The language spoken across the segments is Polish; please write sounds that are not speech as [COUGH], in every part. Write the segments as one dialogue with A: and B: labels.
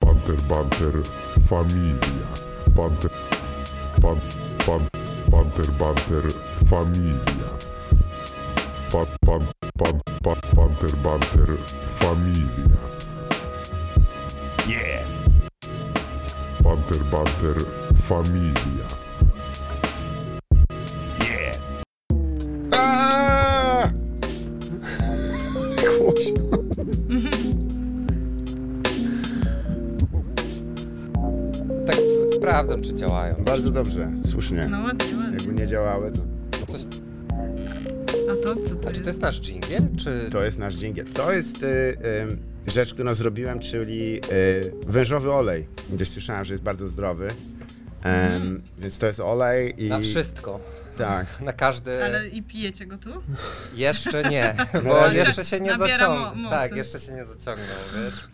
A: Banter, banter, familia. Banter, ban, ban, banter, banter, familia. Pan, pan, pan, pan, banter, banter, familia.
B: Yeah!
A: Banter, banter, familia.
B: Yeah!
C: Aaaa! Głośno.
D: Tak sprawdzam, czy działają.
C: Bardzo dobrze, słusznie.
E: No ładnie, ładnie.
C: Jakby nie działały, to...
D: Coś...
E: A to co
D: A
E: to
D: czy
E: jest?
D: to jest nasz dżingiel? Czy...
C: To jest nasz dżingiel. To jest y, y, rzecz, którą zrobiłem, czyli y, wężowy olej. Gdzieś słyszałem, że jest bardzo zdrowy. Em,
E: Mhm.
C: Więc to jest olej i...
D: Na wszystko.
C: Tak.
D: Na każdy...
E: Ale i pijecie go
C: [LAUGHS]
E: tu?
D: Jeszcze
E: [LAUGHS]
D: nie, bo
C: razie-
D: jeszcze się nie
E: Nabiera
D: zaciągnął.
E: mo- mocy.
D: tak, jeszcze się nie zaciągnął, wiesz?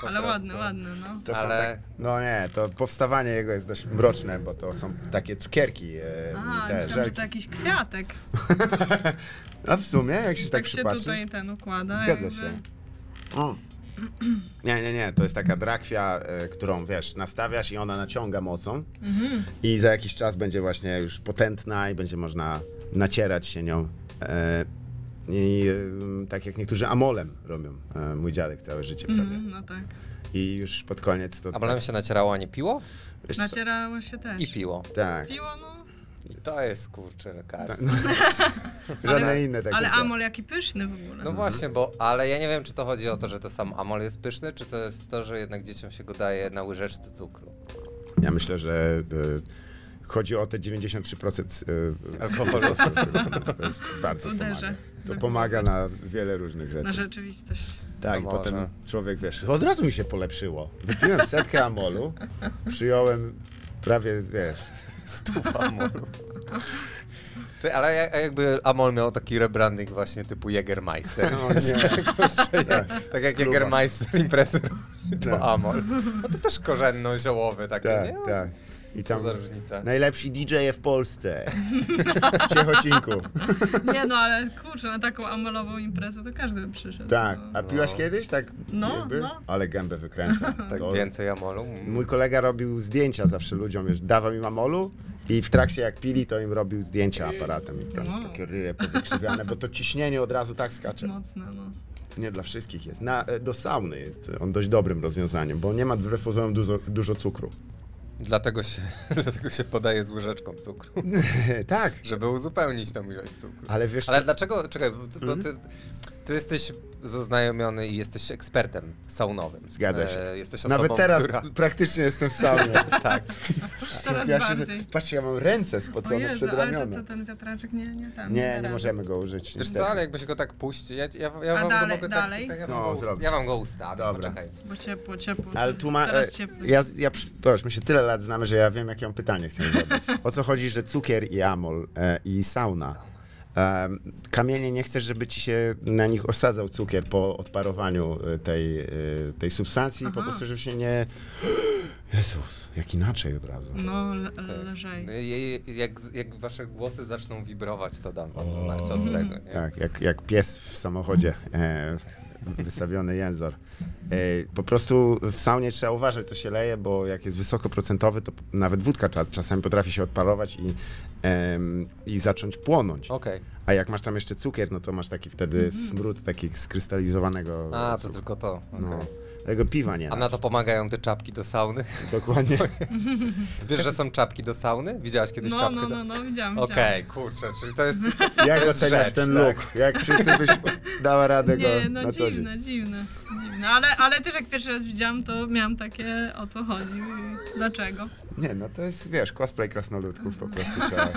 D: Po
E: Ale ładne,
D: prostu.
E: ładne, no.
C: To są
D: Ale-
C: tak, no nie, to powstawanie jego jest dość mroczne, bo to są takie cukierki, e,
E: A,
C: te
E: myślałam, że
C: żelki.
E: to jakiś kwiatek. Tak,
C: A w sumie, jak się tak,
E: się
C: przypatrzysz...
E: tutaj ten układa.
C: Zgadza
E: jakby.
C: się. O. Nie, nie, nie, to jest taka drakwia, e, którą wiesz, nastawiasz i ona naciąga mocą
E: Mhm.
C: i za jakiś czas będzie właśnie już potentna i będzie można nacierać się nią. E, I e, tak jak niektórzy amolem robią, e, mój dziadek całe życie prawie.
E: Mm, no tak.
C: I już pod koniec to...
D: A bolem się nacierało, a nie piło?
C: wiesz co,
E: Nacierało się też.
D: I piło.
C: Tak,
E: Piło, no.
D: I to jest, kurczę, lekarstwo.
C: żadne inne tak
E: Ale
C: są.
E: amol jaki pyszny w ogóle.
D: No właśnie, bo, ale ja nie wiem, czy to chodzi o to, że to sam amol jest pyszny, czy to jest to, że jednak dzieciom się go daje na łyżeczce cukru.
C: Ja myślę, że e, chodzi o te 93% e,
D: Alkoholu.
C: [LAUGHS] To, to jest bardzo pomaga.
E: Uderzę.
C: To pomaga na wiele różnych
E: Na
C: rzeczy.
E: rzeczywistość.
C: Tak, i
D: No
C: potem
D: może.
C: człowiek, wiesz, od razu mi się polepszyło. Wypiłem setkę amolu, przyjąłem prawie, wiesz,
D: Stuwa amolu. Ty, ale jak- jakby amol miał taki rebranding właśnie typu Jägermeister.
C: no
D: [LAUGHS]
C: nie,
D: Tak jak
C: Próba.
D: Jägermeister imprezy robi, to
C: Tak.
D: amol. No to też korzenno-ziołowy takie,
C: tak,
D: nie? No,
C: tak. I
D: Co
C: tam
D: za różnica.
C: najlepsi DJ w Polsce. W Ciechocinku.
E: Nie no, ale kurczę, na taką amolową imprezę to każdy by przyszedł.
C: Tak.
E: No.
C: A piłaś kiedyś tak
E: No,
C: jakby?
E: no.
C: Ale gębę
E: [LAUGHS]
C: wykręca.
D: Tak
C: To-
D: więcej amolu. Mm.
C: Mój kolega robił zdjęcia zawsze ludziom, wiesz, dawał im amolu i w trakcie jak pili, to im robił zdjęcia aparatem i tam
E: Wow.
C: takie ryje powykrzywiane, bo to ciśnienie od razu tak skacze.
E: Mocne, No. no.
C: Nie dla wszystkich jest. Na, e, do sauny jest on dość dobrym rozwiązaniem, bo nie ma wbrew pozorom dużo, dużo cukru. [LAUGHS]
D: Dlatego, się, [LAUGHS] dlatego się podaje z łyżeczką cukru,
C: tak,
D: żeby uzupełnić tą ilość cukru.
C: ale Mhm. wiesz,
D: Ale dlaczego, czekaj, bo ty, bo ty, ty jesteś zaznajomiony i jesteś ekspertem saunowym.
C: Zgadza się.
D: E, jesteś osobą,
C: nawet teraz
D: która...
C: praktycznie jestem w
E: [LAUGHS]
C: saunie.
D: Tak.
E: Coraz
C: ja
E: bardziej.
C: patrzcie, ja mam ręce
E: O
C: spocone
E: Jezu,
C: przed
E: ale to co,
C: ramionem.
E: ten wiatraczek nie, nie tam. da
C: Nie, nie
E: rady.
C: możemy go użyć.
D: Wiesz
C: niestety.
D: co, ale jakbyś go tak puścił, ja, ja, ja
E: A
D: wam
E: dalej,
D: go mogę
E: dalej?
D: tak... tak ja,
C: No,
D: wam go ust-
C: zrobię.
D: ja wam go ustawię,
C: Dobra.
D: poczekajcie.
E: Bo ciepło, ciepło.
C: Ale tu ma.
E: Coraz
C: e,
E: cieplej.
C: Ja, ja, przy- zobacz, my się tyle lat znamy, że ja wiem, jakie mam pytanie chcę zadać. O co chodzi, że cukier i amol e, i sauna. Em, kamienie nie chcesz, żeby ci się na nich osadzał cukier po odparowaniu e, tej, e, tej substancji, po
E: Aha.
C: prostu, żeby się nie. [GASPS] Jezus, jak inaczej od razu.
E: No, le,
D: Tak.
E: lżej.
D: No i- i- Jak, jak wasze głosy zaczną wibrować, to dam wam znać od tego. Nie?
C: Mm, Tak, jak, jak pies w samochodzie, e, wystawiony jęzor. E, po prostu w saunie trzeba uważać, co się leje, bo jak jest wysokoprocentowy, to nawet wódka cza- czasami potrafi się odparować i, em, i zacząć płonąć.
D: Okej.
C: A jak masz tam jeszcze cukier, no to masz taki wtedy smród taki skrystalizowanego.
D: Mhm. A, to
C: cukru.
D: tylko to. okej.
C: no, Tego piwa nie.
D: A na to pomagają te czapki do sauny? [LAUGHS]
C: Dokładnie.
D: Wiesz, że są czapki do sauny? Widziałaś kiedyś
E: No,
D: czapkę do...
E: no, no, no, widziałam. widziałam.
D: Okej, kurczę, czyli
E: [LAUGHS]
D: to jest...
C: Jak
D: To jest
C: oceniasz
D: rzecz,
C: ten
D: tak.
C: look? Jak, czy ty byś dała radę go
E: Nie, no
C: na co dzień?
E: dziwne, dziwne, dziwne. Ale, ale też jak pierwszy raz widziałam, to miałam takie o co chodzi i dlaczego.
C: Nie, no to jest, wiesz, cosplay krasnoludków po prostu
D: [LAUGHS]
C: trzeba.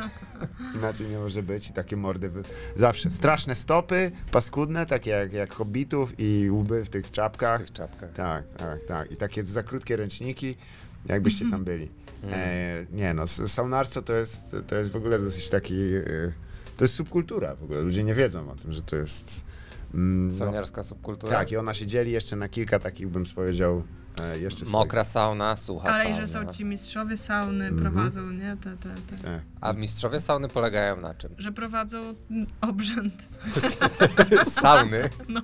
C: Inaczej nie może być i takie mordy wy... zawsze. Straszne stopy, paskudne, takie jak, jak hobbitów i łby w tych
D: W
C: czapkach.
D: tych czapkach.
C: Tak, tak, tak. I takie za krótkie ręczniki, jakbyście
D: Mhm.
C: tam byli. E, nie no, s- saunarstwo to jest, to jest w ogóle dosyć taki... e, to jest subkultura w ogóle, ludzie nie wiedzą o tym, że to jest... Mm, no,
D: Sauniarska subkultura?
C: tak, i ona się dzieli jeszcze na kilka takich, bym powiedział, E, jeszcze swoich-
D: Mokra sauna, sucha
E: Ale i
D: sauna.
E: że są ci mistrzowie sauny,
C: Mhm.
E: prowadzą, nie? Te, te, te.
C: E,
D: A mistrzowie sauny polegają na czym?
E: Że prowadzą mm, obrzęd.
D: [LAUGHS]
E: [LAUGHS]
D: Sauny?
E: No.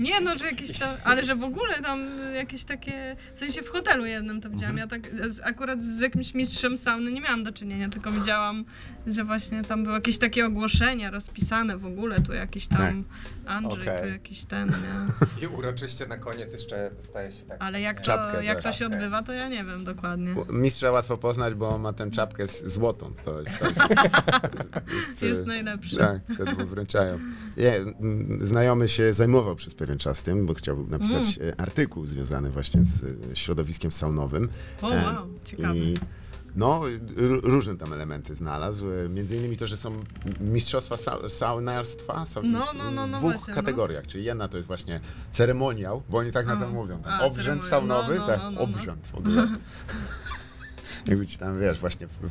E: Nie no, że jakieś tam, ale że w ogóle tam jakieś takie, w sensie w hotelu jednym to widziałam, ja tak z, akurat z jakimś mistrzem sauny nie miałam do czynienia, tylko widziałam, że właśnie tam były jakieś takie ogłoszenia rozpisane w ogóle, tu jakiś tam Andrzej, tu
D: Okej.
E: jakiś ten, nie?
D: I uroczyście na koniec jeszcze dostaje się tak.
E: Ale jak to,
C: Czapkę,
E: jak
C: tak.
E: to się
D: Czapkę.
E: odbywa, to ja nie wiem dokładnie.
C: Mistrza łatwo poznać, bo ma tę czapkę z złotą. To jest,
E: [LAUGHS]
C: tak,
E: Jest, jest najlepszy.
C: tak, wtedy mu wręczają. Nie, m, znajomy się zajmował przez pewien czas tym, bo chciał napisać
E: Mm.
C: e, artykuł związany właśnie z e, środowiskiem saunowym.
E: O,
C: E,
E: wow, ciekawe.
C: I no, r- różne tam elementy znalazł. e, Między innymi to, że są mistrzostwa sa- saunarstwa sa-
E: No, no, no, no
C: w dwóch
E: właśnie, no.
C: kategoriach. Czyli jedna to jest właśnie ceremoniał, bo oni tak na
E: O,
C: to mówią. Tam
E: a,
C: obrzęd
E: ceremonia.
C: saunowy,
E: No, no,
C: tak,
E: no, no, no.
C: obrzęd w
E: [LAUGHS]
C: ogóle. Jakby ci tam, wiesz, właśnie w, w,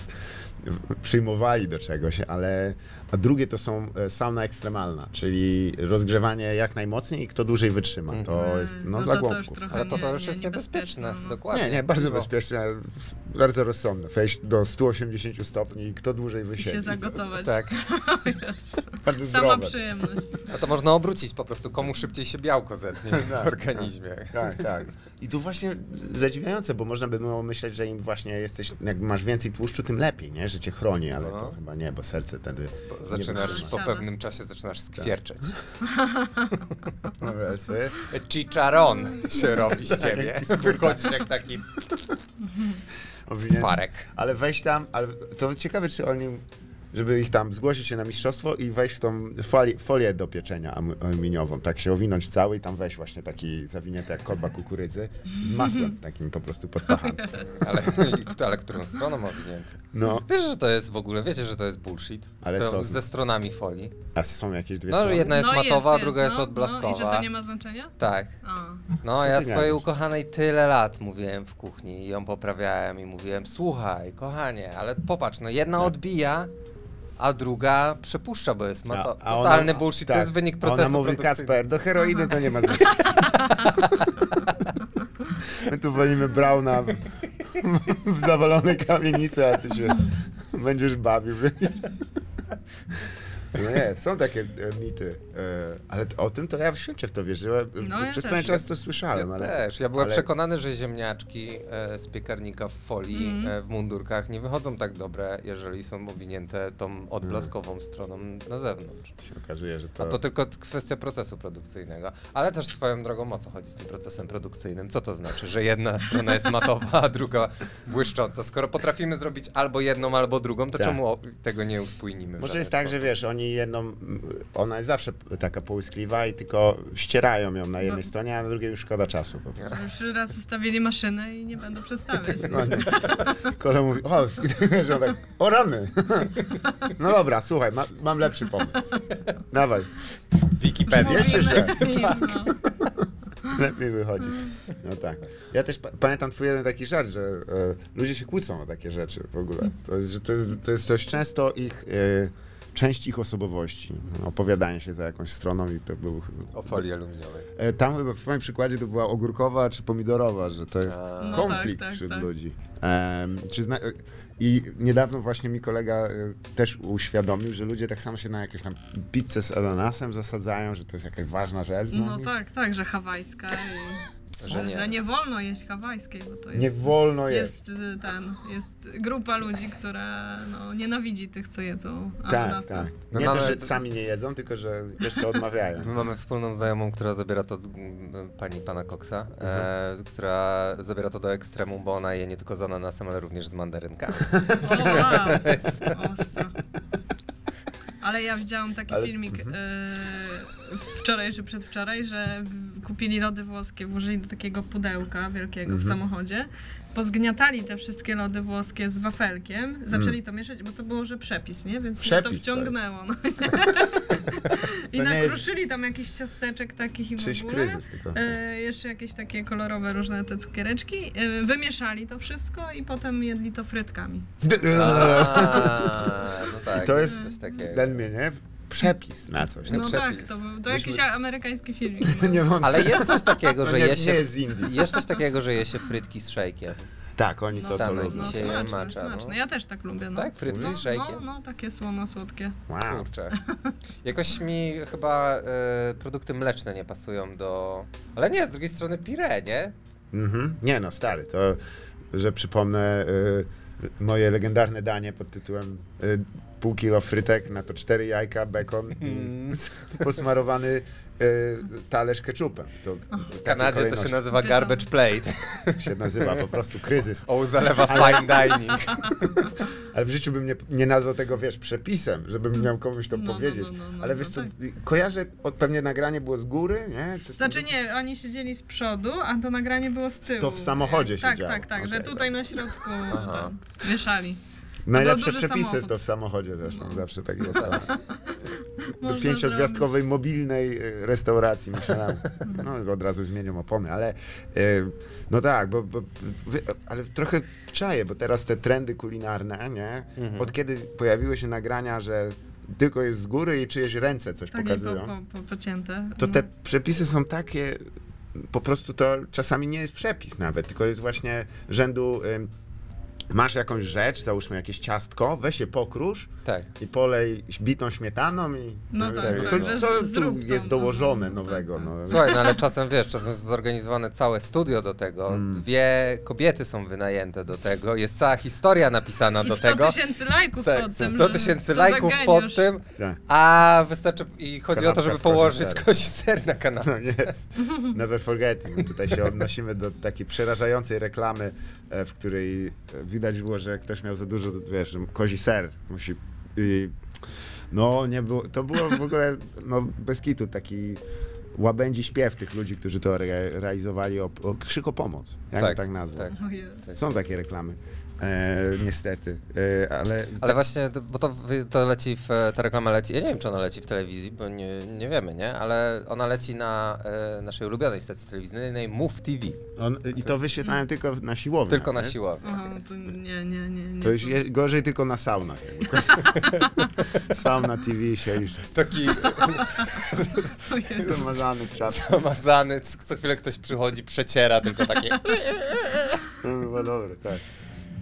C: w, przyjmowali do czegoś, ale... A drugie to są e, sauna ekstremalna, czyli rozgrzewanie jak najmocniej i kto dłużej wytrzyma. To jest, no, dla
E: Mhm. E, to, to już
C: głąbków.
E: trochę
D: Ale to, to
E: nie-
D: już
E: nie-
D: jest niebezpieczne,
E: niebezpieczne, no.
D: dokładnie.
C: Nie, nie, bardzo
D: Bo-
C: bezpiecznie, ale s- bardzo rozsądne. Wejść do 180 stopni i kto dłużej
E: I
C: wysiedzi.
E: się zagotować. [LAUGHS]
D: Tak.
E: Jezu.
C: Bardzo
E: Sama
C: zdrowe.
E: przyjemność.
D: No to można obrócić po prostu, komu szybciej się
C: [LAUGHS]
D: białko zetnie w organizmie.
C: Tak, tak. I tu właśnie zadziwiające, bo można by było myśleć, że im właśnie jesteś, jak masz więcej tłuszczu, tym lepiej, nie? Że cię chroni, ale to
D: No.
C: chyba nie, bo serce wtedy...
D: Bo
C: nie
D: Zaczynasz
C: wytrzyma.
D: po
E: Siada.
D: pewnym czasie zaczynasz
C: Tak.
D: skwierczeć.
C: No, wiesz, sobie. [LAUGHS]
D: Chicharon się robi
C: Tak,
D: z ciebie. Wychodzisz jak taki
C: Owinięty.
D: parek.
C: Ale wejść tam, ale to ciekawe, czy oni, żeby ich tam zgłosić się na mistrzostwo i wejść w tą fali, folię do pieczenia alu- aluminiową, tak się owinąć cały i tam wejść właśnie taki zawinięty jak korba kukurydzy z masłem takim po prostu pod pachami. [LAUGHS]
D: Ale, ale którą stroną owinięty?
C: No,
D: Wiesz, że to jest w ogóle, wiecie, że to jest bullshit? Z
C: Ale
D: tą-
C: co?
D: Ze stronami folii.
C: a są jakieś dwie
D: No, że
C: strony?
D: jedna jest
E: no,
D: matowa,
E: jest,
D: druga
E: jest,
D: jest
E: no,
D: odblaskowa.
E: No, I że to nie ma znaczenia?
D: Tak.
E: A.
D: No,
C: Co
D: ja
C: ty
D: swojej
C: gadasz?
D: ukochanej tyle lat mówiłem w kuchni i ją poprawiałem i mówiłem, słuchaj, kochanie, ale popatrz, no jedna
C: Tak.
D: odbija, a druga przepuszcza, bo jest ma to
C: a ona-
D: totalny bullshit,
C: tak.
D: to jest wynik
C: A
D: procesu
C: Ona mówi,
D: produkcyjnego.
C: Kasper, do heroiny to nie ma znaczenia. My tu walimy Brauna w- w zawalonej kamienicy, a ty się będziesz bawił. No nie, są takie e, mity, e, ale t- o tym to ja w świecie w to wierzyłem.
E: No, ja
C: Przez
E: też.
C: pewien czas to
D: Ja
C: słyszałem, ale...
D: też, ja byłem
C: ale-
D: przekonany, że ziemniaczki e, z piekarnika w folii, e, w mundurkach nie wychodzą tak dobre, jeżeli są owinięte
C: Mhm.
D: tą odblaskową stroną na zewnątrz.
C: Się okazuje, że
D: A
C: to...
D: No to tylko t- kwestia procesu produkcyjnego. Ale też swoją drogą o co chodzi z tym procesem produkcyjnym? Co to znaczy, że jedna [LAUGHS] strona jest matowa, a druga błyszcząca? Skoro potrafimy zrobić albo jedną, albo drugą, to
C: Tak.
D: czemu o- tego nie uspójnimy? w
C: Może
D: żaden
C: jest tak, że
D: sposób?
C: wiesz, oni jedną, m, ona jest zawsze p- taka połyskliwa i tylko ścierają ją na jednej
E: No.
C: stronie, a na drugiej już szkoda czasu. Po prostu.
E: Już raz ustawili maszynę i nie będą przestawiać.
C: No nie. [LAUGHS] Kolega mówi, o, i że on tak, o rany. [LAUGHS] No dobra, słuchaj, ma, mam lepszy pomysł. Dawaj,
D: Wikipedia.
C: Wiecie,
E: Mówimy
C: że- [LAUGHS] Tak.
E: im, no.
C: lepiej wychodzi. No tak. Ja też pa- pamiętam twój jeden taki żart, że e, ludzie się kłócą o takie rzeczy w ogóle. To jest, że to jest, to jest coś często ich, e, część ich osobowości. no, Opowiadanie się za jakąś stroną i to był...
D: O folii aluminiowej.
C: E, tam chyba w moim przykładzie to była ogórkowa czy pomidorowa, że to jest
E: No
C: konflikt
E: tak, tak,
C: wśród
E: tak.
C: ludzi. Em, czy zna- e, I niedawno właśnie mi kolega e, też uświadomił, że ludzie tak samo się na jakąś tam pizzę z ananasem zasadzają, że to jest jakaś ważna rzecz. dla
E: No
C: nich.
E: tak, tak, że hawajska i...
D: Że nie.
E: Że nie wolno jeść hawajskiej, bo to jest...
C: Nie wolno jest.
E: jest y, ten, jest grupa ludzi, która no, nienawidzi tych, co jedzą
C: Tak,
E: ananasa.
C: tak.
D: No
C: nie to, że
D: nawet-
C: sami nie jedzą, tylko że jeszcze odmawiają.
E: No,
D: My mamy wspólną znajomą, która zabiera to, mm, pani pana Koksa,
C: Mhm.
D: e, która zabiera to do ekstremum, bo ona je nie tylko z ananasem, ale również z
C: [LAUGHS]
D: mandarynka.
E: O, wow. Ostro. Ale ja widziałam taki
C: Ale- Mhm.
E: filmik yy, wczoraj czy przedwczoraj, że w- kupili lody włoskie, włożyli do takiego pudełka wielkiego
C: Mhm.
E: w samochodzie, pozgniatali te wszystkie lody włoskie z wafelkiem, zaczęli to mieszać, bo to było, że przepis, nie? Więc mnie to
C: Mhm. Przepis,
E: wciągnęło.
C: [LAUGHS]
E: No. I
C: To nie jest-
E: nakruszyli tam jakichś ciasteczek takich i w
C: Czyś
E: ogóle.
C: kryzys tylko.
E: no E, jeszcze jakieś takie kolorowe różne te cukiereczki. E, wymieszali to wszystko i potem jedli to frytkami.
D: A, no tak,
C: I to jest-
D: coś takiego.
C: Ten mnie, nie? przepis na coś.
D: No
C: No,
E: No
D: przepis.
E: tak, to, był- to
C: Myśmy-
E: jakiś amerykański filmik.
C: [LAUGHS] nie mam...
F: Ale jest coś takiego,
C: To
F: że
C: nie-
F: je się...
C: nie jest z Indii.
F: Jest coś takiego, że je się frytki z szejkiem.
C: Tak, oni to,
E: No,
C: to
F: tak,
C: lubią.
E: No
F: Dzisiaj
E: smaczne,
F: macza, no.
E: smaczne. Ja też tak lubię. No.
D: Tak? Frytki
E: no,
D: z szejkiem?
E: No, no, takie słono-słodkie.
C: Wow.
D: Kurczę. Jakoś mi chyba e, produkty mleczne nie pasują do... Ale nie, z drugiej strony pire, nie?
C: Mhm. Nie no, stary, to, że przypomnę y, moje legendarne danie pod tytułem y, pół kilo frytek, na to cztery jajka, bekon
E: Mhm.
C: i [LAUGHS] posmarowany y, talerz ketchupem. To
D: W Kanadzie to się nazywa
E: Pytam.
D: garbage plate.
C: się nazywa po prostu
E: [LAUGHS]
C: kryzys.
D: O, [LAUGHS] zalewa fine dining.
C: Ale w życiu bym nie, nie nazwał tego, wiesz, przepisem, żebym miał komuś to
E: No, no,
C: powiedzieć.
E: no, no, no,
C: Ale
E: no
C: wiesz co,
E: tak.
C: kojarzę, od, pewnie nagranie było z góry, nie? Coś tam-
E: Znaczy nie, oni siedzieli z przodu, a to nagranie było z tyłu.
C: To w samochodzie
E: tak,
C: siedziało.
E: Tak, tak, tak,
C: Okej,
E: że tutaj
D: [LAUGHS]
E: na środku tam, mieszali.
C: Najlepsze
E: był duży
C: przepisy
E: samochód. No.
C: to w samochodzie zresztą, zawsze tak jest.
E: [LAUGHS]
C: do
E: Można
C: pięciogwiazdkowej mobilnej e, restauracji
E: [LAUGHS]
C: myślałem. No od razu zmienią opony, ale e, no tak, bo, bo wy, ale trochę czaję, bo teraz te trendy kulinarne, nie? Od kiedy pojawiły się nagrania, że tylko jest z góry i czyjeś ręce coś
E: Tak, i po,
C: pokazują,
E: po, po, pocięte.
C: to
E: No.
C: te przepisy są takie, po prostu to czasami nie jest przepis nawet, tylko jest właśnie rzędu... em, Masz jakąś rzecz, załóżmy jakieś ciastko, weź je pokrusz
D: Tak.
C: i polej bitą śmietaną i
E: No tak,
C: to,
D: tak, że
C: co
E: z-
C: tu
E: zrób to,
C: jest
E: no,
C: dołożone
E: no, no,
C: nowego?
E: tak,
C: No.
D: Słuchaj, no ale czasem wiesz, czasem jest zorganizowane całe studio do tego, dwie kobiety są wynajęte do tego, jest cała historia napisana
E: I
D: do
E: 100
D: tego.
E: tysięcy lajków pod tym.
D: 100
E: że-
D: tysięcy
E: co za
D: lajków pod
E: geniusz.
D: tym,
C: Tak.
D: a wystarczy, i chodzi o to,
C: Kanapka
D: żeby
C: z
D: położyć
C: koziserem.
D: kozi ser na kanapę.
C: [LAUGHS] No nie, never forgetting. Tutaj się odnosimy do takiej przerażającej reklamy, e, w której e, widać było, że ktoś miał za dużo, wiesz, kozi ser musi... I, no, nie było, to było w ogóle, no, bez kitu, taki łabędzi śpiew tych ludzi, którzy to re, realizowali, o, o krzyk o pomoc, jak
D: Tak,
C: tak, tak nazwał.
D: tak.
E: O Jezu.
C: Są takie reklamy, e, niestety, e, ale...
D: [LAUGHS] Ale właśnie, to- bo to, wy- to leci, w, ta reklama leci, ja nie wiem czy ona leci w telewizji, bo nie, nie wiemy, nie? Ale ona leci na e, naszej ulubionej stacji telewizyjnej Move TV,
C: On, I to wyświetlałem tylko na siłowni.
D: tylko na
C: nie?
D: siłowni.
E: Aha, no to nie, nie, nie. nie
C: To już
E: są-
C: je, gorzej tylko na saunach. [LAUGHS] Sauna TV się już
D: [LAUGHS] Taki
E: O Jezu.
C: zamazany w czapkę.
D: zamazany, c- co chwilę ktoś przychodzi, przeciera tylko takie...
C: No dobry, tak.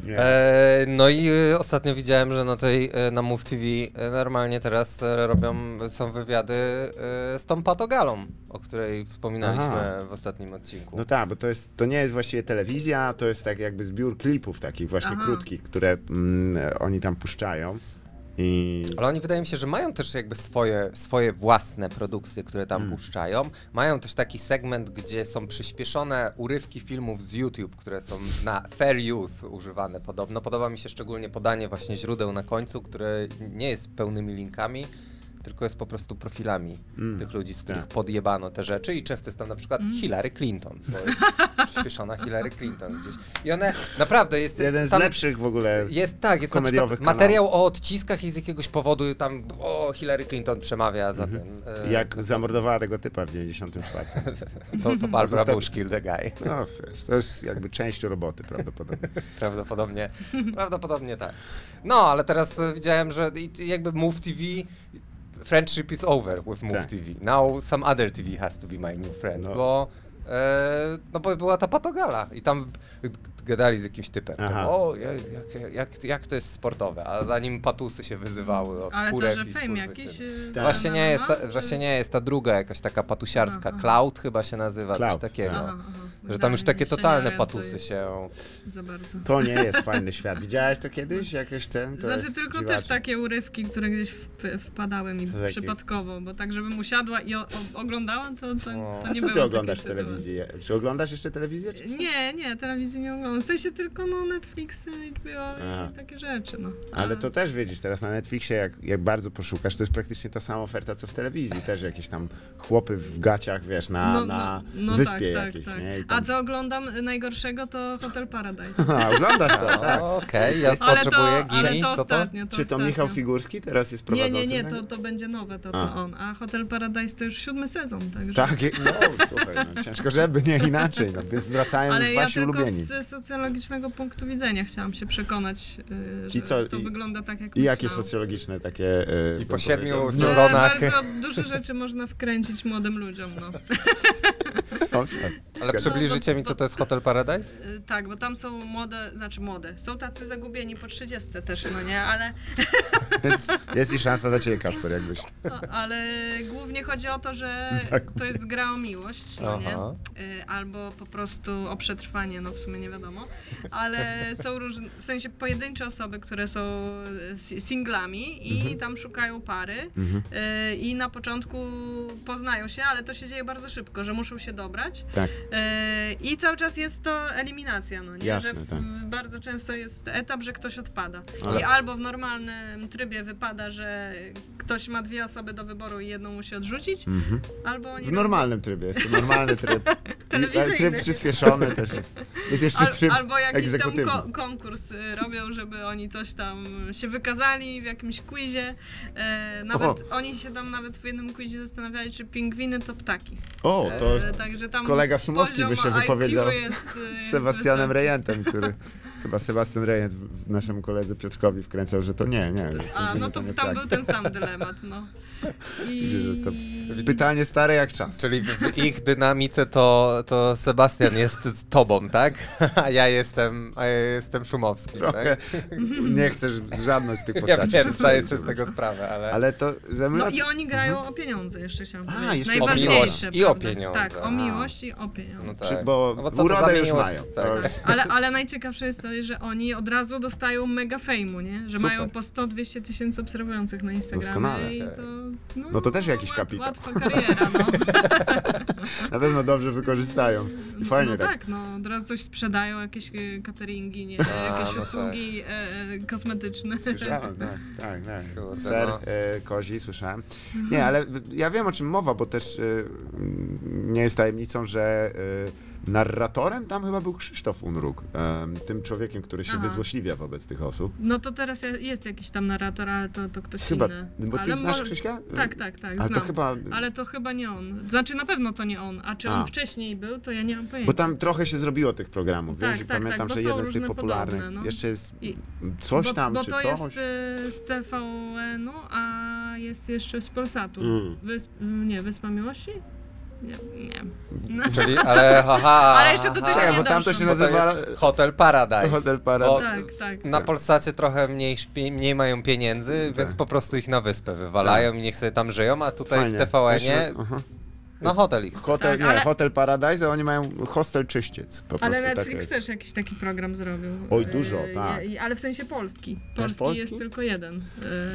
C: Nie.
D: [LAUGHS] E, no i e, ostatnio widziałem, że na tej, e, na Move TV e, normalnie teraz e, robią, są wywiady e, z tą patogalą, o której wspominaliśmy
C: Aha.
D: w ostatnim odcinku.
C: No tak, bo to, jest, to nie jest właściwie telewizja, to jest tak jakby zbiór klipów takich właśnie
E: Aha.
C: krótkich, które mm, oni tam puszczają. I
D: Ale oni wydaje mi się, że mają też jakby swoje, swoje własne produkcje, które tam
C: Hmm.
D: puszczają. Mają też taki segment, gdzie są przyspieszone urywki filmów z YouTube, które są na fair use używane podobno. Podoba mi się szczególnie podanie właśnie źródeł na końcu, które nie jest pełnymi linkami. Tylko jest po prostu profilami tych ludzi, z których
C: Tak.
D: podjebano te rzeczy i często jest tam na przykład Hillary Clinton, bo jest przyspieszona Hillary Clinton gdzieś. I one naprawdę jest...
C: jeden z
D: tam-
C: lepszych w ogóle.
D: jest tak, jest na
C: komediowych
D: przykład materiał o odciskach i z jakiegoś powodu tam o Hillary Clinton przemawia za tym. e,
C: Mhm. Jak zamordowała tego typa w 94.
D: to, to Barbara
C: Zostaw-
D: Bush killed the guy. [LAUGHS]
C: No wiesz, to jest jakby część roboty prawdopodobnie.
D: Prawdopodobnie, prawdopodobnie tak. No, ale teraz e, widziałem, że i- jakby Move TV friendship is over with Move
C: Tak.
D: TV. Now some other TV has to be my new friend,
C: No.
D: bo e, no bo była ta patogala i tam g- gadali z jakimś typem.
C: Aha.
D: O, ja- jak, jak, jak to jest sportowe, a zanim patusy się wyzywały od
E: Ale to,
D: kurek
E: że
D: i
E: fame
D: skurwysynów.
E: jakiś. y,
C: Tak.
D: Właśnie nie, jest ta,
E: czy-
D: właśnie nie jest ta druga jakaś taka patusiarska.
E: Aha.
D: Cloud chyba się nazywa, coś
C: Cloud, tak.
D: takiego.
E: Mhm. Aha, aha.
D: No. Że tam już
E: Wydaje
D: takie
E: mi się,
D: totalne
E: nie
D: patusy
E: orientuję
D: się.
E: Za bardzo.
C: To nie jest fajny świat. Widziałeś to kiedyś? Jakieś ten? To
E: Znaczy
C: jest
E: tylko też
C: dziwaczne.
E: takie urywki, które gdzieś wp- wpadły mi
C: Takie-
E: przypadkowo, bo tak żebym usiadła i o- o- oglądałam, to, to,
D: O.
E: to
C: No. A
E: nie
C: co
E: były
C: ty
E: takie
C: oglądasz w
E: sytuacje.
C: telewizji? Czy oglądasz jeszcze telewizję? Czy...
E: Nie, nie, telewizji nie oglądam. W sensie tylko no Netflixy, HBO
C: A.
E: i takie rzeczy, no.
C: Ale to też wiedzisz, teraz na Netflixie, jak, jak bardzo poszukasz, to jest praktycznie ta sama oferta, co w telewizji. Też jakieś tam chłopy w gaciach, wiesz, na,
E: No, no,
C: na
E: no
C: wyspie
E: tak, tak,
C: jakieś,
E: tak.
C: nie? I tam.
E: A co oglądam najgorszego, to Hotel Paradise.
C: [LAUGHS] A, oglądasz
D: No.
C: to, tak.
D: O, Okej, [LAUGHS] ja
E: [LAUGHS] Ale to,
D: potrzebuję
E: ale
D: gini,
E: to
D: co to?
E: ostatnio, to
C: Czy to
E: ostatnio.
C: Michał Figurski teraz jest
E: Nie,
C: prowadzącym?
E: nie, nie,
C: tego?
E: to, to będzie nowe to, co
C: A.
E: on. A Hotel Paradise to już siódmy sezon, także...
C: Tak, no słuchaj, no, ciężko żeby, nie inaczej, no, więc wracają
E: Ale
C: już
E: ja
C: wasi
E: tylko
C: ulubieni.
E: z socjologicznego punktu widzenia chciałam się przekonać, y, że
C: I co,
E: to
C: i-
E: wygląda tak, jak
C: I jakie
E: myślałam.
C: socjologiczne takie... e,
D: I po
C: bym
D: siedmiu
C: powiedział,
E: Że
D: sezonach.
E: Bardzo dużo rzeczy można wkręcić młodym ludziom, no.
C: no, [LAUGHS]
D: Ale przybliżycie mi, co to jest Hotel Paradise?
E: Y, Tak, bo tam są młode, znaczy młode, są tacy zagubieni po 30 też, no nie, ale,
C: Więc jest i szansa dla ciebie, Kasper, jakbyś.
E: no, ale głównie chodzi o to, że to jest gra o miłość, no nie,
D: Aha.
E: Y, albo po prostu o przetrwanie, no w sumie nie wiadomo, ale są różne, w sensie pojedyncze osoby, które są y, si- singlami i tam szukają pary y, i na początku poznają się, ale to się dzieje bardzo szybko, że muszą się dobrać,
C: Tak.
E: E, I cały czas jest to eliminacja, no nie?
C: Jasne,
E: że w,
C: tak.
E: bardzo często jest etap, że ktoś odpada.
C: Ale-
E: I albo w normalnym trybie wypada, że ktoś ma dwie osoby do wyboru i jedną musi odrzucić, albo nie
C: Mhm. W normalnym trybie, jest to normalny
E: [LAUGHS]
C: tryb.
E: Telewizyjny.
C: Tryb przyspieszony też jest. Jest jeszcze tryb
E: Al, albo jakiś tam
C: egzekutywny.
E: ko- konkurs y, robią, żeby oni coś tam się wykazali w jakimś quizie. E, nawet oni się tam nawet w jednym quizie zastanawiali, czy pingwiny to ptaki.
C: O, to
E: E, Także tam
C: kolega Szumowski by się
E: poziom IQ
C: wypowiedział
E: Jest,
C: z
E: y, jest
C: Sebastianem
E: wysoki.
C: Rejentem, który... Chyba Sebastian Rejent w w naszemu koledze Piotrkowi wkręcał, że to nie, nie. że
E: A, no
C: nie, [LAUGHS]
E: to
C: nie
E: tam
C: tak.
E: był ten sam dylemat,
C: [LAUGHS]
E: no.
C: Widzę,
E: I...
C: że to- Pytanie stare jak czas.
D: Czyli w- w ich dynamice to, to Sebastian jest z tobą, tak? [LAUGHS] A ja jestem, a ja jestem Szumowski,
C: Trochę
D: tak?
C: [LAUGHS] nie chcesz żadną z tych
D: Ja
C: postaci.
D: wiem, zdaję sobie z tego sprawę, ale...
C: Ale to ze mną
E: No i oni grają o pieniądze, jeszcze chciałam
C: Mhm. A,
E: powiedzieć.
C: jeszcze
E: Najważniejsze,
D: o miłość i
E: prawda?
D: o pieniądze.
E: Tak,
D: A.
E: o miłość i o pieniądze.
D: No
C: Czy-
D: tak.
C: bo
D: no bo co to
C: urodę
D: za
C: już
D: miłość?
C: mają.
D: Tak.
C: To-
E: Ale, ale najciekawsze jest to, że oni od razu dostają mega fejmu, nie? Że
C: Super.
E: mają po 100-200 tysięcy obserwujących na Instagramie
C: Doskonale.
E: i to...
C: No to też jakiś kapitał.
E: Łatwa kariera, no.
C: na pewno dobrze wykorzystają. I [LAUGHS] fajnie
E: no
C: tak.
E: tak, no od razu coś sprzedają, jakieś e, cateringi, nie?
D: A,
E: jakieś
D: no
E: usługi e, e, kosmetyczne.
C: tak. Słyszałem, tak, tak, tak.
D: Kurde,
C: Ser
D: no.
C: e, kozi, słyszałem. Nie, ale ja wiem o czym mowa, bo też e, nie jest tajemnicą, że e, narratorem tam chyba był Krzysztof Unruk, e, tym człowiekiem, który się
E: Aha.
C: wyzłośliwia wobec tych osób.
E: No to teraz je- jest jakiś tam narrator, ale to, to ktoś
C: Chyba,
E: inny.
C: bo ty
E: ale
C: znasz
E: mo-
C: Krzyśka?
E: Tak, tak, tak,
C: Ale
E: znam.
C: to chyba...
E: Ale to chyba nie on. Znaczy na pewno to nie on, a czy on
C: A.
E: wcześniej był, to ja nie mam pojęcia.
C: Bo tam trochę się zrobiło tych programów,
E: Tak,
C: wiesz? I
E: tak,
C: pamiętam,
E: tak, bo
C: że
E: są
C: jeden z tych
E: różne
C: popularnych.
E: podobne, no.
C: Jeszcze jest
E: I-
C: coś
E: bo,
C: tam,
E: bo
C: czy
E: to
C: coś.
E: jest y, z TVN-u, a jest jeszcze z Polsatu.
C: Mm.
E: Wysp, nie, Wyspa Miłości? Nie, nie. No,
D: Czyli, ale [LAUGHS] haha.
E: Ale jeszcze do tego
D: haha,
E: nie
C: Czekaj, bo tam to się
E: doszło.
D: bo to
C: nazywa
D: jest Hotel Paradise.
C: Hotel Paradise.
D: Bo
E: tak, tak.
D: Na Polsacie trochę mniej, śpi- mniej mają pieniędzy,
C: Tak.
D: więc po prostu ich na wyspę wywalają i niech sobie tam żyją, a tutaj
C: Fajnie.
D: w TVN-ie,
C: Jeszcze- aha.
D: no hotel ich.
C: Hotel,
E: Tak,
C: nie,
E: ale-
C: Hotel Paradise, a oni mają hostel czyściec. Po
E: Ale
C: prostu tak
E: Netflix
C: takie.
E: też jakiś taki program zrobił.
C: Oj,
E: Y,
C: dużo, tak.
E: i- ale w sensie polski. Polski,
C: polski?
E: jest tylko jeden. Y,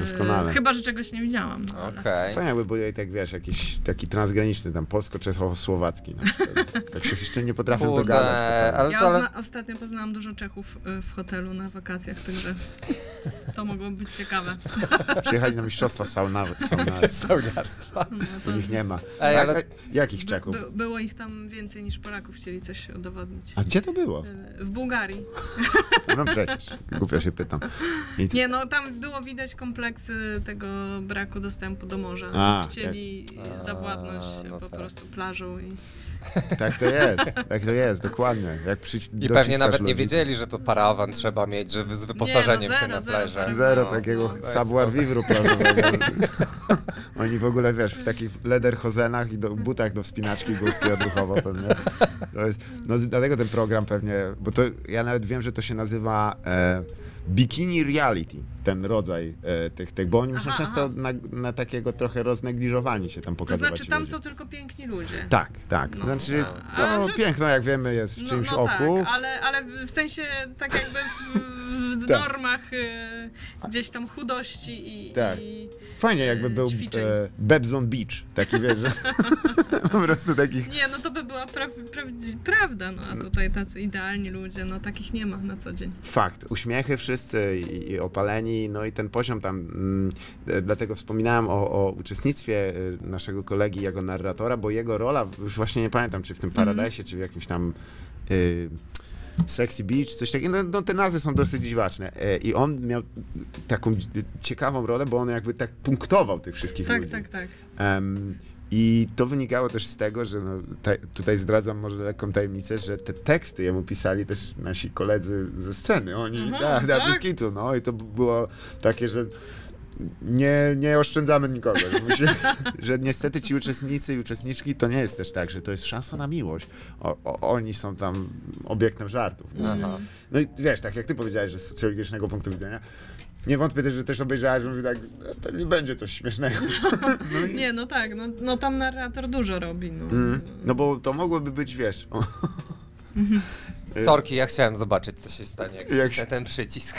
C: Doskonale.
E: Chyba, że czegoś nie widziałam. no, ale-
D: Okej.
C: Fajnie jakby był tak, wiesz, jakiś taki transgraniczny tam polsko-czesko-słowacki. na [LAUGHS] przykład. tak się jeszcze nie potrafią
D: Kurde,
C: dogadać. totalnie.
D: ale
E: Ja
D: co, ale... [LAUGHS]
E: ozna- ostatnio poznałam dużo Czechów y, w hotelu na wakacjach, także to mogło być ciekawe.
C: Przyjechali na mistrzostwa saunawe. saunary.
D: Sauniarstwa.
E: No to
C: Ich nie ma.
D: Ej,
C: Tak?
D: ale-
C: A- Jakich Czeków?
E: by- było ich tam więcej niż Polaków chcieli coś udowodnić.
C: A gdzie to było?
E: Y, W Bułgarii.
C: No przecież, głupio się pytam. Nic.
E: Nie no, tam było widać kompleksy tego braku dostępu do morza.
C: A,
E: Chcieli
D: tak.
E: zawładnąć
D: A, no
E: po
D: tak.
E: prostu plażą i
C: Tak to jest, tak to jest, dokładnie. Jak przy,
D: I pewnie nawet nie wiedzieli, że to parawan trzeba mieć, że z wyposażeniem
E: Nie, no,
D: się na
E: zero, zero
D: plażę.
E: parawan.
C: Zero
D: No.
C: takiego
D: to jest
C: savoir vivre
E: [LAUGHS]
C: prawdopodobnie. Oni w ogóle, wiesz, w takich lederhosenach i do, butach do wspinaczki górskiej odruchowo pewnie. To jest, no z- dlatego ten program pewnie, bo to ja nawet wiem, że to się nazywa e, bikini reality, ten rodzaj e, tych, tych, bo oni muszą
E: Aha,
C: często
E: aha.
C: na, na takiego trochę roznegliżowani się tam
E: To
C: pokazywać.
E: znaczy tam
C: ludzie.
E: są tylko piękni ludzie.
C: Tak, tak.
E: No.
C: Znaczy,
E: A,
C: to
E: że-
C: piękno, jak wiemy, jest w
E: No,
C: czymś
E: no
C: oku.
E: tak, ale, ale w sensie tak jakby w, w
C: Tak.
E: normach y, gdzieś tam chudości i...
C: Tak.
E: i
C: Fajnie jakby
E: e,
C: był
E: ćwiczeń.
C: e, Bebzon Beach, taki wiesz, że
E: [LAUGHS]
C: po prostu takich...
E: Nie, no to by była pra prawdzi- prawda, no a tutaj tacy idealni ludzie, no takich nie ma na co dzień.
C: Fakt, uśmiechy wszyscy i, i opaleni, no i ten poziom tam, mm, e, dlatego wspominałem o, o uczestnictwie e, naszego kolegi jako narratora, bo jego rola, w- już właśnie nie pamiętam, czy w tym
E: Mhm.
C: Paradise, czy w jakimś tam y, Sexy Beach, coś takiego, no, no te nazwy są dosyć dziwaczne e, i on miał taką dzi- ciekawą rolę, bo on jakby tak punktował tych wszystkich
E: Tak,
C: ludzi.
E: tak, tak.
C: Em, I to wynikało też z tego, że no, te, tutaj zdradzam może lekką tajemnicę, że te teksty jemu pisali też nasi koledzy ze sceny, oni
E: Aha,
C: da, da
E: tak?
C: bez kitu, no i to b- było takie, że nie, nie oszczędzamy nikogo, że, musi, że niestety ci uczestnicy i uczestniczki to nie jest też tak, że to jest szansa na miłość, o, o, oni są tam obiektem żartów.
D: Aha.
C: No i wiesz, tak jak ty powiedziałeś, że z socjologicznego punktu widzenia, nie wątpię też, że też obejrzałeś, że mówię tak, "E, pewnie będzie coś śmiesznego.
E: Nie, no tak, no, no tam narrator dużo robi, no.
C: Mm. No bo to mogłoby być, wiesz, o, [LAUGHS]
D: Sorki, ja chciałem zobaczyć, co się stanie, jak,
C: Y- Jak
D: jak
C: się-
D: ten przycisk.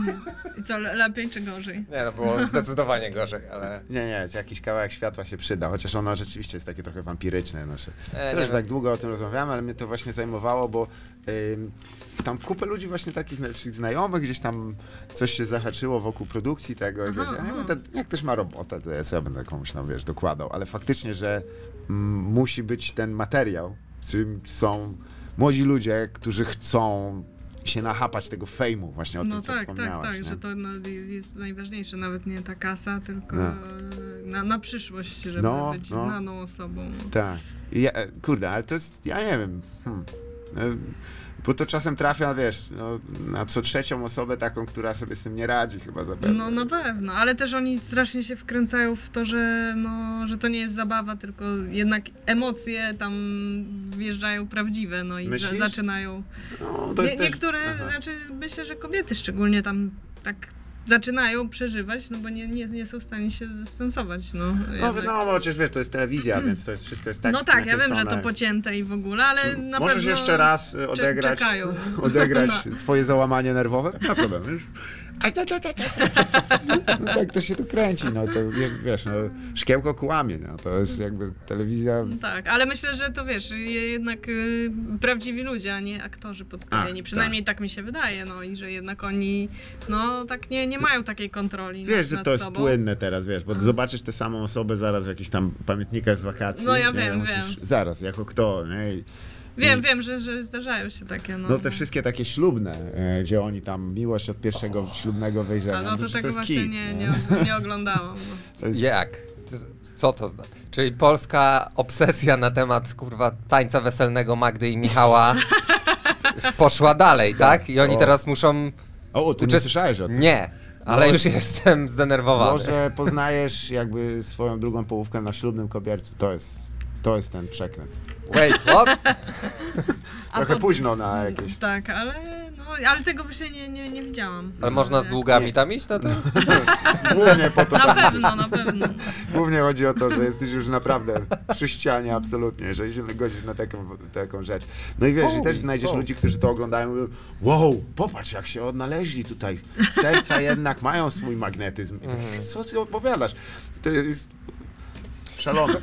D: [LAUGHS]
E: I co, le- lepiej czy gorzej?
D: Nie, no było zdecydowanie gorzej, ale...
C: nie, nie, czy jakiś kawałek światła się przyda, chociaż ono rzeczywiście jest takie trochę wampiryczne nasze.
D: E,
C: Sorry,
D: nie
C: że
D: wiem.
C: tak długo o tym rozmawiamy, ale mnie to właśnie zajmowało, bo ym, tam kupę ludzi właśnie takich naszych znajomych, gdzieś tam coś się zahaczyło wokół produkcji tego i
E: Aha,
C: wiesz, ja nie
E: aha.
C: będę, jak też ma robotę, to ja sobie będę komuś tam, wiesz, dokładał, ale faktycznie, że mm, musi być ten materiał, w którym są młodzi ludzie, którzy chcą się nachapać tego fejmu, właśnie o
E: no
C: tym, co
E: tak,
C: wspomniałaś.
E: tak, tak,
C: nie?
E: że to no, jest najważniejsze, nawet nie ta kasa, tylko
C: No.
E: e, na, na przyszłość, żeby
C: No,
E: być
C: no.
E: znaną osobą.
C: Tak. Ja, e, kurde, ale to jest, ja nie wiem. Hmm. E, Bo to czasem trafia, wiesz, no, na co trzecią osobę taką, która sobie z tym nie radzi chyba zapewne.
E: No na pewno, ale też oni strasznie się wkręcają w to, że, no, że to nie jest zabawa, tylko jednak emocje tam wjeżdżają prawdziwe, no i za,
C: Myślisz?
E: zaczynają.
C: No, to
E: Nie,
C: jest też...
E: niektóre,
C: Aha.
E: znaczy myślę, że kobiety szczególnie tam tak zaczynają przeżywać, no bo nie, nie, nie są w stanie się dystansować, no.
C: No
E: jednak.
C: wiadomo, chociaż wiesz, to jest telewizja, więc to jest wszystko jest tak
E: Mm. no tak, ja wiem, że to
C: nakręcone.
E: pocięte i w ogóle, ale
C: Czy
E: na
C: Możesz
E: pewno
C: jeszcze raz e,
E: cze-
C: odegrać,
E: czekają. [LAUGHS] No.
C: odegrać twoje załamanie nerwowe? No problem, już. A, ta, ta, ta, ta. No tak to się tu kręci, no to wiesz, wiesz no, szkiełko kłamie, no, to jest jakby telewizja
E: Tak, ale myślę, że to wiesz, je- jednak y, prawdziwi ludzie, a nie aktorzy podstawieni.
C: Ach,
E: Przynajmniej tak. mi się wydaje, no i że jednak oni, no tak nie, nie mają takiej kontroli nad,
C: Wiesz, że
E: nad
C: to jest
E: sobą.
C: płynne teraz, wiesz, bo zobaczysz tę samą osobę zaraz w jakichś tam pamiętnikach z wakacji.
E: No ja
C: nie,
E: wiem,
C: musisz, Zaraz, jako kto, nie? I-
E: Wiem, wiem, że, że zdarzają się takie, no.
C: No te wszystkie takie ślubne, e, gdzie oni tam miłość od pierwszego ślubnego wejrzenia.
E: A no to
C: przecież
E: tego
C: jest
E: właśnie
C: kit,
E: nie,
C: no.
E: nie, nie oglądałam. No.
C: To jest,
D: Jak? Co to znaczy? Czyli polska obsesja na temat, kurwa, tańca weselnego Magdy i
C: [LAUGHS]
D: Michała poszła dalej, tak? I oni
C: O.
D: teraz muszą...
C: O, ty nie
D: Uczest-
C: słyszałeś o tym.
D: Nie, ale
C: No.
D: już jestem zdenerwowany.
C: Może poznajesz jakby swoją drugą połówkę na ślubnym kobiercu. To jest, to jest ten przekręt.
D: Wait, what?
E: A
C: Trochę
E: po-
C: późno na jakieś...
E: Tak, ale, no, ale tego właśnie nie, nie, nie widziałam.
D: Ale można z długami tam iść na tym?
C: Głównie po to
E: Na pewno, na
D: [LAUGHS]
E: pewno. Tak,
C: Głównie chodzi o to, że jesteś już naprawdę przy ścianie absolutnie, jeżeli się godzisz na taką, taką rzecz. No i wiesz, i też znajdziesz ludzi, którzy to oglądają i mówią, wow, popatrz jak się odnaleźli tutaj. Serca jednak mają swój magnetyzm. I tak,
D: Mhm.
C: co ty opowiadasz? To jest szalone.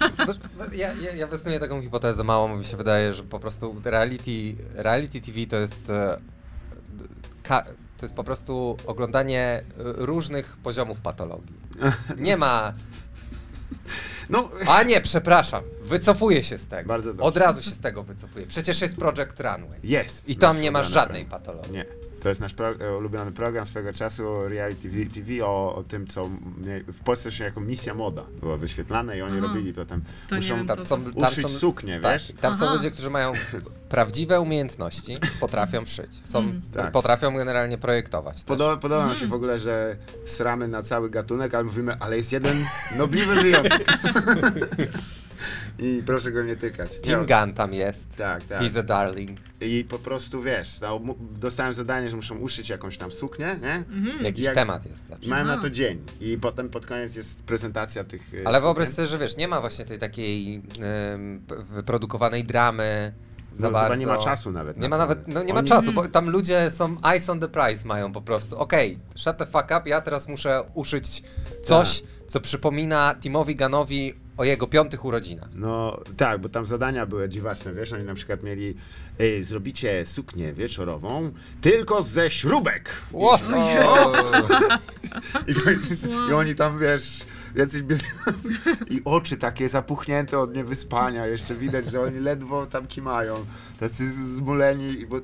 C: No,
D: Ja, ja, ja wysnuję taką hipotezę małą, mi się wydaje, że po prostu reality, reality TV to jest e, d- ka, to jest po prostu oglądanie e, różnych poziomów patologii. Nie ma,
C: No,
D: a nie, przepraszam, wycofuję się z tego.
C: Bardzo dobrze.
D: Od razu się z tego wycofuję. Przecież jest Project Runway.
C: jest.
D: I tam
C: Nasz
D: nie masz
C: ulubiony
D: żadnej
C: program.
D: patologii.
C: Nie. To jest nasz pro, e, ulubiony program swego czasu, Reality TV, TV o, o tym, co mie- w Polsce się jako misja moda była wyświetlana i oni
E: Aha.
C: robili potem.
E: To nie
C: muszą
E: wiem, co
D: Tam są, tam
C: uszyć
D: są,
C: suknię,
D: tak,
C: wiesz?
D: tam są
E: Aha.
D: ludzie, którzy mają prawdziwe umiejętności, potrafią szyć, są,
C: Tak.
D: potrafią generalnie projektować. też.
C: Podoba, podoba
E: Mhm.
C: nam się w ogóle, że sramy na cały gatunek, ale mówimy, ale jest jeden nobliwy
D: [LAUGHS]
C: wyjątek. I proszę go nie tykać.
D: Tim Gunn tam jest.
C: Tak, tak.
D: He's a darling.
C: I po prostu wiesz, no, mu- dostałem zadanie, że muszą uszyć jakąś tam suknię, nie?
D: Jakiś
C: Jak-
D: temat jest zawsze.
C: Mają na
E: Mhm. No.
C: to dzień. I potem pod koniec jest prezentacja tych. e,
D: Ale wyobraź
C: sukien.
D: sobie, że wiesz, nie ma właśnie tej takiej em, p- wyprodukowanej dramy, za
C: No,
D: bardzo.
C: Chyba nie ma czasu nawet.
D: Nie
C: na
D: ma
C: to.
D: nawet, no nie ma
C: Oni-
D: czasu, bo tam ludzie są eyes on the prize mają po prostu. Okej, shut the fuck up, ja teraz muszę uszyć
C: Tak.
D: coś, co przypomina Timowi Ganowi o jego piątych urodzinach.
C: No tak, bo tam zadania były dziwaczne, wiesz, oni na przykład mieli y, zrobicie suknię wieczorową tylko ze śrubek.
D: Wow.
C: I, I oni tam, wiesz, jacyś bied... I oczy takie zapuchnięte od niewyspania, jeszcze widać, że oni ledwo tam kimają, tacy z- zmuleni, bo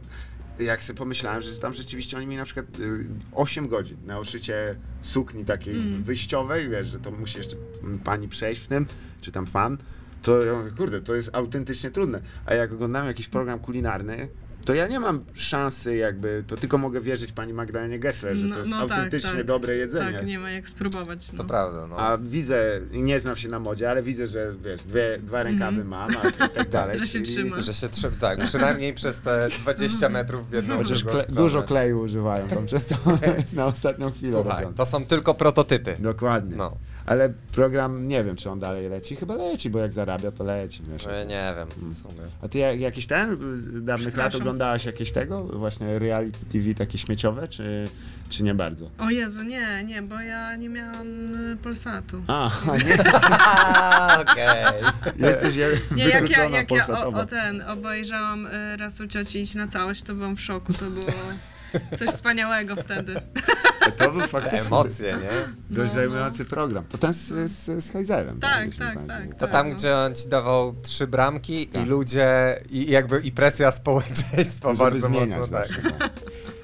C: jak sobie pomyślałem, że tam rzeczywiście oni mieli na przykład y, 8 godzin na oszycie sukni takiej
E: Mm.
C: wyjściowej, wiesz, że to musi jeszcze mm, pani przejść w tym, czy tam fan, to ja mówię, kurde, to jest autentycznie trudne. A jak oglądam jakiś program kulinarny, to ja nie mam szansy jakby, to tylko mogę wierzyć pani Magdalenie Gessler, że
E: No-
C: to jest
E: no tak,
C: autentycznie
E: tak.
C: dobre jedzenie.
E: Tak, nie ma jak spróbować. No.
D: To prawda, no.
C: A widzę, i nie znam się na modzie, ale widzę, że wiesz, dwie, dwa rękawy mam, a i tak dalej.
E: Mhm. [LAUGHS] Że się
C: czyli-
E: trzyma.
D: Że się trzyma, tak, przynajmniej przez te 20 metrów w jedną
G: Chociaż
D: drugą
G: kle,
D: stronę.
G: dużo kleju używają tam przez to [LAUGHS] jest na ostatnią chwilę.
D: Słuchaj,
G: robione.
D: to są tylko prototypy.
C: Dokładnie.
D: No.
C: Ale program, nie wiem, czy on dalej leci. Chyba leci, bo jak zarabia, to leci. Wiesz.
D: No ja nie
C: Mm.
D: wiem, w sumie.
C: A ty jak, jakiś ten z dawnych lat
E: Przepraszam.
C: oglądałaś jakieś tego? Właśnie reality TV takie śmieciowe, czy, czy nie bardzo?
E: O Jezu, nie, nie, bo ja nie miałam y, Polsatu.
C: A, [LAUGHS] nie,
D: A, okej.
C: jesteś
E: Nie, jak ja, jak ja o,
C: polsatowa.
E: o ten obejrzałam y, raz u cioci iść na całość, to byłam w szoku, to było coś wspaniałego
D: [LAUGHS]
E: wtedy.
C: To był faktycznie
D: Emocje, nie?
C: dość
E: No,
C: zajmujący program. To ten z, z, z Heizerem.
E: Tak,
C: jeśli nie
E: tak,
C: pamiętam.
E: tak.
D: To tam,
E: no.
D: gdzie on ci dawał trzy bramki i ludzie, i jakby i presja społeczeństwa
C: Tak. Żeby
D: bardzo
C: zmieniać
D: mocno, tak.
C: zawsze, tak.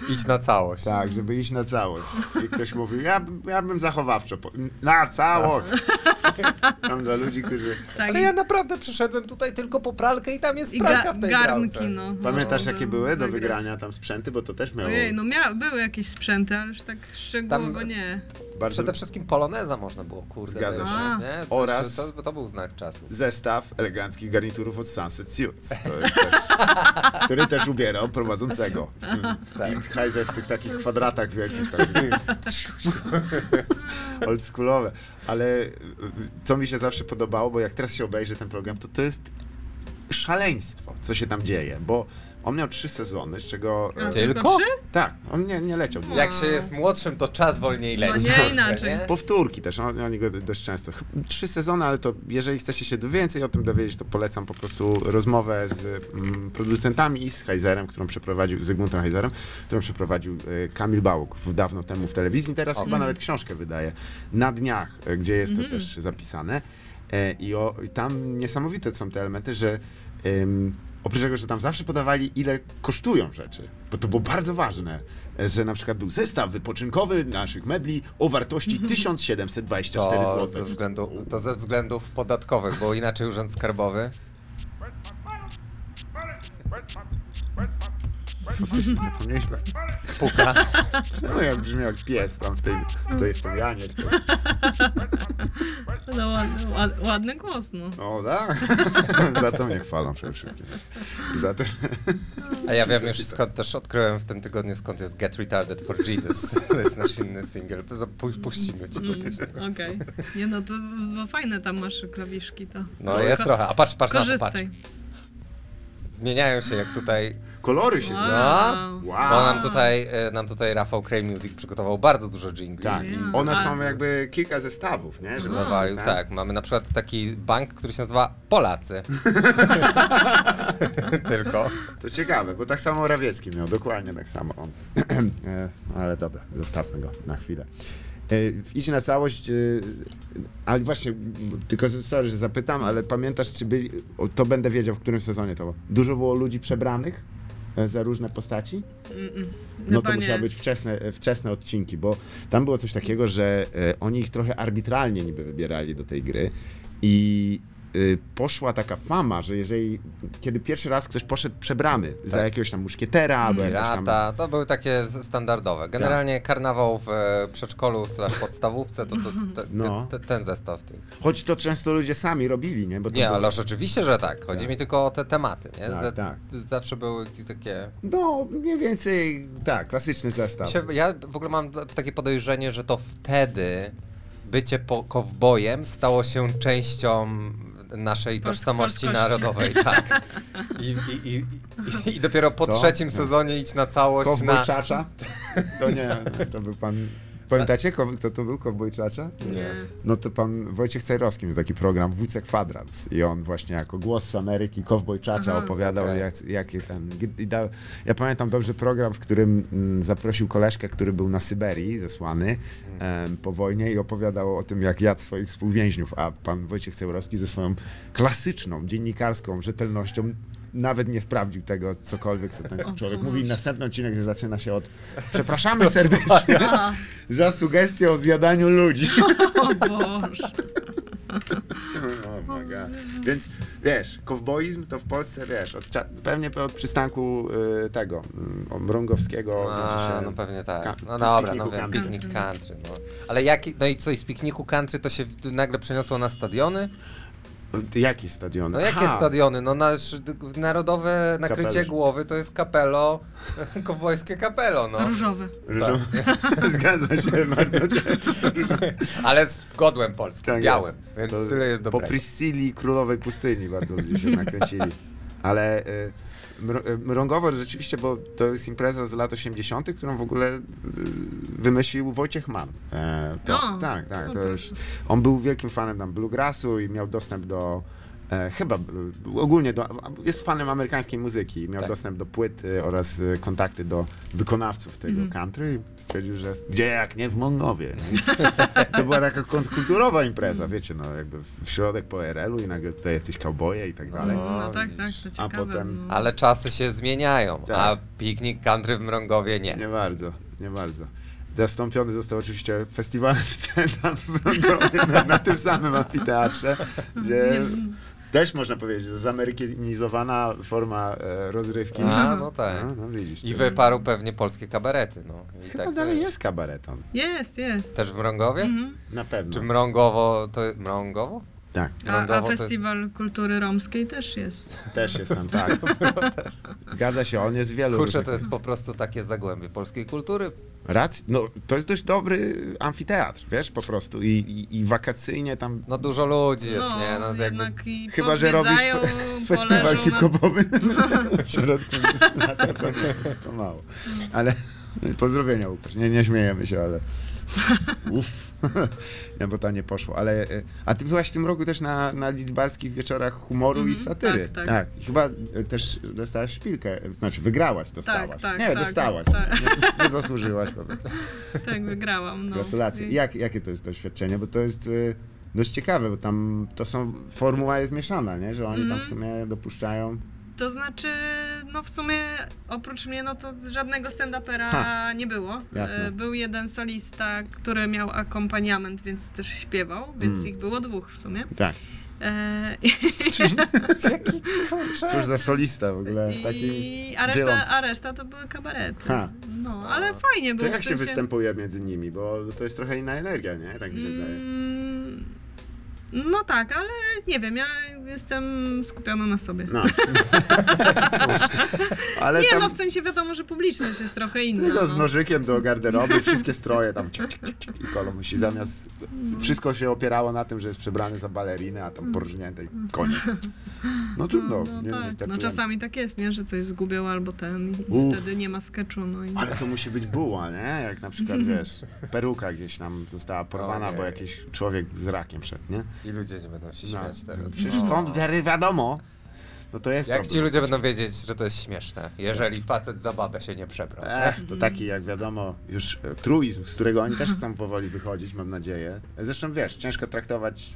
D: Idź na całość.
C: Tak, żeby iść na całość. I ktoś mówił, ja, bym- ja bym zachowawczo. Po... Na całość! Tam dla ludzi, którzy.
E: Tak,
D: Ale
E: i-
D: ja naprawdę przyszedłem tutaj tylko po pralkę i tam jest
E: i
D: pralka
E: ga-
D: w tej
E: garnki,
D: pralce.
E: no.
C: Pamiętasz,
E: Żeby
C: jakie były do
E: wygrać.
C: wygrania tam sprzęty, bo to też miało
E: Ojej, no mia- były jakieś sprzęty, ale już tak szczegółowo
D: Tam-
E: nie.
C: bardzo
D: Przede wszystkim poloneza można było, kurde,
C: Zgadza
D: wyjść,
E: się.
D: nie?
C: Oraz-
D: To, to, to był znak czasu.
C: zestaw eleganckich garniturów od Sunset Suits, to jest też, który też ubierał prowadzącego. W tym, I
D: Tak.
C: Heiser w tych takich kwadratach wielkich. tak. Takich. Oldschoolowe. Ale y, y, co mi się zawsze podobało, bo jak teraz się obejrzy ten program, to to jest szaleństwo, co się tam dzieje, bo on miał trzy sezony, z czego...
E: A,
C: e,
D: Tylko?
E: trzy?
C: Tak, on nie, nie leciał. długo.
D: Jak się jest młodszym, to czas wolniej
E: No
D: leci.
E: nie
D: Dobrze,
E: inaczej.
D: nie?
C: Powtórki też, on- oni go dość często. Ch- Trzy sezony, ale to jeżeli chcecie się więcej o tym dowiedzieć, to polecam po prostu rozmowę z mm, producentami i z Heizerem, którą przeprowadził, Zygmuntem Heizerem, którą przeprowadził e, Kamil Bałuk w- dawno temu w telewizji. Teraz chyba nawet książkę wydaje na dniach, e, gdzie jest to też zapisane. E, I, o, I tam niesamowite są te elementy, że em, oprócz tego, że tam zawsze podawali, ile kosztują rzeczy, bo to było bardzo ważne, e, że na przykład był zestaw wypoczynkowy naszych mebli o wartości 1724
D: To ze,
C: zł.
D: względu, to ze względów podatkowych, bo inaczej urząd skarbowy.
C: Faktycznie zapomnieliśmy.
D: Puka.
C: No jak brzmiał jak pies tam w tej, to jest to ja nie to.
E: No ładny, ład- ładny głos, no.
C: O tak, za to mnie chwalą przede wszystkim. Za to, że
D: A ja wiem już skąd też odkryłem w tym tygodniu, skąd jest Get Retarded for Jesus. [LAUGHS] To jest nasz inny single. To za- pu- Puścimy ci go
E: Mm,
D: później.
E: Okej. Nie no, to bo fajne tam masz klawiszki, to.
D: No jest trochę. A patrz, patrz na to, patrz.
E: Korzystaj.
D: Zmieniają się jak tutaj.
C: kolory
E: No,
C: się zmieniają.
E: Wow.
C: Wow.
D: Bo nam tutaj, e, nam tutaj Rafał Cray Music przygotował bardzo dużo jingli.
C: Tak,
D: I
C: one są jakby kilka zestawów, nie? Żeby-
D: Zawalił,
C: tak.
D: tak. Mamy na przykład taki bank, który się nazywa Polacy. [LAUGHS] Tylko.
C: To ciekawe, bo tak samo Rawiecki miał, dokładnie tak samo on. [CLEARS THROAT] E, Ale dobra, zostawmy go na chwilę. E, Idź na całość, e, ale właśnie, m, tylko że- sorry, że zapytam, ale pamiętasz, czy byli, o, to będę wiedział, w którym sezonie to było. Dużo było ludzi przebranych e, za różne postaci? No to
E: Chyba nie.
C: musiały być wczesne, e, wczesne odcinki, bo tam było coś takiego, że e, oni ich trochę arbitralnie niby wybierali do tej gry i e, poszła taka fama, że jeżeli, kiedy pierwszy raz ktoś poszedł przebrany za
D: Tak.
C: jakiegoś tam muszkietera albo
D: Mm,
C: jakiegoś tam...
D: Pirata, to były takie z- standardowe. Generalnie karnawał w e, przedszkolu slash podstawówce, to, to, to, te-
C: No.
D: te, ten zestaw tych.
C: Choć to często ludzie sami robili, nie? Bo to
D: Nie,
C: było-
D: ale rzeczywiście, że tak. Chodzi mi tylko o te tematy, nie?
C: Tak,
D: te,
C: tak.
D: Zawsze były ki- takie...
C: No, mniej więcej, tak, klasyczny zestaw.
D: Się, ja w ogóle mam takie podejrzenie, że to wtedy bycie po, kowbojem stało się częścią naszej tożsamości
E: polskości.
D: narodowej,
E: [LAUGHS]
D: tak. I, i, i, i, i dopiero po
C: To?
D: trzecim sezonie iść na całość
C: Kowboj
D: na...
C: Czacza? To nie, to był pan... Pamiętacie, kow- kto to był, Kowboj Czacza?
E: Nie.
C: No to pan Wojciech Cejrowski miał taki program WC Kwadrans i on właśnie jako głos z Ameryki, Cowboy Czacza
E: Aha.
C: opowiadał
D: Okej.
C: jak, jakie tam... I dał, ja pamiętam dobrze program, w którym mm, zaprosił koleżkę, który był na Syberii zesłany em, po wojnie i opowiadał o tym, jak jadł swoich współwięźniów, a pan Wojciech Cejrowski ze swoją klasyczną, dziennikarską rzetelnością nawet nie sprawdził tego cokolwiek, co ten człowiek mówi. Następny odcinek zaczyna się od przepraszamy serdecznie
E: Aha,
C: za sugestię o zjadaniu ludzi.
E: o
C: [LAUGHS]
E: Boże.
C: Oh my God. Więc wiesz, kowboizm to w Polsce wiesz, od, cza- pewnie od przystanku y, tego y, mrągowskiego znaczy
D: A,
C: się.
D: no pewnie
C: Ka-
D: tak. No
C: pi-
D: dobra,
C: pikniku
D: no wiem,
C: country.
D: piknik country. No. Ale jaki, no i co, i z pikniku country to się nagle przeniosło na stadiony?
C: Jakie stadiony?
D: No jakie
C: Aha,
D: stadiony? No nasz d- narodowe nakrycie
C: Kapelusz.
D: głowy to jest kapelo, [LAUGHS] kowbojskie kapelo, no.
E: Różowe.
C: Różu...
D: Tak.
C: [LAUGHS] Zgadza się bardzo. cię-
D: Ale z godłem polskim,
C: Tak jest.
D: białym, więc
C: To
D: tyle jest
C: Po
D: dobre.
C: Priscilli Królowej Pustyni bardzo ludzie się
D: [LAUGHS]
C: nakręcili. Ale y, mr- y, mrągowo rzeczywiście, bo to jest impreza z lat 80., którą w ogóle y, wymyślił Wojciech Mann. E, to,
E: O,
C: tak, tak.
E: o
C: To
E: proszę.
C: już, on był wielkim fanem tam bluegrassu i miał dostęp do. E, chyba y, ogólnie do, jest fanem amerykańskiej muzyki i miał
D: Tak.
C: dostęp do płyt y, oraz y, kontakty do wykonawców tego
E: Mhm.
C: country i stwierdził, że gdzie jak nie w Mongowie. No i to była taka kontrkulturowa impreza, wiecie, no jakby w w środek po RL-u i nagle tutaj jacyś cowboje i tak dalej.
E: No tak, tak, to ciekawe.
C: potem-
E: no.
D: Ale czasy się zmieniają,
C: Tak.
D: a piknik country w Mrągowie nie.
C: Nie bardzo, nie bardzo. Zastąpiony został oczywiście festiwal [LAUGHS] stand-up w Mrągowie, na, na tym samym amfiteatrze, gdzie też można powiedzieć, że zamerykanizowana forma e, rozrywki.
D: A, no tak.
C: No, no widzisz.
D: I
C: to-
D: wyparł pewnie polskie kabarety, no. I
C: Chyba
D: tak
C: dalej
D: to-
C: jest kabareton,
E: Jest, jest.
D: Też w Mrągowie?
E: Mhm.
C: na pewno.
D: Czy Mrągowo to... Mrągowo?
C: Tak,
E: A,
D: Lądowo
E: a
D: to jest-
E: Festiwal Kultury Romskiej też jest.
C: też jest tam, tak.
D: [LAUGHS]
C: Zgadza się, on jest w wielu
D: No, Kurczę, to
C: różnych-
D: jest po prostu takie zagłębie polskiej kultury.
C: Rac- no, to jest dość dobry amfiteatr, wiesz, po prostu. I, i, i wakacyjnie tam.
D: No dużo ludzi jest,
E: no,
D: nie? No, to jakby...
E: jednak i
C: Chyba, że robisz
E: pozwiedzają,
C: fe- festiwal
E: poleżą na- [LAUGHS]
C: hip-hopowy [LAUGHS] w środku [LAUGHS] lata, to, nie, to mało. Ale [LAUGHS] pozdrowienia, Łukasz. Nie, nie śmiejemy się,
E: [LAUGHS]
C: ale uff, [LAUGHS] nie, bo to nie poszło. Ale, e, a ty byłaś w tym roku też na, na lidzbarskich wieczorach humoru i
E: Mhm,
C: satyry.
E: tak, tak.
C: I Chyba e, też dostałaś szpilkę, e, znaczy wygrałaś, dostałaś.
E: tak,
C: nie,
E: tak,
C: dostałaś.
E: tak.
C: Nie, nie zasłużyłaś po prostu.
E: Tak, wygrałam. No.
C: Gratulacje.
E: I-
C: Jak, jakie to jest doświadczenie? Bo to jest y, dość ciekawe, bo tam to są, formuła jest mieszana, nie? Że oni tam
E: Mhm.
C: w sumie dopuszczają.
E: To znaczy, no w sumie oprócz mnie, no to żadnego
C: Ha.
E: stand-upera nie było.
C: Jasne.
E: E, Był jeden solista, który miał akompaniament, więc też śpiewał, więc
C: Hmm.
E: ich było dwóch w sumie.
C: Tak.
E: E,
C: Cóż za solista w ogóle. E, Taki...
E: Tak. I, a, reszta,
C: dzielący się.
E: a reszta to były kabarety.
C: Ha.
E: No, ale fajnie
C: To
E: było.
C: jak
E: w
C: się
E: sensie-
C: występuje między nimi? Bo to jest trochę inna energia, nie? Tak mi się zdaje.
E: Mm, No tak, ale nie wiem, ja jestem skupiona na sobie. [LAUGHS]
C: No. Ale
E: nie,
C: tam
E: no w sensie wiadomo, że publiczność jest trochę inna.
C: tylko z
E: no.
C: nożykiem do garderoby, wszystkie stroje tam ciak, ciak, ciak, i kolo musi zamiast...
E: Mm.
C: Wszystko się opierało na tym, że jest przebrany za balerinę, a tam porżnięte i koniec. No trudno,
E: No
C: nie,
E: tak,
C: niestety.
E: no czasami tak jest, nie, że coś zgubią albo ten i
C: Uff.
E: wtedy nie ma sketchu, no i...
C: Ale to musi być buła, nie? Jak na przykład,
D: [LAUGHS]
C: wiesz, peruka gdzieś tam została porwana,
D: Ojej.
C: bo jakiś człowiek z rakiem szedł, nie?
D: I ludzie nie będą się
C: No.
D: śmiać teraz.
C: Przecież
D: No.
C: skąd wiary wiadomo? No to jest
D: Jak ci
C: problem.
D: ludzie będą wiedzieć, że to jest śmieszne, jeżeli facet za babę się nie przebrał?
C: Ech, E, to taki, jak wiadomo, już e, truizm, z którego oni też chcą powoli wychodzić, mam nadzieję. Zresztą, wiesz, ciężko traktować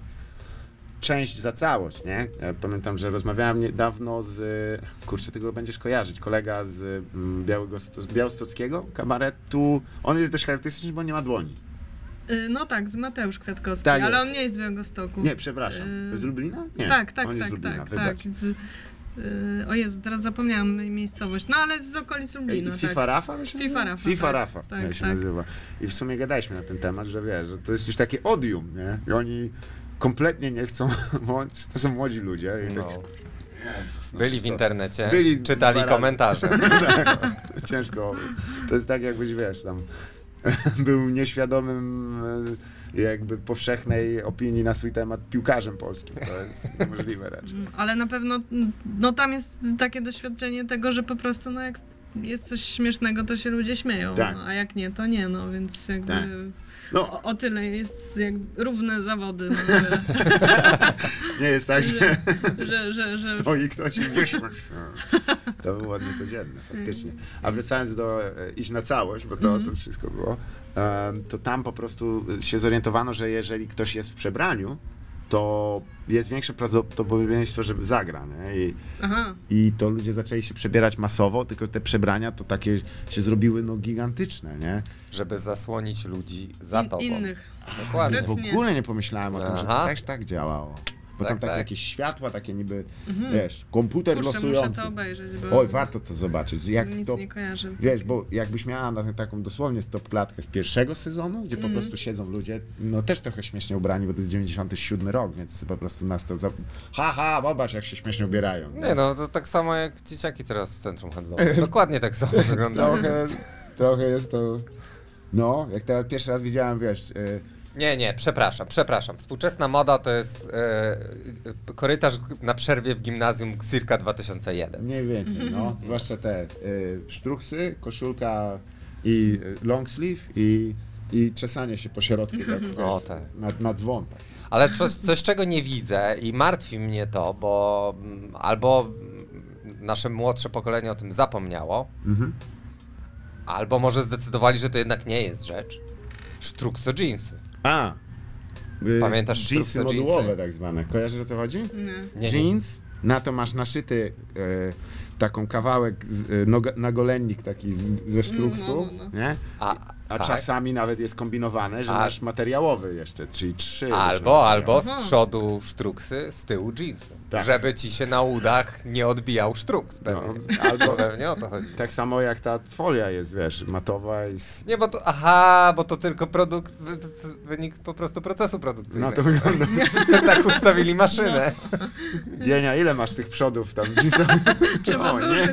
C: część za całość, nie? Ja pamiętam, że rozmawiałem niedawno z... Kurczę, tego będziesz kojarzyć. Kolega z, mm, Białego, z białostockiego kabaretu. On jest dość charakterystyczny, bo nie ma dłoni.
E: Y, No tak, z Mateusz Kwiatkowski,
C: Tak
E: ale
C: jest.
E: on nie jest z Białegostoku.
C: Nie, przepraszam.
E: Yy,
C: Z Lublina? Nie.
E: tak, tak,
C: on jest
E: tak,
C: z Lublina,
E: tak,
C: wybacz.
E: tak. Z, y, o Jezu, teraz zapomniałam miejscowość, no ale z okolic
C: Ej,
E: Lublina,
C: FIFA
E: tak.
C: Rafa? wiesz, jak
E: FIFA
C: nazywa?
E: Rafa,
C: FIFA
E: tak,
C: Rafa,
E: tak,
C: jak się
E: tak.
C: nazywa. I w sumie gadaliśmy na ten temat, że wiesz, że to jest już takie odium, nie? I oni kompletnie nie chcą, [LAUGHS] bo oni- to są młodzi ludzie. I
D: No.
C: tak, Jezus, no,
D: Byli
C: co?
D: w internecie,
C: Byli
D: czytali
C: [LAUGHS] dwa razy.
D: komentarze.
C: Ciężko. To jest tak jakbyś, wiesz, tam [LAUGHS] był nieświadomym e, jakby powszechnej opinii na swój temat piłkarzem polskim. To jest niemożliwe raczej.
E: Mm, Ale na pewno, no tam jest takie doświadczenie tego, że po prostu, no jak jest coś śmiesznego, to się ludzie śmieją,
H: Tak.
E: no, a jak nie, to nie, no więc jakby...
H: Tak. No,
E: O, o tyle jest jak równe zawody, no, że,
C: Nie jest [LAUGHS] tak, że
E: że, że, że, że
C: stoi ktoś i wyszło. [LAUGHS] To było ładnie codzienne, faktycznie. A wracając do e, iść na całość, bo to, to wszystko było, em, to tam po prostu e, się zorientowano, że jeżeli ktoś jest w przebraniu, to jest większe prawdopodobieństwo, że zagra. Nie? I,
E: aha,
C: I to ludzie zaczęli się przebierać masowo, tylko te przebrania to takie się zrobiły no gigantyczne, nie?
D: żeby zasłonić ludzi za
E: in,
D: tobą.
E: innych.
D: Dokładnie.
C: W
E: Nie.
C: ogóle nie pomyślałem o tym, że to
D: Aha.
C: też tak działało. Bo
D: Tak,
C: tam takie
D: tak.
C: jakieś światła, takie niby, wiesz, komputer
E: Kurczę, muszę
C: losujący.
E: to obejrzeć, bo
C: Oj, warto to zobaczyć. Jak
E: nic
C: to,
E: nie kojarzę.
C: wiesz, bo jakbyś miała na taką dosłownie stop klatkę z pierwszego sezonu, gdzie
E: Mhm.
C: po prostu siedzą ludzie, no też trochę śmiesznie ubrani, bo to jest 97 rok, więc po prostu nas to za... Ha, ha, zobacz jak się śmiesznie ubierają.
D: Nie no, to tak samo jak dzieciaki teraz w centrum
C: [LAUGHS]
D: handlowym. Dokładnie tak samo wyglądają.
C: Trochę, [LAUGHS] trochę jest to... No, jak teraz pierwszy raz widziałem, wiesz, y,
D: Nie, nie, przepraszam, przepraszam. Współczesna moda to jest e, e, korytarz na przerwie w gimnazjum circa 2001.
C: Mniej więcej,
E: [LAUGHS]
C: no. Zwłaszcza te y, sztruksy, koszulka i y, long sleeve i, i czesanie się po
E: [LAUGHS]
C: środku tak,
D: O,
C: wiesz,
D: tak.
C: na, na dzwon. tak.
D: Ale coś, coś, czego nie widzę i martwi mnie to, bo mm, albo mm, nasze młodsze pokolenie o tym zapomniało,
C: Mhm.
D: albo może zdecydowali, że to jednak nie jest rzecz. Sztrukso jeansy.
C: A! y,
D: Pamiętasz
C: Jeansy
D: sztrukce,
C: modułowe
D: jeansy?
C: tak zwane. Kojarzysz o co chodzi?
E: Nie.
D: Nie, nie.
C: Jeans, na to masz naszyty y, taką kawałek, z, y, noga, nagolennik taki z, ze sztruksu,
E: No, no,
C: nie?
D: A,
C: A
D: tak.
C: czasami nawet jest kombinowane, że
D: A-
C: masz materiałowy jeszcze, czyli trzy. tak różne
D: Albo, albo
E: Aha.
D: z przodu sztruksy, z tyłu jeansy.
C: Tak.
D: Żeby ci się na udach nie odbijał sztruks
C: No,
D: pewnie. To
C: albo
D: [LAUGHS] pewnie o to chodzi.
C: tak samo jak ta folia jest, wiesz, matowa i z
D: Nie, bo to, aha, bo to tylko produkt, wy- wy- wynik po prostu procesu
C: No
D: produkcyjnego.
C: to wygląda. [LAUGHS]
D: [LAUGHS] tak ustawili maszynę.
C: Bienia, ile masz tych przodów tam? Gdzie są?
E: Trzeba
C: O, nie.
E: zużyć.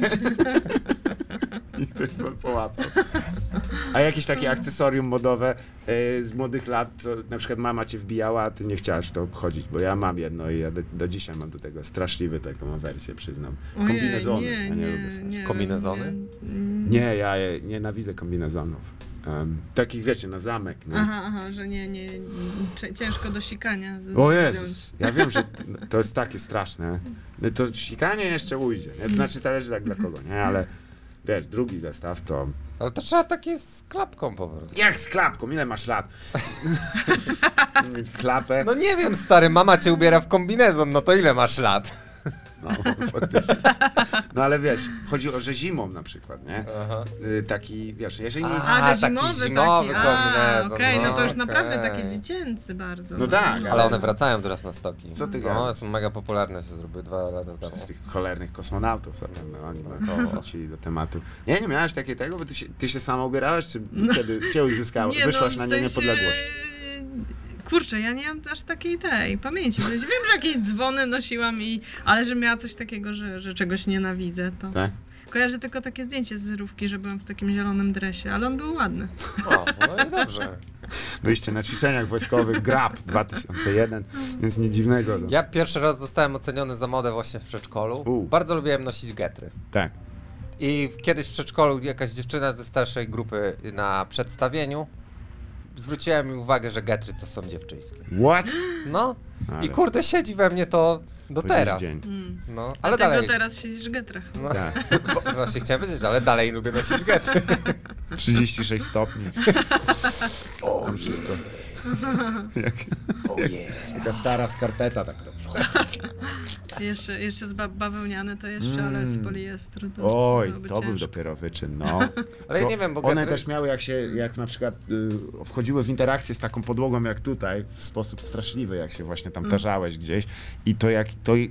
C: I ktoś po- połapał. A jakieś takie akcesorium modowe y, z młodych lat, co na przykład mama cię wbijała, a ty nie chciałaś w to obchodzić, bo ja mam jedno i ja do, do dzisiaj mam do tego straszliwy taką awersję, przyznam.
E: Ojej,
C: Kombinezony.
E: Nie,
C: ja nie, lubię
E: nie,
C: strasznie.
E: nie. Mm.
D: Kombinezony?
C: nie, ja je, nienawidzę kombinezonów. Em, takich, wiecie, na zamek. No.
E: Aha, aha, że nie, nie, cie- ciężko do sikania. z-
C: O
E: zdjąć.
C: Jezus, ja wiem, że to jest takie straszne. No To sikanie jeszcze ujdzie. nie? To znaczy zależy tak dla kogo, nie? Ale wiesz, drugi zestaw to...
D: Ale to trzeba takie z klapką po prostu.
C: Jak z klapką? Ile masz
D: [LAUGHS]
C: lat? Klapę?
D: No nie wiem, stary, mama cię ubiera w kombinezon, no to ile masz lat?
C: No, faktycznie. no ale wiesz, chodzi o, że zimą na przykład, nie? Y, Taki, wiesz, jeżeli... nie-
E: A,
D: A, taki
E: że zimowy taki.
D: zimowy
E: A,
D: kombinezon,
E: Okej, no to już
D: no,
E: naprawdę
D: okej.
E: takie dziecięcy bardzo.
C: No tak,
D: Ale one wracają teraz na stoki.
C: Co ty
D: No,
C: gadasz?
D: one są mega popularne, się zrobiły dwa lata temu.
C: Z tych cholernych kosmonautów zapewne oni by wrócili do tematu. Nie, nie miałeś takiej tego, bo ty się, ty się sama ubierałeś, czy
D: No.
C: kiedy cię uzyskałeś, wyszłaś
E: no, w
C: na nie niepodległość?
E: Kurczę, ja nie mam aż takiej tej pamięci. W sensie Wiem, że jakieś dzwony nosiłam i... Ale że miała coś takiego, że, że czegoś nienawidzę, to...
C: Tak?
E: Kojarzę tylko takie zdjęcie z zerówki, że byłam w takim zielonym dresie, ale on był ładny.
D: O, no i dobrze.
C: Wyjście na ćwiczeniach wojskowych GRAP 2001, więc nic dziwnego. No.
D: Ja pierwszy raz zostałem oceniony za modę właśnie w przedszkolu.
C: U.
D: Bardzo lubiłem nosić getry.
C: Tak.
D: I w- kiedyś w przedszkolu jakaś dziewczyna ze starszej grupy na przedstawieniu zwróciła mi uwagę, że getry to są dziewczyńskie.
C: What?
D: No
C: Ale
D: i kurde siedzi we mnie to do
C: po dziś
D: teraz.
C: dzień.
D: No, ale
E: Ale Dlatego
D: dalej.
E: teraz siedzisz w getrach.
D: No,
C: Tak.
D: bo- no się chciałem powiedzieć, ale dalej lubię
C: [LAUGHS]
D: nosić getry.
C: 36
D: [LAUGHS]
C: stopni.
D: O, [LAUGHS] wszystko.
C: Taka stara skarpeta tak dobrze.
E: Jeszcze, jeszcze z ba- bawełniane to jeszcze,
H: Mm.
E: ale z poliestru to
C: Oj,
E: byłoby
C: to był
E: ciężko.
C: dopiero wyczyn, no.
D: [LAUGHS] Ale ja
C: To
D: nie wiem, bo
C: One
D: getry-
C: też miały, jak się, jak na przykład y, wchodziły w interakcję z taką podłogą jak tutaj, w sposób straszliwy, jak się właśnie
D: Mm.
C: tam tarzałeś gdzieś i to jak, to y,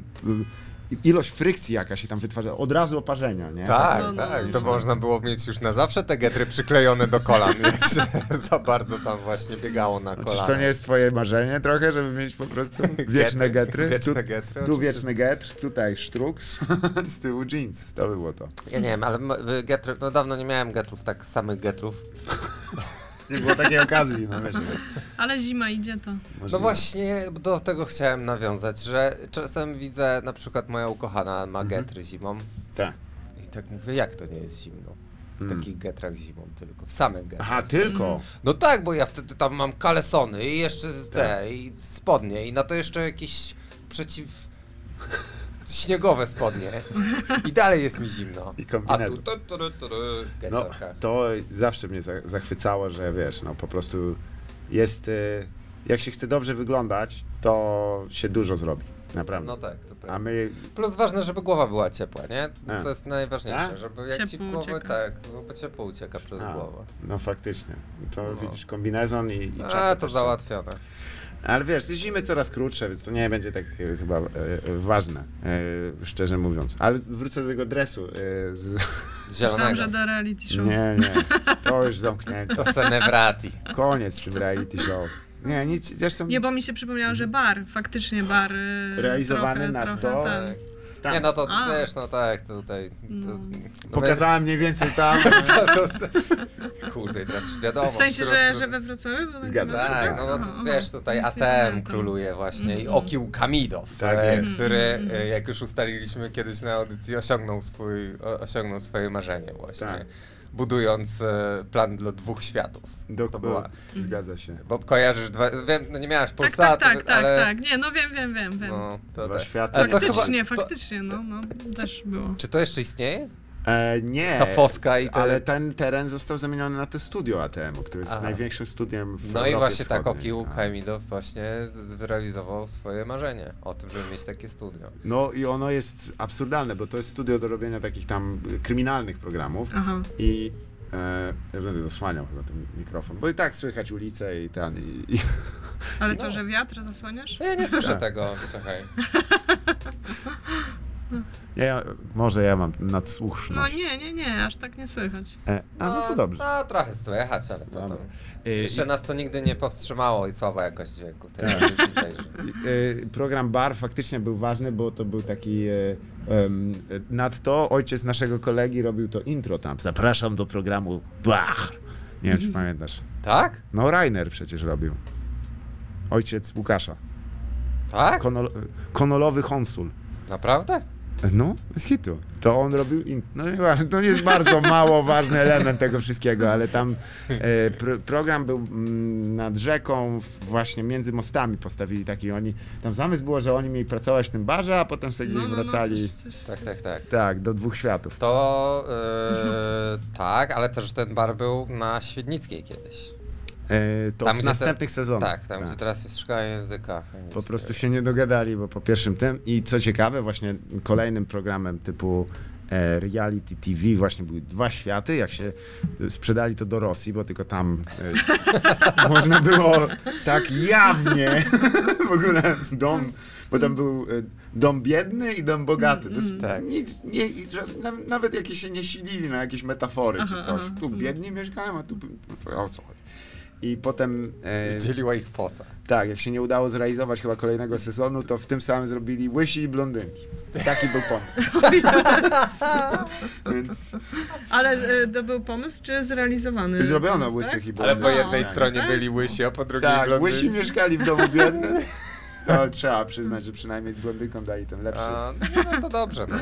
C: ilość frykcji jaka się tam wytwarza, od razu oparzenia, nie?
D: Tak,
E: No, no,
D: tak.
E: no.
D: To można było mieć już na zawsze te getry przyklejone do
C: [LAUGHS]
D: kolan, jak się [LAUGHS] za bardzo tam właśnie biegało na
C: Czyż
D: kolanach.
C: Znaczy, to nie jest twoje marzenie trochę, żeby mieć po
D: [LAUGHS]
C: prostu wieczne getry?
D: Wieczne
C: tu,
D: getry,
C: Tu
D: oczywiście.
C: wieczny getr, tutaj sztruks, z [LAUGHS] tyłu jeans. To było to.
D: No Ja nie wiem, ale m- y, getry, no dawno nie miałem getrów, tak samych getrów.
H: Nie było takiej okazji, no wiesz.
E: Ale zima idzie to.
H: Możliwe.
D: No właśnie do tego chciałem nawiązać, że czasem widzę na przykład moja ukochana
C: Mhm.
D: ma getry zimą
H: Tak.
D: i tak mówię, jak to nie jest zimno? W
C: Mm.
D: takich getrach zimą tylko, w samych getrach.
H: Aha, tylko.
D: No tak, bo ja wtedy tam mam kalesony i jeszcze
H: Tak.
D: te, i spodnie i na to jeszcze jakieś przeciw... śniegowe spodnie. I dalej jest mi zimno.
H: I
D: A
H: kombinezon.
D: tu tu, tu, tu, tu, w
H: No,
D: getrach.
H: to zawsze mnie za- zachwycało, że wiesz, no po prostu jest, y, jak się chce dobrze wyglądać, to się dużo zrobi, naprawdę.
D: No tak, to
H: A
D: prawda.
H: my,
D: Plus ważne, żeby głowa była ciepła, nie?
H: A.
D: To jest najważniejsze,
H: Tak?
D: żeby jak ci
E: Ciepło
D: głowę,
E: ucieka.
D: tak, bo ciepło ucieka przez
H: A.
D: głowę.
H: no faktycznie, to
D: No.
H: widzisz kombinezon i, i
D: A,
H: czapkę
D: to
H: też
D: załatwione.
H: trzeba. Ale wiesz, zimy coraz krótsze, więc to nie będzie tak y, chyba y, y, ważne, y, szczerze mówiąc. Ale wrócę do tego dresu. y, z...
E: Myślałam,
D: Zielonego.
E: że do reality show.
H: Nie, nie, to już zamknięte.
D: To senevrati.
E: Tak.
H: Koniec z tym reality show. Nie, nic, zresztą...
E: Nie, bo mi się przypomniało, że bar, faktycznie bar. y, trochę,
H: Realizowany na
E: trochę,
H: to.
E: Ten.
H: Tam.
D: Nie, no to
E: A.
D: też, no tak, to tutaj... To,
E: No.
D: no
H: Pokazałem mniej więcej tam.
D: To, to, to, kurde, teraz już wiadomo.
E: W sensie,
D: którą
E: że,
D: stronę-
E: że we Wrocławiu? było tak
H: Zgadza
E: na
H: się,
E: przykład?
D: Tak, no, no
E: Aha,
D: to
E: aha.
D: wiesz, tutaj
E: Nic nie
D: ATM
E: pamiętam.
D: króluje właśnie i
E: Mhm.
D: Okił Kamidow,
H: Tak
D: e,
H: jest.
D: który, e, jak już ustaliliśmy kiedyś na audycji, osiągnął, swój, o- osiągnął swoje marzenie właśnie,
H: Tak.
D: budując e, plan dla dwóch światów.
H: Do,
D: To była-
H: Zgadza się.
D: Bo kojarzysz, dwa, wiem, no nie miałaś
E: Tak,
D: Polsatu,
E: tak, tak, tak,
D: ale...
E: tak. Nie, no wiem, wiem, wiem, wiem.
D: No, to
H: Dwa
D: tak.
H: światy.
D: Ale to
E: faktycznie,
D: chyba- to-
E: faktycznie, no, no, też było.
D: Czy to jeszcze istnieje?
H: E, nie.
D: Ta foska i te...
H: Ale ten teren został zamieniony na to studio ATM, które jest
D: Aha.
H: największym studiem w
D: No i
H: Europie
D: właśnie tak
H: Wschodniej.
D: Okił
H: A.
D: Kamidow właśnie wyrealizował swoje marzenie o tym, żeby mieć takie studio.
H: No i ono jest absurdalne, bo to jest studio do robienia takich tam y, kryminalnych programów
E: Aha.
H: i e, ja będę zasłaniał chyba ten mikrofon, bo i tak słychać ulicę i ten i, [LAUGHS] i
E: Ale co, że wiatr zasłaniasz?
D: No Ja nie słyszę
H: Tak.
D: tego, czekaj.
H: ja, ja, może ja mam
E: No
H: nadsłuszność.
E: nie, nie, nie, aż tak nie słychać.
H: E, a no to dobrze.
D: No, trochę słychać, ale co
H: Dobra.
D: tam.
C: Y,
H: E,
D: Jeszcze nas to nigdy nie powstrzymało i słaba jakość dźwięku. tej
H: Tak.
D: audycji tejże.
C: E, program Bar faktycznie był ważny, bo to był taki. E, em, e, nadto ojciec naszego kolegi robił to intro tam. Zapraszam do programu Bar. Nie wiem, czy pamiętasz.
D: tak?
C: No, Rainer przecież robił. Ojciec Łukasza.
D: Tak?
C: Konol, konolowy konsul.
D: Naprawdę?
C: No, z hitu. To on robił. In... No nieważne, to jest bardzo mało ważny element tego wszystkiego, ale tam e, pro, program był mm, nad rzeką, w- właśnie między mostami postawili taki oni. Tam zamysł było, że oni mieli pracować w tym barze, a potem sobie
E: No,
C: gdzieś
E: no, no,
C: wracali.
E: coś, coś.
D: Tak, tak, tak.
C: Tak, do dwóch światów.
D: To
H: [LAUGHS]
D: yy, tak, ale też ten bar był na Świdnickiej kiedyś.
C: E, to
D: Tam,
C: w
D: gdzie te-
C: następnych sezonach.
D: Tak, tam gdzie teraz jest szkoła języka.
C: Po prostu się nie dogadali, bo po pierwszym tym i co ciekawe, właśnie kolejnym programem typu e, reality TV właśnie były dwa światy, jak się e, sprzedali to do Rosji, bo tylko tam e, [LAUGHS] można było tak jawnie [LAUGHS] w ogóle dom, bo tam był e, dom biedny i dom bogaty. To
E: Mm,
C: jest
D: Tak.
C: nic, nie, i ża- na- nawet jakieś się nie silili na jakieś metafory czy
E: Aha,
C: coś.
E: aha. mm.
C: Tu biedni mieszkają, a tu no o co chodzi. I potem... e,
D: Dzieliła ich fosa.
C: tak, jak się nie udało zrealizować chyba kolejnego sezonu, to w tym samym zrobili łysi i blondynki. Taki był pomysł. Tak. Więc
E: [LAUGHS] Ale y, to był pomysł, czy zrealizowany?
C: zrobiono
E: pomysł, tak?
C: łysych i
D: Ale
C: blondynki.
D: po jednej
E: tak.
D: stronie byli No. łysi, a po drugiej
C: Tak,
D: blondyni.
C: łysi mieszkali w domu
E: [LAUGHS]
C: biednym. To trzeba przyznać, że przynajmniej blondynkom dali ten lepszy.
D: A, no, no to dobrze. No.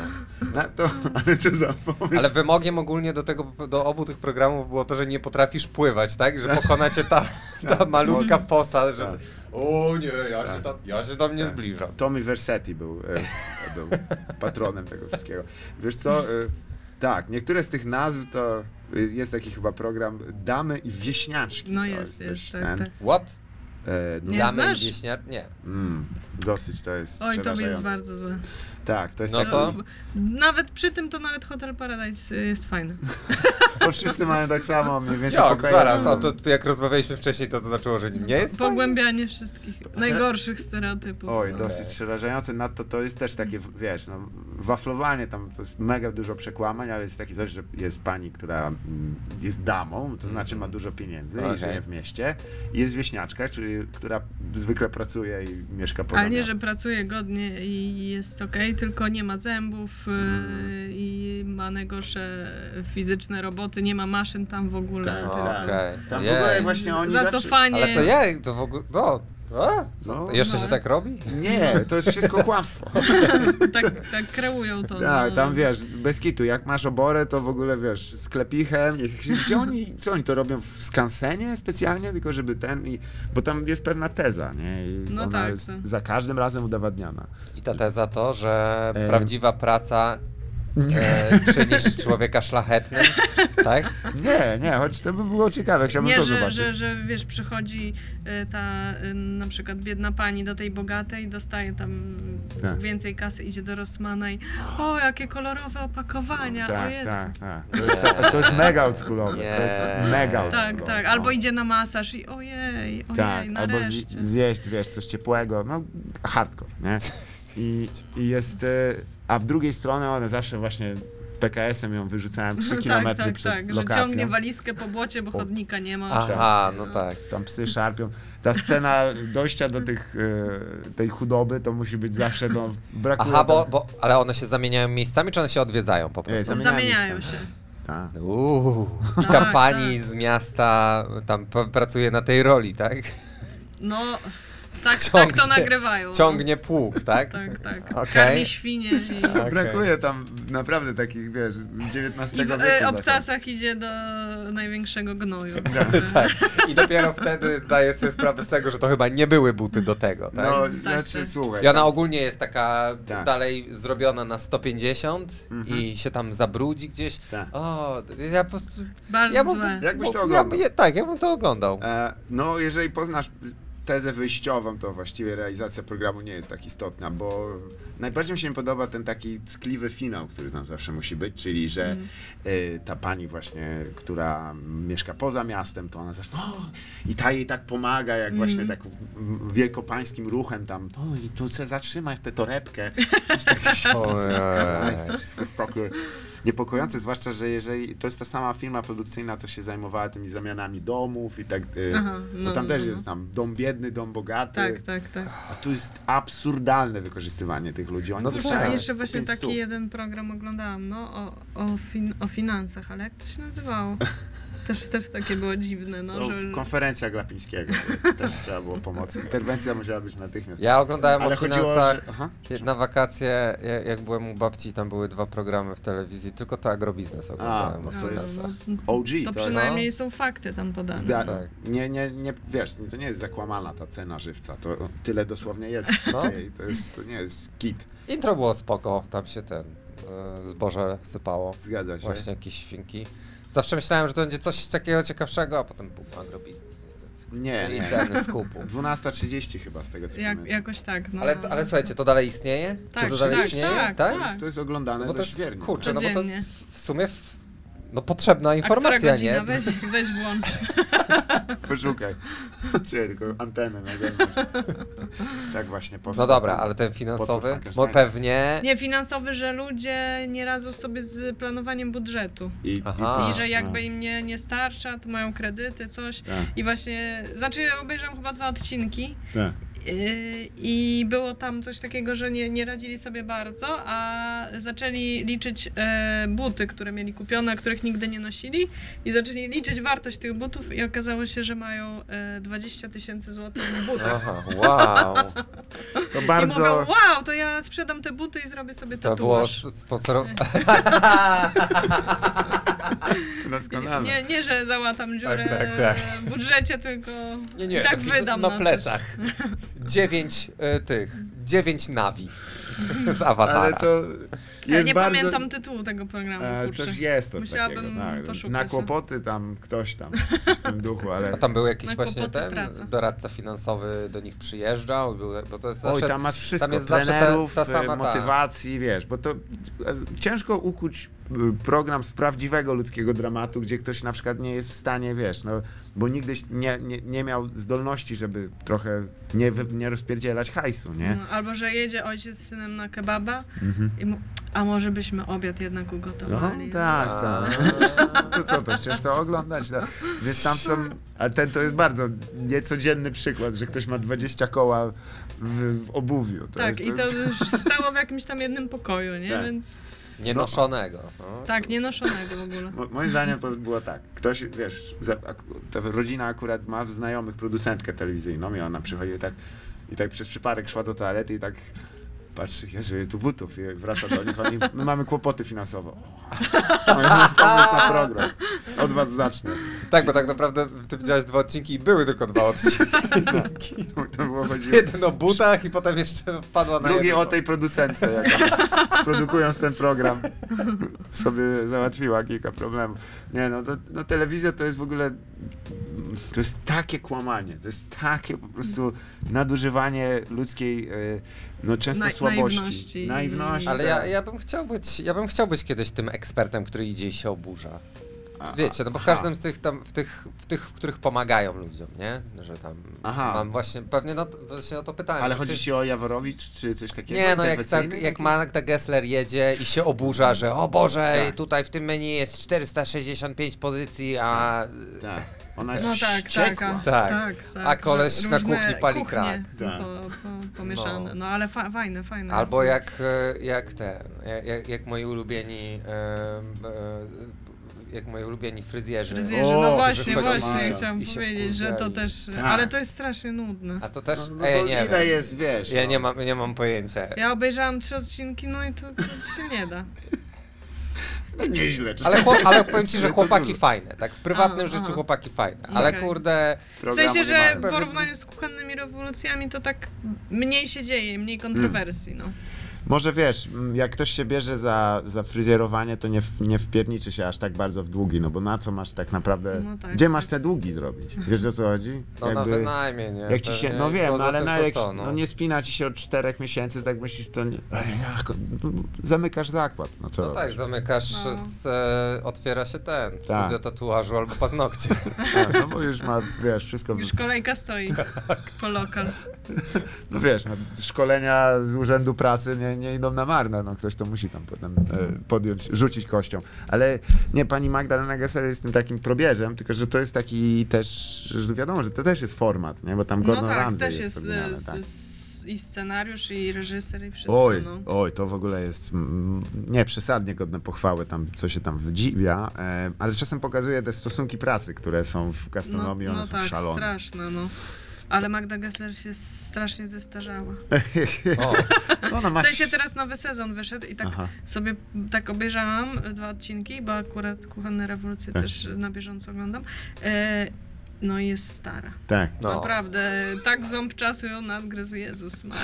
C: Na to, ale co za pomysł.
D: Ale wymogiem ogólnie do tego, do obu tych programów było to, że nie potrafisz pływać, tak? Że pokona cię ta, ta malutka fosa, że
C: Tak.
D: o nie, ja się tam, ja się tam nie zbliżam.
C: Tommy Versetti był, e, był patronem tego wszystkiego. Wiesz co? E, tak, niektóre z tych nazw to e, jest taki chyba program Damy i Wieśniaczki.
E: No
C: To
E: jest,
C: też
E: jest, tak,
C: ten.
E: tak.
D: What?
C: E,
E: Nie
D: Damy
E: znasz?
D: i wieśniar... Nie.
C: Mm, dosyć to jest
E: Oj, to
C: przerażające.
E: jest bardzo złe.
C: Tak, to jest
D: No
C: no
D: to-
C: to...
E: Nawet przy tym to nawet Hotel Paradise y, jest fajny.
C: Bo wszyscy mają tak samo, mniej więcej
D: Jak,
C: pokoje
D: zaraz,
C: są-
D: a to jak rozmawialiśmy wcześniej, to to znaczyło, że nie
E: No,
D: jest fajnie?
E: Pogłębianie wszystkich najgorszych stereotypów.
C: Oj,
E: no.
C: dosyć przerażające, nadto to jest też takie, wiesz, no, waflowanie, tam to jest mega dużo przekłamań, ale jest takie coś, że jest pani, która mm, jest damą, to znaczy ma dużo pieniędzy i
D: Mhm. Okej.
C: żyje w mieście. I jest wieśniaczka, czyli, która zwykle pracuje i mieszka poza
E: Ale nie, że
C: miastem.
E: pracuje godnie i jest okej, tylko nie ma zębów y,
C: Mhm.
E: i ma najgorsze fizyczne roboty, nie ma maszyn tam w ogóle.
H: Tak,
E: tylko
H: tak.
D: Okej.
H: Tam w
D: Jej.
H: ogóle właśnie oni zawsze...
E: Zacofanie.
D: Ale to ja, to w ogóle, no, a, co?
C: No.
D: jeszcze
E: No.
D: się tak robi?
C: Nie, to jest wszystko kłamstwo.
E: tak, tak kreują to.
C: Tak,
E: no.
C: tam wiesz, bez kitu, jak masz oborę, to w ogóle wiesz, sklepichem, nie- gdzie oni, co oni to robią w skansenie specjalnie, tylko żeby ten, i, bo tam jest pewna teza, nie, I
E: No
C: ona
E: tak,
C: jest
E: tak.
C: za każdym razem udowadniana.
D: I ta teza to, że
C: Em.
D: prawdziwa praca e, czyni z człowieka szlachetnym, tak?
C: Nie, nie, choć to by było ciekawe, chciałbym
E: Nie,
C: to
E: że,
C: zobaczyć.
E: że, że wiesz, przychodzi y, ta y, na przykład biedna pani do tej bogatej, dostaje tam
C: Tak.
E: więcej kasy, idzie do Rosmana i o, jakie kolorowe opakowania, o
C: tak,
E: Jezu.
C: tak, tak. To jest, ta, to jest mega oldschoolowe, to jest
D: Nie.
C: mega oldschoolowe.
E: Tak, tak.
C: no.
E: Albo idzie na masaż i ojej, ojej,
C: Tak, albo
E: nareszcie. [LAUGHS]
C: z, zjeść, wiesz, coś ciepłego, no hardcore, nie? I, i jest, e, a w drugiej stronie one zawsze właśnie PKS-em ją wyrzucałem 3 km
E: [LAUGHS] tak, tak,
C: przed
E: tak, że
C: lokacją.
E: ciągnie walizkę po błocie, bo chodnika nie ma.
D: Aha, no tak.
C: Tam psy szarpią. Ta scena dojścia do tych, e, tej chudoby to musi być zawsze, no brakuje
D: Aha, bo,
C: tam-
D: bo, ale one się zamieniają miejscami, czy one się odwiedzają po
C: Nie,
D: prostu?
C: zamieniają
E: Zamieniają
C: miejsca.
E: się.
C: Tak.
D: Uuu, i ta
E: Tak,
D: pani z miasta tam p- pracuje na tej roli, tak?
E: No, tak, tak to
D: Ciągnie-
E: nagrywają.
D: Ciągnie pług, tak?
E: Tak, tak.
D: Okej.
E: Karmi świnie i...
D: Okej.
C: Brakuje tam naprawdę takich, wiesz, z XIX
E: I w
C: wieku.
E: e,
C: zachodów.
E: obcasach idzie do największego gnoju.
D: [LAUGHS] Tak. I dopiero wtedy zdaję sobie sprawę z tego, że to chyba nie były buty do tego, tak?
C: No,
E: Tak,
C: znaczy,
E: tak.
C: słuchaj.
D: I ona ogólnie jest taka
C: Tak. Mhm.
D: dalej zrobiona na 150 i się tam zabrudzi gdzieś.
C: Tak.
D: O, ja po prostu...
E: Bardzo
D: Ja bym-
E: złe.
C: Jakbyś to
D: ja-
C: oglądał?
D: ja- tak, ja bym to oglądał.
C: E, No, jeżeli poznasz tezę wyjściową, to właściwie realizacja programu nie jest tak istotna, bo najbardziej mi się nie podoba ten taki ckliwy finał, który tam zawsze musi być, czyli że y, ta pani właśnie, która mieszka poza miastem, to ona zawsze o, i ta jej tak pomaga, jak właśnie tak mm, wielkopańskim ruchem tam, to i tu chcę zatrzymać tę torebkę. Przecież tak, [LAUGHS]
D: Ojej.
E: Eee.
C: to wszystko jest takie niepokojące, zwłaszcza, że jeżeli to jest ta sama firma produkcyjna, co się zajmowała tymi zamianami domów i tak, y,
E: Aha,
C: bo
E: no,
C: tam
E: no,
C: też
E: no.
C: jest tam dom biedny, dom bogaty,
E: Tak, tak, tak.
C: a tu jest absurdalne wykorzystywanie tych ludzi. Oni
D: No
C: dostają
E: Kurczę,
D: tak.
E: a
C: po
E: jeszcze właśnie
C: 500.
E: taki jeden program oglądałam, no, o, o, fin- o finansach, ale jak to się nazywało? Też, też takie było dziwne, no,
C: No,
E: że...
C: konferencja Glapińskiego,
E: [LAUGHS]
C: też trzeba było pomocy. Interwencja musiała być natychmiast.
D: Ja oglądałem
C: Ale
D: o
C: chodziło,
D: finansach
C: że... Aha.
D: na wakacje, ja- jak byłem u babci, tam były dwa programy w telewizji, tylko to agrobiznes oglądałem.
C: bo
D: o
C: to
E: no,
D: finansach.
C: jest-
E: no,
C: OG,
E: to
C: to, jest...
E: przynajmniej są fakty tam podane.
C: Zda-
D: tak.
C: nie, nie, nie, wiesz, to nie jest zakłamana ta cena żywca, to tyle dosłownie jest.
D: No.
C: No. To, jest to nie jest kit,
D: Intro było spoko, tam się ten e, zboże sypało,
C: zgadza się.
D: właśnie jakieś świnki. Zawsze myślałem, że to będzie coś takiego ciekawszego, a potem bum, agrobiznes niestety.
C: Nie,
D: I
C: nie.
D: ceny
E: [LAUGHS]
D: skupu.
C: 12.30 chyba z tego co
E: Jak,
C: pamiętam.
E: jakoś tak, no.
D: Ale, ale słuchajcie, to dalej istnieje?
E: Tak,
D: to dalej
E: tak,
D: istnieje?
E: tak,
C: To
E: tak.
C: jest- To jest oglądane
D: No bo to
C: dość
D: jest,
C: wiernie.
D: kurczę, no bo to
E: Codziennie.
D: jest w sumie w, no potrzebna
E: A która
D: informacja,
E: godzina?
D: nie?
E: Weź, weź włącz.
C: [LAUGHS] Poszukaj. Cię tylko antenę na zewnątrz. Tak właśnie powstał.
D: No dobra, ale ten
C: Potwór
D: finansowy, bo
C: Frankensteina.
D: pewnie...
E: Nie, finansowy, że ludzie nie radzą sobie z planowaniem budżetu.
C: I,
D: Aha.
E: I że jakby
C: tak.
E: im nie, nie starcza, to mają kredyty, coś.
C: Tak.
E: I właśnie, znaczy obejrzałam chyba dwa odcinki
C: Tak.
E: yy, i było tam coś takiego, że nie, nie radzili sobie bardzo, a zaczęli liczyć e, buty, które mieli kupione, a których nigdy nie nosili i zaczęli liczyć wartość tych butów i okazało się, że mają e, 20 tysięcy złotych w butach.
D: Aha, wow.
E: [LAUGHS]
C: To
E: I mówią,
C: bardzo...
E: wow, to ja sprzedam te buty i zrobię sobie
D: To było
E: tatuaż.
D: sponsorowane.
C: Doskonale.
E: Nie, nie, że załatam dziurę
D: Tak, tak, tak.
E: w budżecie, tylko [LAUGHS] i
D: [LAUGHS]
E: tak wydam
D: na,
E: na coś.
D: no, plecach. Dziewięć y, tych, dziewięć nawi z awatara.
C: Ale to
E: Ja
C: jest
E: nie
C: bardzo...
E: pamiętam tytułu tego programu.
C: E,
E: kurczę.
C: Coś jest to
E: Musiałabym
C: takiego. tak.
E: poszukać. no.
C: Na kłopoty tam ktoś tam, coś w tym duchu,
D: [LAUGHS]
C: ale...
D: A tam był jakiś
E: Na
D: właśnie
E: kłopoty
D: ten
E: praca.
D: doradca finansowy do nich przyjeżdżał, był, bo to jest zawsze...
C: Oj, tam masz wszystko,
D: tam jest zawsze ta-
C: trenerów,
D: ta sama
C: e,
D: ta.
C: motywacji, wiesz, bo to e, ciężko ukuć e, program z prawdziwego ludzkiego dramatu, gdzie ktoś na przykład nie jest w stanie, wiesz, no, bo nigdy nie, nie, nie miał zdolności, żeby trochę nie, wy- nie rozpierdzielać hajsu, nie?
E: No, albo że jedzie ojciec z synem na kebaba i mu, A może byśmy obiad jednak
C: No,
E: ugotowali?
C: tak, tak. [LAUGHS] To co, to chcesz to oglądać? No. Więc tam są... Ale ten to jest bardzo niecodzienny przykład, że ktoś ma 20 koła w, w obuwiu. To
E: Tak,
C: jest,
E: i to
C: jest-
E: już stało w jakimś tam jednym pokoju, nie?
C: Tak.
E: Więc
D: Nienoszonego. No.
E: tak, nienoszonego w ogóle.
C: Mo- Moim zdaniem to było tak. Ktoś, wiesz, za, ak, ta rodzina akurat ma w znajomych producentkę telewizyjną i ona przychodzi tak i tak przez przypadek szła do toalety i tak patrzy, Jezu, ile tu butów i wraca do nich, oni, my mamy kłopoty finansowe. No i masz pomysł na program. Od was zacznę.
D: Tak, bo tak naprawdę ty widziałeś dwa odcinki i były tylko dwa odcinki.
C: [LAUGHS] No, To było chodziło.
D: Jeden o butach i potem jeszcze wpadła na
C: Drugi
D: jedno.
C: o tej producentce, jak
E: [LAUGHS]
C: ona, produkując ten program, sobie załatwiła kilka problemów. Nie no, to, no telewizja to jest w ogóle, to jest takie kłamanie, to jest takie po prostu nadużywanie ludzkiej, e, no często
E: Na-
C: słabości.
E: naiwności.
C: Naiwności,
D: Ale ja,
C: tak.
D: ja, bym chciał być, ja bym chciał być kiedyś tym ekspertem, który idzie i się oburza.
C: A-
D: Wiecie, no bo w każdym z tych tam, w tych, w tych, w których pomagają ludziom, nie? Że tam
C: Aha.
D: mam właśnie, pewnie no, właśnie o to pytałem.
C: Ale
D: czy
C: chodzi
D: ktoś-
C: ci o Jaworowicz, czy coś takiego?
D: Nie, no jak,
C: interwencyjny?
D: tak, jak Magda Gessler jedzie i się oburza, że o Boże,
C: Tak.
D: tutaj w tym menu jest 465 pozycji, a,
C: Tak, ona jest
E: No tak, tak, a,
C: wściekła.
D: Tak.
E: tak, tak,
D: A koleś
E: że
D: na
E: różne
D: kuchni pali
E: kuchnie
D: krak.
C: Tak.
E: Po, po, pomieszane. No, ale fa- fajne,
C: No
E: fajne.
D: albo
E: jasne.
D: jak, e, jak te, jak, jak moi ulubieni, em, e, jak moi ulubieni fryzjerzy.
E: Fryzjerzy,
C: O,
E: no
C: to
E: właśnie,
D: wychodzi
E: właśnie
D: Maria
E: chciałam
D: i się
E: powiedzieć, że to
D: wkurwiali.
E: też...
C: Tak.
E: Ale to jest strasznie nudne.
D: A to też,
C: No, no,
D: e,
C: bo
D: nie
C: ile
D: wiem,
C: jest, wiesz.
D: ja
C: no.
D: nie mam, nie mam pojęcia.
E: Ja obejrzałam trzy odcinki, no i to, to się nie da.
C: No nieźle. czy-
D: Ale, chłop, ale powiem
C: [LAUGHS]
D: ci,
C: To
D: że
C: dużo.
D: chłopaki fajne, tak, w prywatnym
E: A,
D: życiu
E: aha.
D: chłopaki fajne, ale
E: Okej.
D: kurde,
E: W
C: Programu
E: sensie,
C: nie
E: że
C: mają.
E: w porównaniu z kuchennymi rewolucjami to tak mniej się dzieje, mniej kontrowersji, no.
C: Hmm. Może wiesz, m, jak ktoś się bierze za, za fryzjerowanie, to nie, w- nie wpierniczy się aż tak bardzo w długi, no bo na co masz tak naprawdę.
E: No tak,
C: gdzie
E: tak.
C: masz te długi zrobić? Wiesz o co chodzi?
D: no na wynajmie, nie?
C: jak ci się,
D: Pewnie
C: no wiem, no,
D: poza
C: ale
D: tym
C: na,
D: to
C: jak,
D: co,
C: no nie spina ci się od czterech miesięcy, tak myślisz, to nie, Ej, jak, no, zamykasz zakład, no co
D: No
C: robisz?
D: tak, zamykasz,
E: No.
D: z, e, otwiera się ten,
C: Tak.
D: studio tatuażu albo paznokcie. [LAUGHS]
C: Tak, no bo już ma, wiesz, wszystko,
E: Już kolejka stoi
C: Tak.
E: po lokal.
C: no wiesz, no, szkolenia z Urzędu Pracy nie, nie idą na marne, no ktoś to musi tam potem e, podjąć, rzucić kością. Ale nie, pani Magdalena Gessler jest tym takim probierzem, tylko że to jest taki też, że wiadomo, że to też jest format, nie, bo tam
E: No
C: Gordon
E: tak,
C: Ramsay
E: też jest
C: wspominany,
E: z,
C: tak.
E: z, i scenariusz, i reżyser, i wszystko,
C: Oj,
E: no.
C: oj, to w ogóle jest mm, nie przesadnie godne pochwały, tam co się tam wydziwia, e, ale czasem pokazuje te stosunki pracy, które są w
E: No,
C: gastronomii, one
E: no
C: są
E: tak,
C: szalone.
E: straszne, no. Ale Magda Gessler się strasznie zestarzała.
C: No
D: O,
C: Ona ma
E: W sensie teraz nowy sezon wyszedł i tak
C: Aha.
E: sobie tak obejrzałam e, dwa odcinki, bo akurat Kuchenne Rewolucje
C: Tak.
E: też na bieżąco oglądam. E, no i jest stara.
C: Tak,
D: No.
E: Naprawdę, tak ząb czasu ją nadgryzł
D: [LAUGHS]
E: Jezus Maria.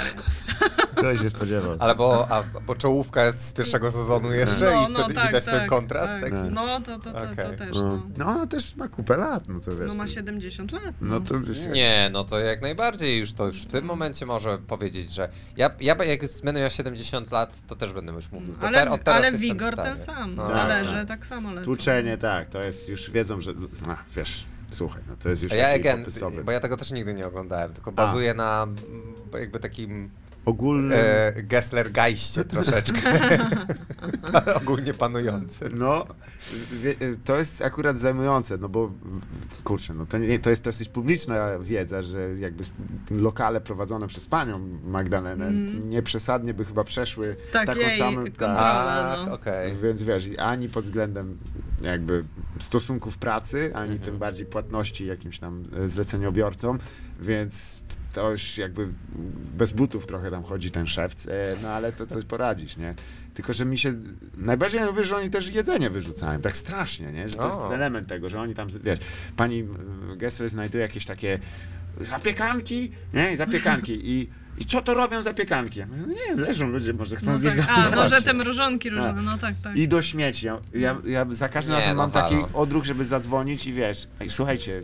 C: ktoś się spodziewał.
D: ale bo, a, bo czołówka jest z pierwszego sezonu
C: No,
D: jeszcze i wtedy widać ten kontrast
E: No, tak.
D: taki.
E: No to, to, to, to
D: Okej.
E: też,
C: No,
E: no.
C: no ona też ma kupę lat, no to wiesz.
E: No ma
C: to-
E: 70 lat.
C: No to wiesz,
D: Nie, no to jak najbardziej już to już w tym momencie może powiedzieć, że ja, ja jak będę miał 70 lat, to też będę już mówił.
E: Ale,
D: Dopiero- od teraz
E: ale
D: jestem
E: Wigor
D: stary.
E: ten sam,
D: No.
E: talerze tak samo lecą.
C: tłuczenie, tak, to jest, już wiedzą, że, a, wiesz, słuchaj, no to jest już
D: A ja,
C: taki
D: again,
C: popisowy.
D: bo ja tego też nigdy nie oglądałem, tylko bazuję na mm, jakby takim
C: Ogólny,
D: e, Gessler Geiście
C: [LAUGHS]
D: troszeczkę. Pa- Ogólnie panujący.
C: no, wie, e, to jest akurat zajmujące, no bo, kurczę, no to, nie, to jest dosyć publiczna wiedza, że jakby s- lokale prowadzone przez panią Magdalenę nieprzesadnie by chyba przeszły
E: Mhm. Tak,
C: taką
E: jej
C: samą,
E: kontrolę. Dobra,
D: A,
E: no.
D: okej.
C: Więc wiesz, i ani pod względem jakby stosunków pracy, ani
D: Mhm.
C: tym bardziej płatności jakimś tam e, zleceniobiorcom, więc to już jakby bez butów trochę tam chodzi ten szewc, e, no ale to coś poradzisz, nie? Tylko, że mi się... Najbardziej ja lubię, że oni też jedzenie wyrzucają, tak strasznie, nie? Że to jest
D: O.
C: element tego, że oni tam, wiesz, pani e, Gessler znajduje jakieś takie zapiekanki, nie? Zapiekanki i... I co to robią zapiekanki? Ja mówię, No nie wiem, leżą ludzie, może chcą
E: No
C: zjeść
E: tak, a,
C: zapiekanki.
E: no że te mrożonki różne, no tak, tak.
C: I do śmieci. Ja, ja, ja za każdym
D: Nie,
C: razem
D: no
C: mam taki
D: halo.
C: odruch, żeby zadzwonić i wiesz, ej, słuchajcie.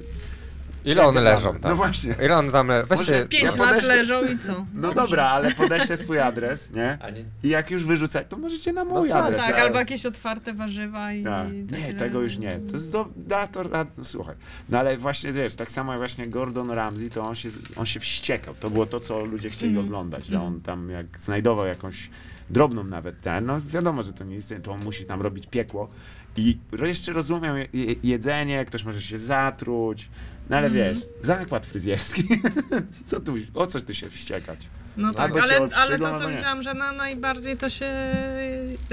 D: Ile one
C: jak
D: leżą tak?
C: tam?
D: tam?
C: No właśnie.
D: Ile one tam leżą? Weź
C: Może
D: się...
E: Pięć
C: ja
E: lat
C: podeszłem-
E: leżą i co?
C: [LAUGHS] No dobra, ale podeślę swój adres, nie?
D: A nie-
C: I jak już wyrzucać, to możecie na mój
D: tak,
C: adres.
E: Tak,
C: ale-
E: albo jakieś otwarte warzywa i...
C: no, tak.
E: i
C: Nie,
E: tyle.
C: tego już nie. To jest do, da to rad, no, słuchaj. No ale właśnie wiesz, tak samo jak właśnie Gordon Ramsay, to on się, on się wściekał. To było to, co ludzie chcieli oglądać, że on tam jak znajdował jakąś drobną nawet ten, no wiadomo, że to nie istnieje, to on musi tam robić piekło i ro- jeszcze rozumiem je- je- jedzenie, ktoś może się zatruć, no ale wiesz, zakład fryzjerski, [LAUGHS] co tu, o coś tu się wściekać?
E: No tak,
C: Albo cię
E: ale, ale
C: odstrzygnął,
E: to co
C: albo nie.
E: myślałam, że na, najbardziej to się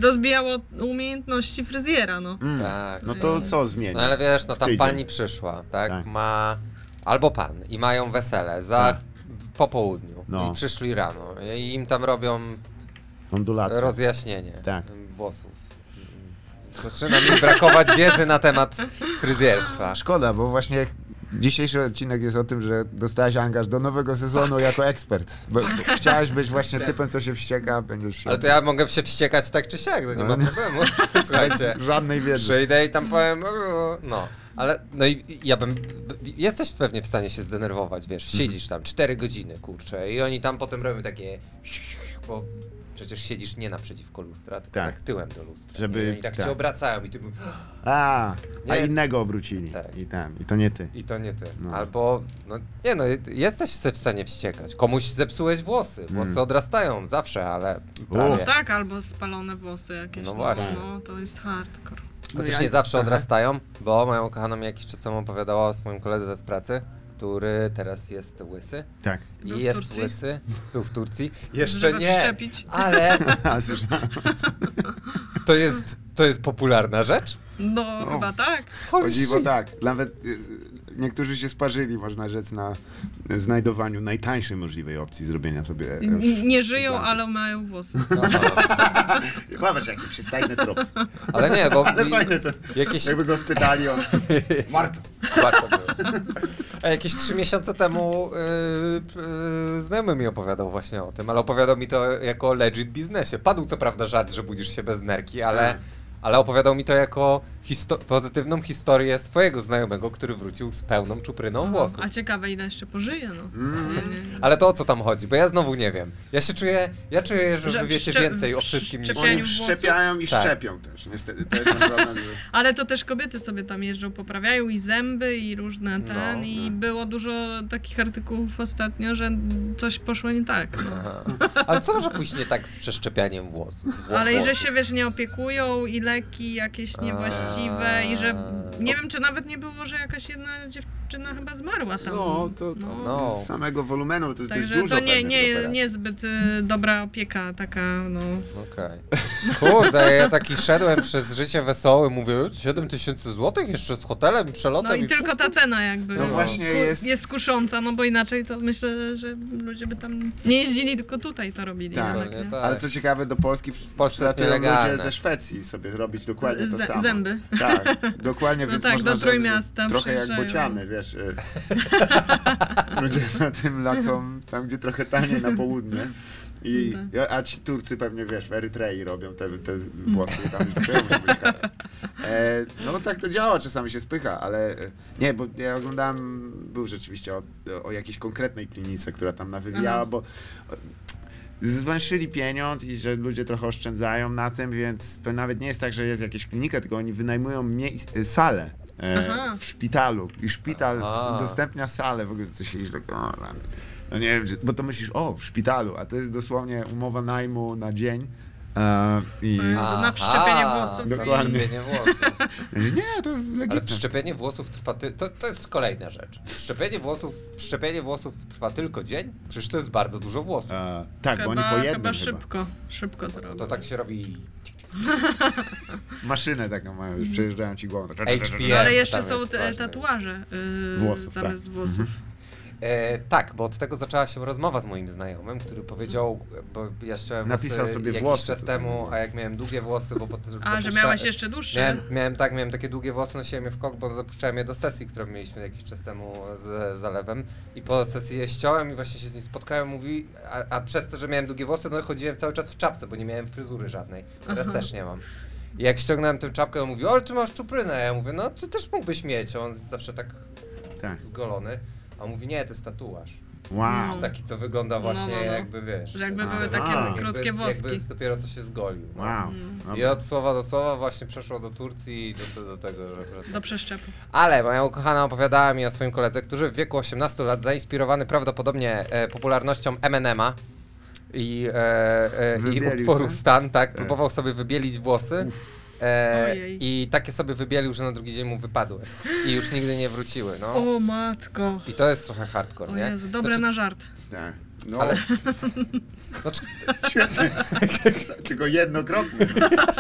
E: rozbijało umiejętności fryzjera, no.
C: Mm.
D: Tak.
C: No to co zmieni?
D: No ale wiesz, no ta
C: tydzień.
D: pani przyszła, tak?
C: Tak.
D: Ma. Albo pan i mają wesele za
C: Tak.
D: po południu.
C: No.
D: I przyszli rano. I im tam robią
C: Ondulacja.
D: rozjaśnienie
C: Tak.
D: włosów. Zaczyna mi brakować wiedzy na temat fryzjerstwa.
C: Szkoda, bo właśnie dzisiejszy odcinek jest o tym, że dostałeś angaż do nowego sezonu
D: Tak.
C: jako ekspert. Bo, bo chciałeś być właśnie typem, co się wścieka, będziesz się...
D: Ale to ja mogę się wściekać tak czy siak, to nie
C: No. [LAUGHS]
D: ma problemu. Słuchajcie.
C: Żadnej wiedzy.
D: Przyjdę i tam powiem. "Uuu", No. Ale no i i ja bym. Jesteś pewnie w stanie się zdenerwować, wiesz,
C: Mhm.
D: siedzisz tam 4 godziny, kurczę, i oni tam potem robią takie. Bo przecież siedzisz nie naprzeciwko lustra, tylko
C: Tak.
D: tak, tyłem do lustra.
C: Żeby-
D: I oni tak,
C: tak.
D: cię obracają i ty mów-
C: A, a
D: Nie.
C: innego obrócili.
D: Tak.
C: I tam, i to nie ty.
D: I to nie ty.
C: No.
D: Albo. No nie no, jesteś se w stanie wściekać. Komuś zepsułeś włosy. Włosy
C: Mm.
D: odrastają zawsze, ale.
E: No
D: Prawie.
E: tak, albo spalone włosy jakieś.
D: No właśnie.
E: No, to jest hardcore.
D: Chociaż
C: ja-
D: nie zawsze odrastają, bo moja ukochana mi jakiś czas temu opowiadała o swoim koledze z pracy, który teraz jest łysy.
C: Tak. [LAUGHS]
E: Był w
D: I jest
E: Turcji?
D: łysy. Był w Turcji. Jeszcze
E: Żeby
D: nie.
E: wszczepić.
D: Ale
C: A, słyszałem.
D: to jest, to jest popularna rzecz.
E: No, chyba tak.
C: Chodzi, bo tak, nawet y, niektórzy się sparzyli, można rzec, na znajdowaniu najtańszej możliwej opcji zrobienia sobie... e,
E: N- Nie żyją,
C: tak.
E: ale mają
D: [LAUGHS]
E: włosy.
D: No, no.
H: Zobacz, jaki przystajny trop.
D: Ale nie, bo
H: Ale fajne to.
D: jakieś
H: Jakby go
D: [LAUGHS]
H: spytali on. Warto.
D: Warto było. A jakieś trzy miesiące temu yy, p- yy, znajomy mi opowiadał właśnie o tym, ale opowiadał mi to jako o legit biznesie. Padł co prawda żart, że budzisz się bez nerki, ale, ale opowiadał mi to jako histo pozytywną historię swojego znajomego, który wrócił z pełną czupryną włosów.
E: A ciekawe, ile jeszcze pożyje, no.
D: Mhm.
E: Nie, nie.
D: Ale to o co tam chodzi? Bo ja znowu nie wiem. Ja się czuję, ja czuję, że,
E: Że
D: wy wiecie
E: wszcze-
D: więcej o wszystkim niż
E: wszczepianiu
C: Oni
E: włosów?
C: wszczepiają i
D: Tak.
C: szczepią też, niestety. To jest naprawdę... że-
E: Ale to też kobiety sobie tam jeżdżą, poprawiają i zęby, i różne ten,
D: No,
E: i było dużo takich artykułów ostatnio, że coś poszło nie tak. No.
D: Ale co może pójść nie tak z przeszczepianiem włosów? Z wło-
E: Ale i że
D: włosów?
E: się, wiesz, nie opiekują i leki jakieś niewłaściwe i że
C: Eee,
E: nie wiem, czy nawet nie było, że jakaś jedna dziewczyna chyba zmarła tam.
C: No, to,
E: No.
D: No.
C: z samego wolumenu to jest dość
E: Także
C: dużo
E: to nie,
C: pewnie tych
E: nie,
C: operacji.
E: niezbyt y, dobra opieka taka, no.
D: Okej. Kurde, ja taki szedłem przez życie wesoły, mówię, 7 tysięcy złotych jeszcze z hotelem i przelotem
E: No i tylko
D: wszystko?
E: ta cena jakby
C: No właśnie
E: ku-
C: jest-
E: jest kusząca, no bo inaczej to myślę, że ludzie by tam nie jeździli, tylko tutaj to robili.
C: Tak.
E: jednak,
D: Dokładnie
E: nie?
D: tak.
C: Ale co ciekawe, do Polski w
D: Polsce jest nielegalne.
C: ludzie ze Szwecji sobie robić dokładnie to
E: Zę-
C: samo.
E: zęby.
C: Tak, dokładnie,
E: [LAUGHS] No
C: więc
E: tak,
C: można
E: do Trójmiasta
C: rzec, Trochę jak
E: przyjeżdżają.
C: bociany, wiesz.
E: [LAUGHS]
C: y, ludzie za tym lecą tam, gdzie trochę taniej na południe. I,
E: No tak.
C: a ci Turcy pewnie, wiesz, w Erytrei robią te, te włosy,
E: tak.
C: tam też muszą być kary. e, No tak to działa, czasami się spycha, ale e, nie, bo ja oglądałem, był rzeczywiście o, o jakiejś konkretnej klinice, która tam nawywijała,
E: Aha.
C: bo zwęszyli pieniądz i że ludzie trochę oszczędzają na tym, więc to nawet nie jest tak, że jest jakaś klinika, tylko oni wynajmują mie- salę e,
E: Aha.
C: w szpitalu i szpital
D: Aha.
C: udostępnia salę, w ogóle coś iść tak, o rany. No nie wiem, że- bo to myślisz, o, w szpitalu, a to jest dosłownie umowa najmu na dzień e, i
E: A. Że na wszczepienie włosów.
C: Dokładnie.
D: Wszczepienie włosów.
C: nie, to
D: Ale
C: legitne.
D: wszczepienie włosów trwa ty... to, to jest kolejna rzecz. Wszczepienie włosów, wszczepienie włosów trwa tylko dzień? Przecież to jest bardzo dużo włosów.
C: E, tak, bo oni po
E: Chyba,
C: jednym
E: chyba
C: chyba.
E: szybko, szybko to robią.
D: To tak się robi
C: Maszynę taką mają,
E: Mhm.
C: już przejeżdżają ci głową. Tak,
D: HPM.
E: No, Ale jeszcze
D: no tam
E: są
D: jest
E: te
D: ważne.
E: tatuaże yy,
C: Włosów, tak. Mhm.
E: zamiast włosów.
D: E, tak, bo od tego zaczęła się rozmowa z moim znajomym, który powiedział, bo ja ściąłem
C: Napisał
D: włosy
C: sobie
D: jakiś
C: włosy
D: czas
C: tutaj.
D: temu, a jak miałem długie włosy, bo potem...
E: A, że miałaś jeszcze dłuższe?
D: Miałem, miałem, tak, miałem takie długie włosy, nosiłem je w kok, bo zapuszczałem je do sesji, którą mieliśmy jakiś czas temu z zalewem i po sesji je ściąłem i właśnie się z nim spotkałem, mówi, a, a przez to, że miałem długie włosy, no chodziłem cały czas w czapce, bo nie miałem fryzury żadnej, teraz też nie mam. I jak ściągnąłem tę czapkę, on mówi, ale ty masz czuprynę, ja mówię, no ty też mógłbyś mieć, a on zawsze tak
C: Tak.
D: zgolony, a on mówi, nie, to jest tatuaż.
C: Wow.
E: No.
D: Taki, co wygląda właśnie
E: No, no, no.
D: jakby, wiesz...
E: Że jakby
D: taki-
E: były takie
C: Aha.
E: krótkie włoski.
D: Jakby dopiero co się zgolił. no.
C: Wow.
D: I od słowa do słowa właśnie przeszło do Turcji i do, do, do tego, że...
E: Do przeszczepu.
D: Ale moja ukochana opowiadała mi o swoim koledze, który w wieku 18 lat, zainspirowany prawdopodobnie e, popularnością Eminema, i, e, e, i
C: Wybielił
D: utworu
C: sobie?
D: Stan, tak, próbował sobie wybielić włosy. E,
E: Ojej.
D: I takie sobie wybielił, że na drugi dzień mu wypadły. I już nigdy nie wróciły, no.
E: O matko.
D: I to jest trochę hardcore,
E: O
D: nie?
E: Jezu, dobre
D: Znaczy-
E: na żart.
C: Tak. No,
E: [LAUGHS]
D: Ale- znaczy,
C: świetnie. [LAUGHS] Tylko jednokrotnie. [LAUGHS]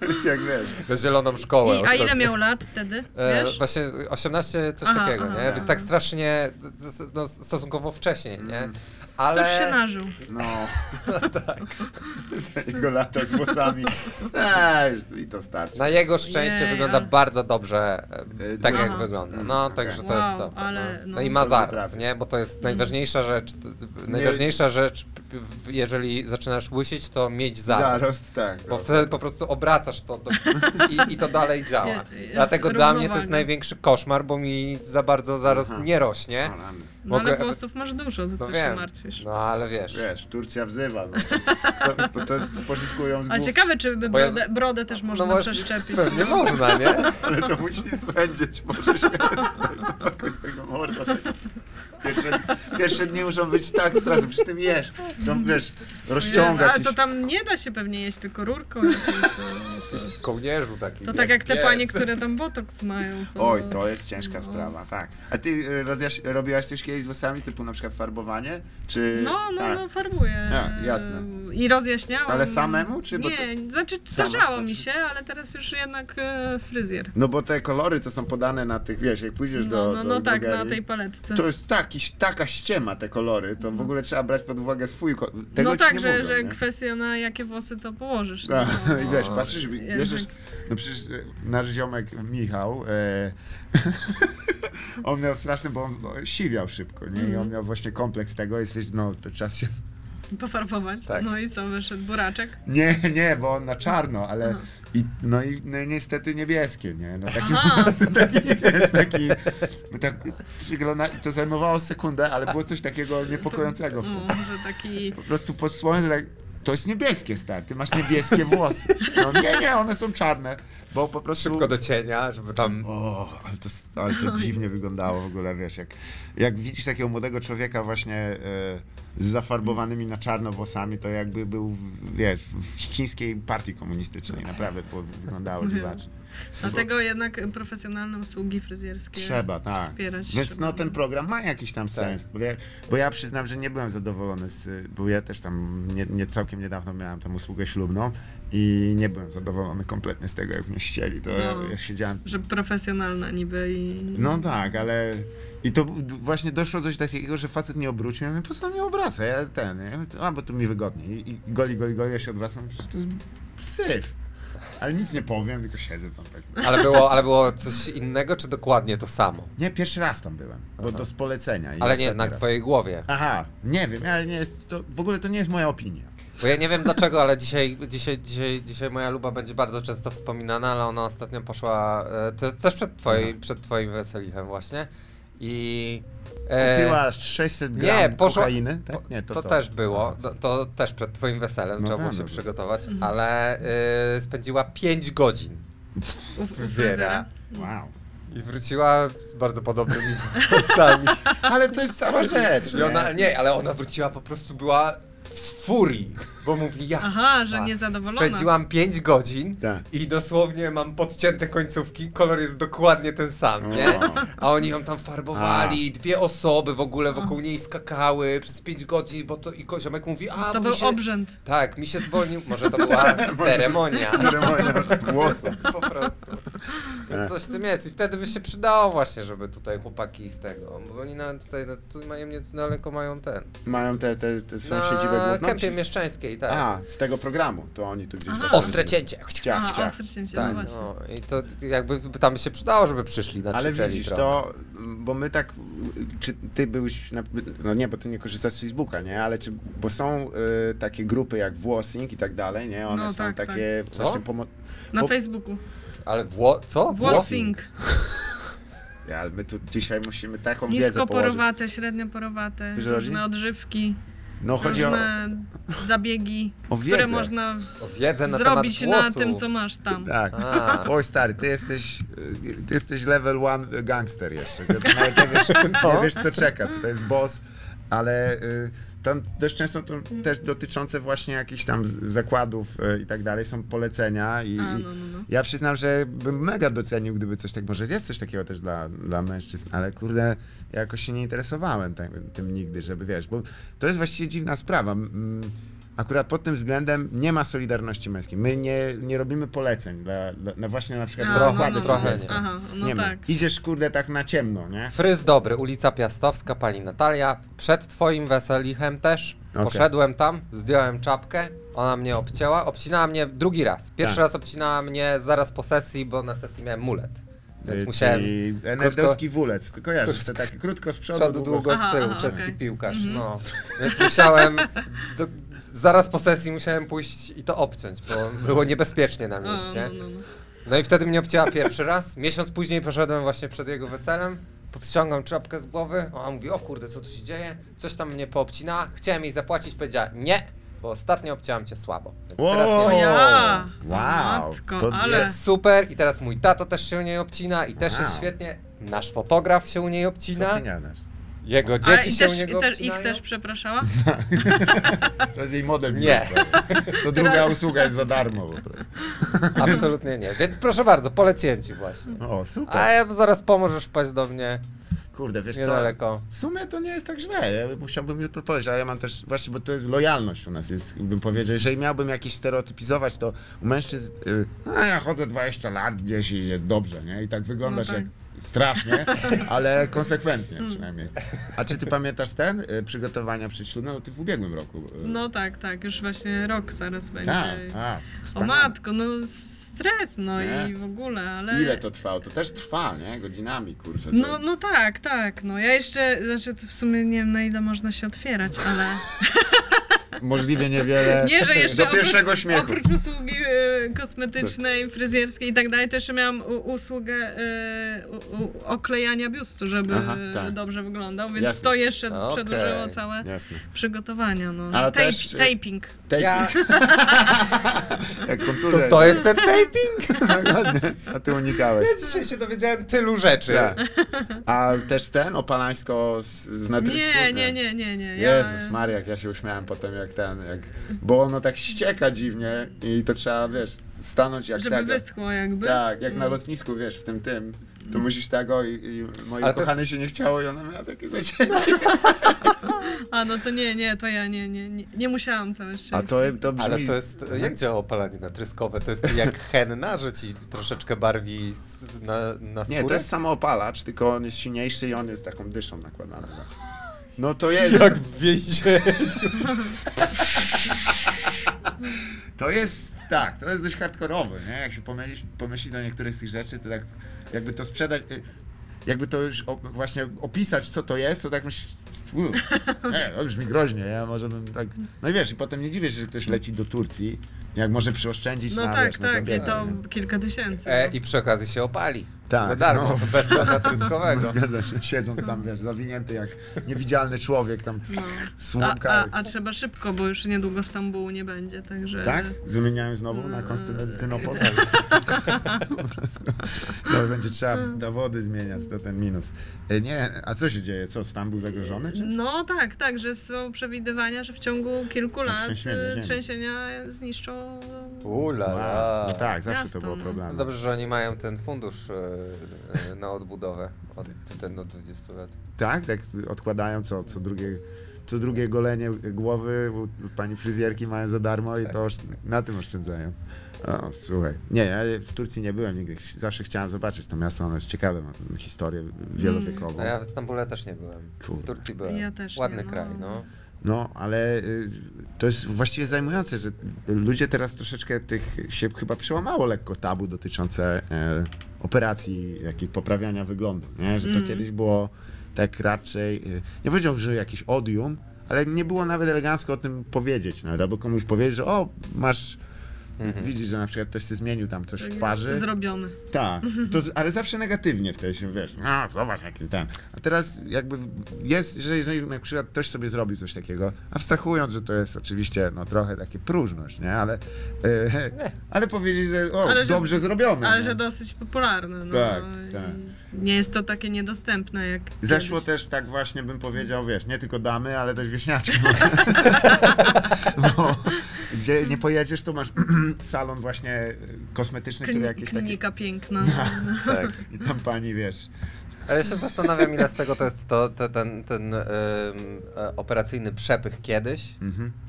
C: To jest jak wiesz.
D: na zieloną szkołę.
E: I, a
D: ostatnio.
E: ile miał lat wtedy,
D: E,
E: wiesz?
D: Właśnie 18, coś
E: Aha,
D: takiego,
E: aha,
D: nie?
E: aha.
D: Więc tak strasznie, s- no, stosunkowo wcześniej, nie? Ale...
E: To już się nażył.
D: [LAUGHS]
C: No. tak. [LAUGHS] Jego lata z włosami. Eee, już I to starczy.
D: Na jego szczęście
E: Jej,
D: wygląda
E: ale-
D: bardzo dobrze, e,
C: E,
D: tak
E: aha.
D: jak wygląda. No, także to jest
E: Wow,
D: dobre.
E: ale
D: no. no
E: no. Mm.
D: i ma
C: Dobrze
D: zaraz,
C: trafił.
D: nie? Bo to jest najważniejsza rzecz, t- najważniejsza rzecz, p- p- w- jeżeli zaczynasz łysić, to mieć zaraz.
C: Zaraz, tak.
D: Bo
C: To.
D: wtedy po prostu obracasz to do, i, i to dalej działa.
E: Je- jest
D: Dlatego dla mnie to jest
E: równowaga.
D: największy koszmar, bo mi za bardzo zaraz
C: Aha.
D: nie rośnie.
E: No
D: Mogę-
E: ale włosów masz dużo, to
D: No
E: co się
D: wiem,
E: martwisz.
D: no ale wiesz.
C: Wiesz, Turcja wzywa.
D: [LAUGHS]
C: Bo to, bo to pożyskują z
E: A
C: głów.
E: ciekawe, czy by
D: No Bo ja z-
E: brodę, brodę też można
D: no właśnie, [LAUGHS]
E: przeszczepić.
D: Pewnie
E: no.
D: można, nie?
E: [LAUGHS]
C: Ale to musi spędzić, może śmierć. morda. Pierwsze, pierwsze dni muszą być tak straszne, przy tym jesz. To, wiesz,
E: Jezu,
C: rozciągać
E: ale to tam nie da się pewnie jeść, tylko rurką
D: [LAUGHS]
E: jakąś. no.
D: W kołnierzu taki.
E: To tak jak te
D: pies.
E: panie, które tam botoks mają. To... no-
C: Oj, to jest ciężka sprawa, tak. A ty y, rozjaś, robiłaś coś kiedyś z włosami, typu na przykład farbowanie? Czy...
E: No, no,
C: tak.
E: no, farbuję.
C: A, jasne.
E: I rozjaśniałam.
C: Ale samemu, czy- bo
E: Nie, znaczy
C: Sama,
E: zdarzało mi
C: znaczy.
E: się, ale teraz już jednak e, fryzjer.
C: No bo te kolory, co są podane na tych, wiesz, jak pójdziesz
E: No,
C: do
E: no,
C: do
E: no tak, na
C: drogerii,
E: tej paletce.
C: To jest taki, taka ściema te kolory, to w ogóle trzeba brać pod uwagę swój ko- tego
E: no
C: ci
E: tak,
C: nie
E: że,
C: mówią,
E: że
C: nie?
E: kwestia na jakie włosy to położysz.
C: A,
E: no,
C: [LAUGHS]
E: tak.
C: I
E: no.
C: wiesz, patrzysz, bierzesz,
E: jednak.
C: no przecież e, nasz ziomek Michał, e, [LAUGHS] on miał straszny, bo on no, siwiał szybko, nie? I
E: Mhm.
C: on miał właśnie kompleks tego i stwierdził, no to czas się...
E: Pofarbować.
D: Tak.
E: No i co, wyszedł
C: [LAUGHS]
E: buraczek.
C: Nie, nie, bo on na czarno, ale... I, no i no, i niestety niebieskie, nie? No taki
E: Aha.
C: po prostu [LAUGHS] taki, wiesz, taki... bo Tak, przygląda, to zajmowało sekundę, ale było coś takiego niepokojącego w tym.
E: No, że
C: [LAUGHS]
E: taki...
C: po prostu pod słowem tak, to jest niebieskie, stary, ty masz niebieskie włosy. No nie, nie, one są czarne, bo po prostu...
D: No Szybko do cienia, żeby tam.
C: O, ale to, ale
E: [LAUGHS]
C: to dziwnie wyglądało w ogóle, wiesz, jak, jak widzisz takiego młodego człowieka właśnie e, z zafarbowanymi na czarno włosami, to jakby był, wiesz, w chińskiej partii komunistycznej, naprawdę, bo wyglądało
E: Wiem.
C: dziwacznie.
E: Dlatego jednak profesjonalne usługi fryzjerskie
C: Trzeba, tak.
E: wspierać.
C: Więc
E: trzeba.
C: no ten program ma jakiś tam sens, bo ja, bo ja przyznam, że nie byłem zadowolony z, y, bo ja też tam nie, nie całkiem niedawno miałem tam usługę ślubną i nie byłem zadowolony kompletnie z tego, jak mnie ścieli, to
E: No.
C: ja, ja siedziałem,
E: Że profesjonalna niby i...
C: no tak, ale i to d- właśnie doszło do coś takiego, że facet nie obrócił, ja mówię, po co on mnie obraca, ja ten, ja, a bo tu mi wygodniej i, i goli, goli, goli, ja się odwracam, że to jest syf, ale nic nie powiem, tylko siedzę tam tak.
D: Ale było, ale było coś innego, czy dokładnie to samo?
C: Nie, pierwszy raz tam byłem, bo to z polecenia. i
D: Ale nie
C: ostatni
D: na
C: raz.
D: twojej głowie.
C: Aha, nie wiem, ale nie jest, to, w ogóle to nie jest moja opinia.
D: Bo ja nie wiem dlaczego, ale dzisiaj, dzisiaj, dzisiaj, dzisiaj moja luba będzie bardzo często wspominana, ale ona ostatnio poszła e, te- też przed, twojej,
C: No.
D: przed twoim weselichem właśnie. I. e,
C: Kupiła 600 gram
D: nie, poszła-
C: kokainy,
D: po-
C: tak? Nie, to,
D: to, też było, to, to też przed twoim weselem,
C: No
D: trzeba było
C: tak,
D: się
C: no to-
D: przygotować, ale e, spędziła 5 godzin
E: u- u
D: wiera
E: fryzjera.
C: Wow.
D: i wróciła z bardzo podobnymi [LAUGHS] włosami.
C: Ale to jest cała rzecz,
D: I ona,
C: nie?
D: nie, ale ona wróciła po prostu była w furii, bo mówi ja.
E: Aha, że
D: kurwa,
E: niezadowolona.
D: Spędziłam 5 godzin
C: Tak.
D: i dosłownie mam podcięte końcówki, kolor jest dokładnie ten sam, nie?
C: Wow.
D: A oni ją tam farbowali, dwie osoby w ogóle wokół niej skakały przez 5 godzin, bo to i ko- ziomek mówi, a
E: To
D: mi
E: był
D: się...
E: obrzęd.
D: Tak, mi się zwolnił, może to była ceremonia. [LAUGHS]
C: Ceremonia włosów.
D: po prostu. To Coś w tym jest i wtedy by się przydało właśnie, żeby tutaj chłopaki z tego, bo oni nawet tutaj, no, tu mają mnie daleko mają ten.
C: Mają te, te, te są
D: Na
C: siedzibę główną?
D: No, kępie
C: czy z-
D: mieszczańskiej, tak.
C: A, z tego programu, to oni tu gdzieś...
E: Aha.
C: są.
D: Ostre cięcie.
C: Ciach,
E: A,
C: ciach.
E: ostre cięcie,
D: Tak,
E: no właśnie.
D: no, i to jakby tam by się przydało, żeby przyszli na
C: Ale
D: krzyczeli
C: widzisz,
D: trochę.
C: to, bo my tak, czy ty byłeś, na, no nie, bo ty nie korzystasz z Facebooka, nie, ale czy, bo są y, takie grupy jak Włosnik i tak dalej, nie, one
E: No
C: są
E: tak, tak.
C: takie
D: Co?
C: właśnie pomo-
E: Na
C: Bo-
E: Facebooku.
D: Ale wło... co?
E: Włosing.
C: Ja, ale my tu dzisiaj musimy taką wiedzę
E: Nisko
C: położyć.
E: porowate, średnio porowate,
C: Wiesz, o co chodzi?
E: różne odżywki,
C: No chodzi o,
E: różne zabiegi,
C: o
E: które
C: wiedzę.
E: można
D: O wiedzę na
E: zrobić
D: temat
E: na
D: włosu.
E: tym, co masz tam.
C: Tak.
D: A.
C: [LAUGHS] Oj stary, ty jesteś, y, ty jesteś level one gangster jeszcze. Ty nawet nie, wiesz, nie wiesz co czeka, tutaj jest boss, ale y, tam dość często to też dotyczące właśnie jakichś tam z- zakładów e, i tak dalej są polecenia i,
E: A,
C: i
E: no, no, no.
C: ja przyznam, że bym mega docenił, gdyby coś tak, może jest coś takiego też dla, dla mężczyzn, ale kurde, ja jakoś się nie interesowałem tak, tym nigdy, żeby wiesz, bo to jest właściwie dziwna sprawa. Mm, Akurat pod tym względem nie ma solidarności męskiej. My nie, nie robimy poleceń dla, dla, na właśnie na przykład
E: A,
C: dla
D: trochę,
E: no,
C: zakładów
E: no,
D: trochę
E: no.
C: fryzjerskich.
D: nie.
E: Aha, no
C: nie
E: tak.
C: ma. Idziesz kurde tak na ciemno, nie?
D: Fryz dobry, ulica Piastowska, pani Natalia. Przed twoim weselichem też.
C: Okej.
D: Poszedłem tam, zdjąłem czapkę, ona mnie obcięła. Obcinała mnie drugi raz. Pierwszy
C: Tak.
D: raz obcinała mnie zaraz po sesji, bo na sesji miałem mulet. Więc
C: Y,
D: musiałem
C: Czyli nerdowski wulec, tylko kojarzysz, to tak krótko z przodu,
D: przodu, długo
E: Aha,
D: z tyłu,
E: aha,
D: czeski
E: okej.
D: piłkarz,
E: Mhm.
D: no. Więc musiałem, do, zaraz po sesji musiałem pójść i to obciąć, bo było niebezpiecznie na
E: A,
D: mieście.
E: no, no, no.
D: No i wtedy mnie obcięła pierwszy raz. Miesiąc później poszedłem właśnie przed jego weselem. Powściągam czapkę z głowy, ona mówi, o kurde, co tu się dzieje? Coś tam mnie poobcina, chciałem jej zapłacić, powiedziała nie, bo ostatnio obcięłam cię słabo. Więc teraz nie
C: Wow.
E: O
D: obcinam.
E: ja!
C: Wow,
E: Matko,
C: to
E: ale...
D: Jest super i teraz mój tato też się u niej obcina i też jest
C: Wow.
D: świetnie. Nasz fotograf się u niej
C: Co
D: obcina,
C: ty gadasz?
D: jego
E: Ale
D: dzieci
E: i
D: się
E: też,
D: u niego
E: i też, ich
D: obcinają.
E: też przepraszała?
C: To jest jej model
D: Nie.
C: biznesowy. Co druga usługa jest za darmo po prostu.
D: Absolutnie nie. Więc proszę bardzo, poleciłem ci właśnie.
C: O, super.
D: A ja zaraz pomożesz wpaść do mnie
C: Kurde, wiesz
E: no,
C: co?
D: niedaleko.
C: W sumie to nie jest tak źle. Ja musiałbym jutro powiedzieć, ale ja mam też, właśnie, bo to jest lojalność u nas, jest, bym powiedział. Jeżeli miałbym jakieś stereotypizować, to u mężczyzn, y, a ja chodzę 20 lat gdzieś i jest dobrze, nie? I tak wyglądasz
E: No tak. Hmm.
C: jak
E: [LAUGHS]
C: strasznie, ale konsekwentnie przynajmniej. A czy ty pamiętasz ten y, przygotowania przedślubne? No ty w ubiegłym roku. y,
E: No tak, tak, już właśnie rok zaraz będzie.
C: tak. A,
E: O
C: wspaniale.
E: matko, no stres, no
C: Nie?
E: i w ogóle, ale...
C: Ile to trwało? To też trwa, nie? Godzinami, kurczę. To...
E: No, no tak, tak, no ja jeszcze, znaczy to w sumie nie wiem na ile można się otwierać, ale...
C: Możliwie niewiele.
E: [LAUGHS] Nie, że jeszcze
C: Do pierwszego
E: oprócz,
C: śmiechu.
E: oprócz usługi e, kosmetycznej, fryzjerskiej i tak dalej, to jeszcze miałam u, usługę e, u, u, oklejania biustu, żeby
C: Aha, tak.
E: dobrze wyglądał, więc
C: Jasne.
E: to jeszcze
D: Okej.
E: przedłużyło całe
C: Jasne.
E: przygotowania, no.
C: Ale
E: Tape,
C: też, e,
E: Taping.
C: Take
D: Ja,
C: Jak
D: to,
C: kontuzja.
D: to jest ten taping?
C: [LAUGHS] A ty unikałeś.
D: Ja dzisiaj się dowiedziałem tylu rzeczy.
C: Tak. A też ten opalańsko z, z natrysku?
E: Nie, nie, nie, nie, nie. Ja,
C: Jezus Maria, jak ja się uśmiałem potem jak ten, jak... Bo ono tak ścieka dziwnie i to trzeba, wiesz, stanąć jak
E: żeby Mm.
C: tak.
E: wyschło jakby.
C: Tak, jak na lotnisku, wiesz, w tym tym. To
E: Mm.
C: musisz tak, o, i, i
D: Ale
C: mojej
D: to jest-
C: kochanej się nie chciało i ona miała
D: [LAUGHS]
C: takie zacięcie.
E: A no to nie, nie, to ja nie, nie, nie, nie musiałam całe szczęście.
C: to
D: Ale to jest, jak działa opalanie natryskowe? To jest jak henna, że ci troszeczkę barwi s- na, na skórę?
C: Nie, to jest samoopalacz, tylko on jest silniejszy i on jest taką dyszą nakładany. No
E: [LAUGHS]
C: to jest,
D: Jak w więzieniu.
C: to jest, tak, to jest dość hardkorowy, nie? Jak się pomyśli, pomyśli do niektórych z tych rzeczy, to tak jakby to sprzedać, y, jakby to już o, właśnie opisać, co to jest, to tak myślisz,
E: [LAUGHS]
C: uuu, nie, to brzmi groźnie, ja może bym tak, no i wiesz, i potem nie dziwię się, że ktoś leci do Turcji, jak może przyoszczędzić
E: No
C: na,
E: tak,
C: wiesz, na
E: tak, i
C: zabiegi,
E: to
C: nie?
E: kilka tysięcy.
D: E,
E: no.
D: I przy okazji się opali.
C: Tak,
D: Za darmo,
C: no.
D: bez
C: [LAUGHS]
D: natryskowego.
C: Zgadza się, siedząc tam, wiesz, zawinięty jak niewidzialny człowiek, tam
E: No. A,
C: słupka.
E: a, a trzeba szybko, bo już niedługo Stambułu nie będzie, także...
C: Tak? Zmieniałem znowu
E: Mm.
C: na
E: [LAUGHS]
C: Konstantynopol. To będzie trzeba dowody zmieniać, to ten minus. E, Nie, a co się dzieje? Co, stan był zagrożony?
D: Mm.
C: Czy?
E: No tak, tak, że są przewidywania, że w ciągu kilku lat
C: trzęsienie
E: y,
C: ziemi.
E: trzęsienia zniszczą...
D: Ula,
C: Wow. No
D: la.
C: tak, zawsze
E: Miasto,
C: to było
E: no.
C: problem.
D: Dobrze, że oni mają ten fundusz e, e, na odbudowę od, ten od 20 lat.
C: Tak, tak odkładają co, co drugie. Co drugie golenie głowy u pani fryzjerki mają za darmo i to osz- na tym oszczędzają. O, słuchaj. Nie, ja w Turcji nie byłem nigdy. Zawsze chciałem zobaczyć to miasto, ono jest ciekawe, ma historię wielowiekową.
D: No ja w Stambule też nie byłem.
C: Kurde.
D: W Turcji byłem.
E: Ja też nie,
D: Ładny
E: no.
D: kraj, no.
C: No, ale y, to jest właściwie zajmujące, że ludzie teraz troszeczkę tych się chyba przełamało lekko tabu dotyczące e, operacji, jakich poprawiania wyglądu, nie? że to kiedyś było tak raczej, y, nie powiedziałbym, że jakiś odium, ale nie było nawet elegancko o tym powiedzieć, nawet, albo komuś powiedzieć, że o, masz Widzisz, że na przykład ktoś się zmienił tam coś w twarzy.
E: Zrobiony.
C: Tak, to, z- ale zawsze negatywnie wtedy się, wiesz, no zobacz jaki ten. A teraz jakby jest, że jeżeli na przykład ktoś sobie zrobił coś takiego, abstrahując, że to jest oczywiście no trochę takie próżność, nie, ale, e, ale powiedzieć, że o,
E: Ale że-
C: dobrze zrobione.
E: Ale
C: nie?
E: że dosyć popularne. No.
C: Tak,
E: I
C: tak.
E: Nie jest to takie niedostępne jak.
C: Zeszło
E: kiedyś.
C: też tak właśnie bym powiedział, wiesz, nie tylko damy, ale też wieśniaczki.
E: [LAUGHS]
C: [LAUGHS] Bo gdzie nie pojedziesz, to masz [CLEARS THROAT] salon właśnie e, kosmetyczny, który
E: Klini-
C: jakiś taki... [LAUGHS]
E: klinika piękna.
D: Tak.
C: I tam pani, wiesz,
D: Ale ja się zastanawiam, ile z tego to jest to, to, ten, ten ym, e, operacyjny przepych kiedyś,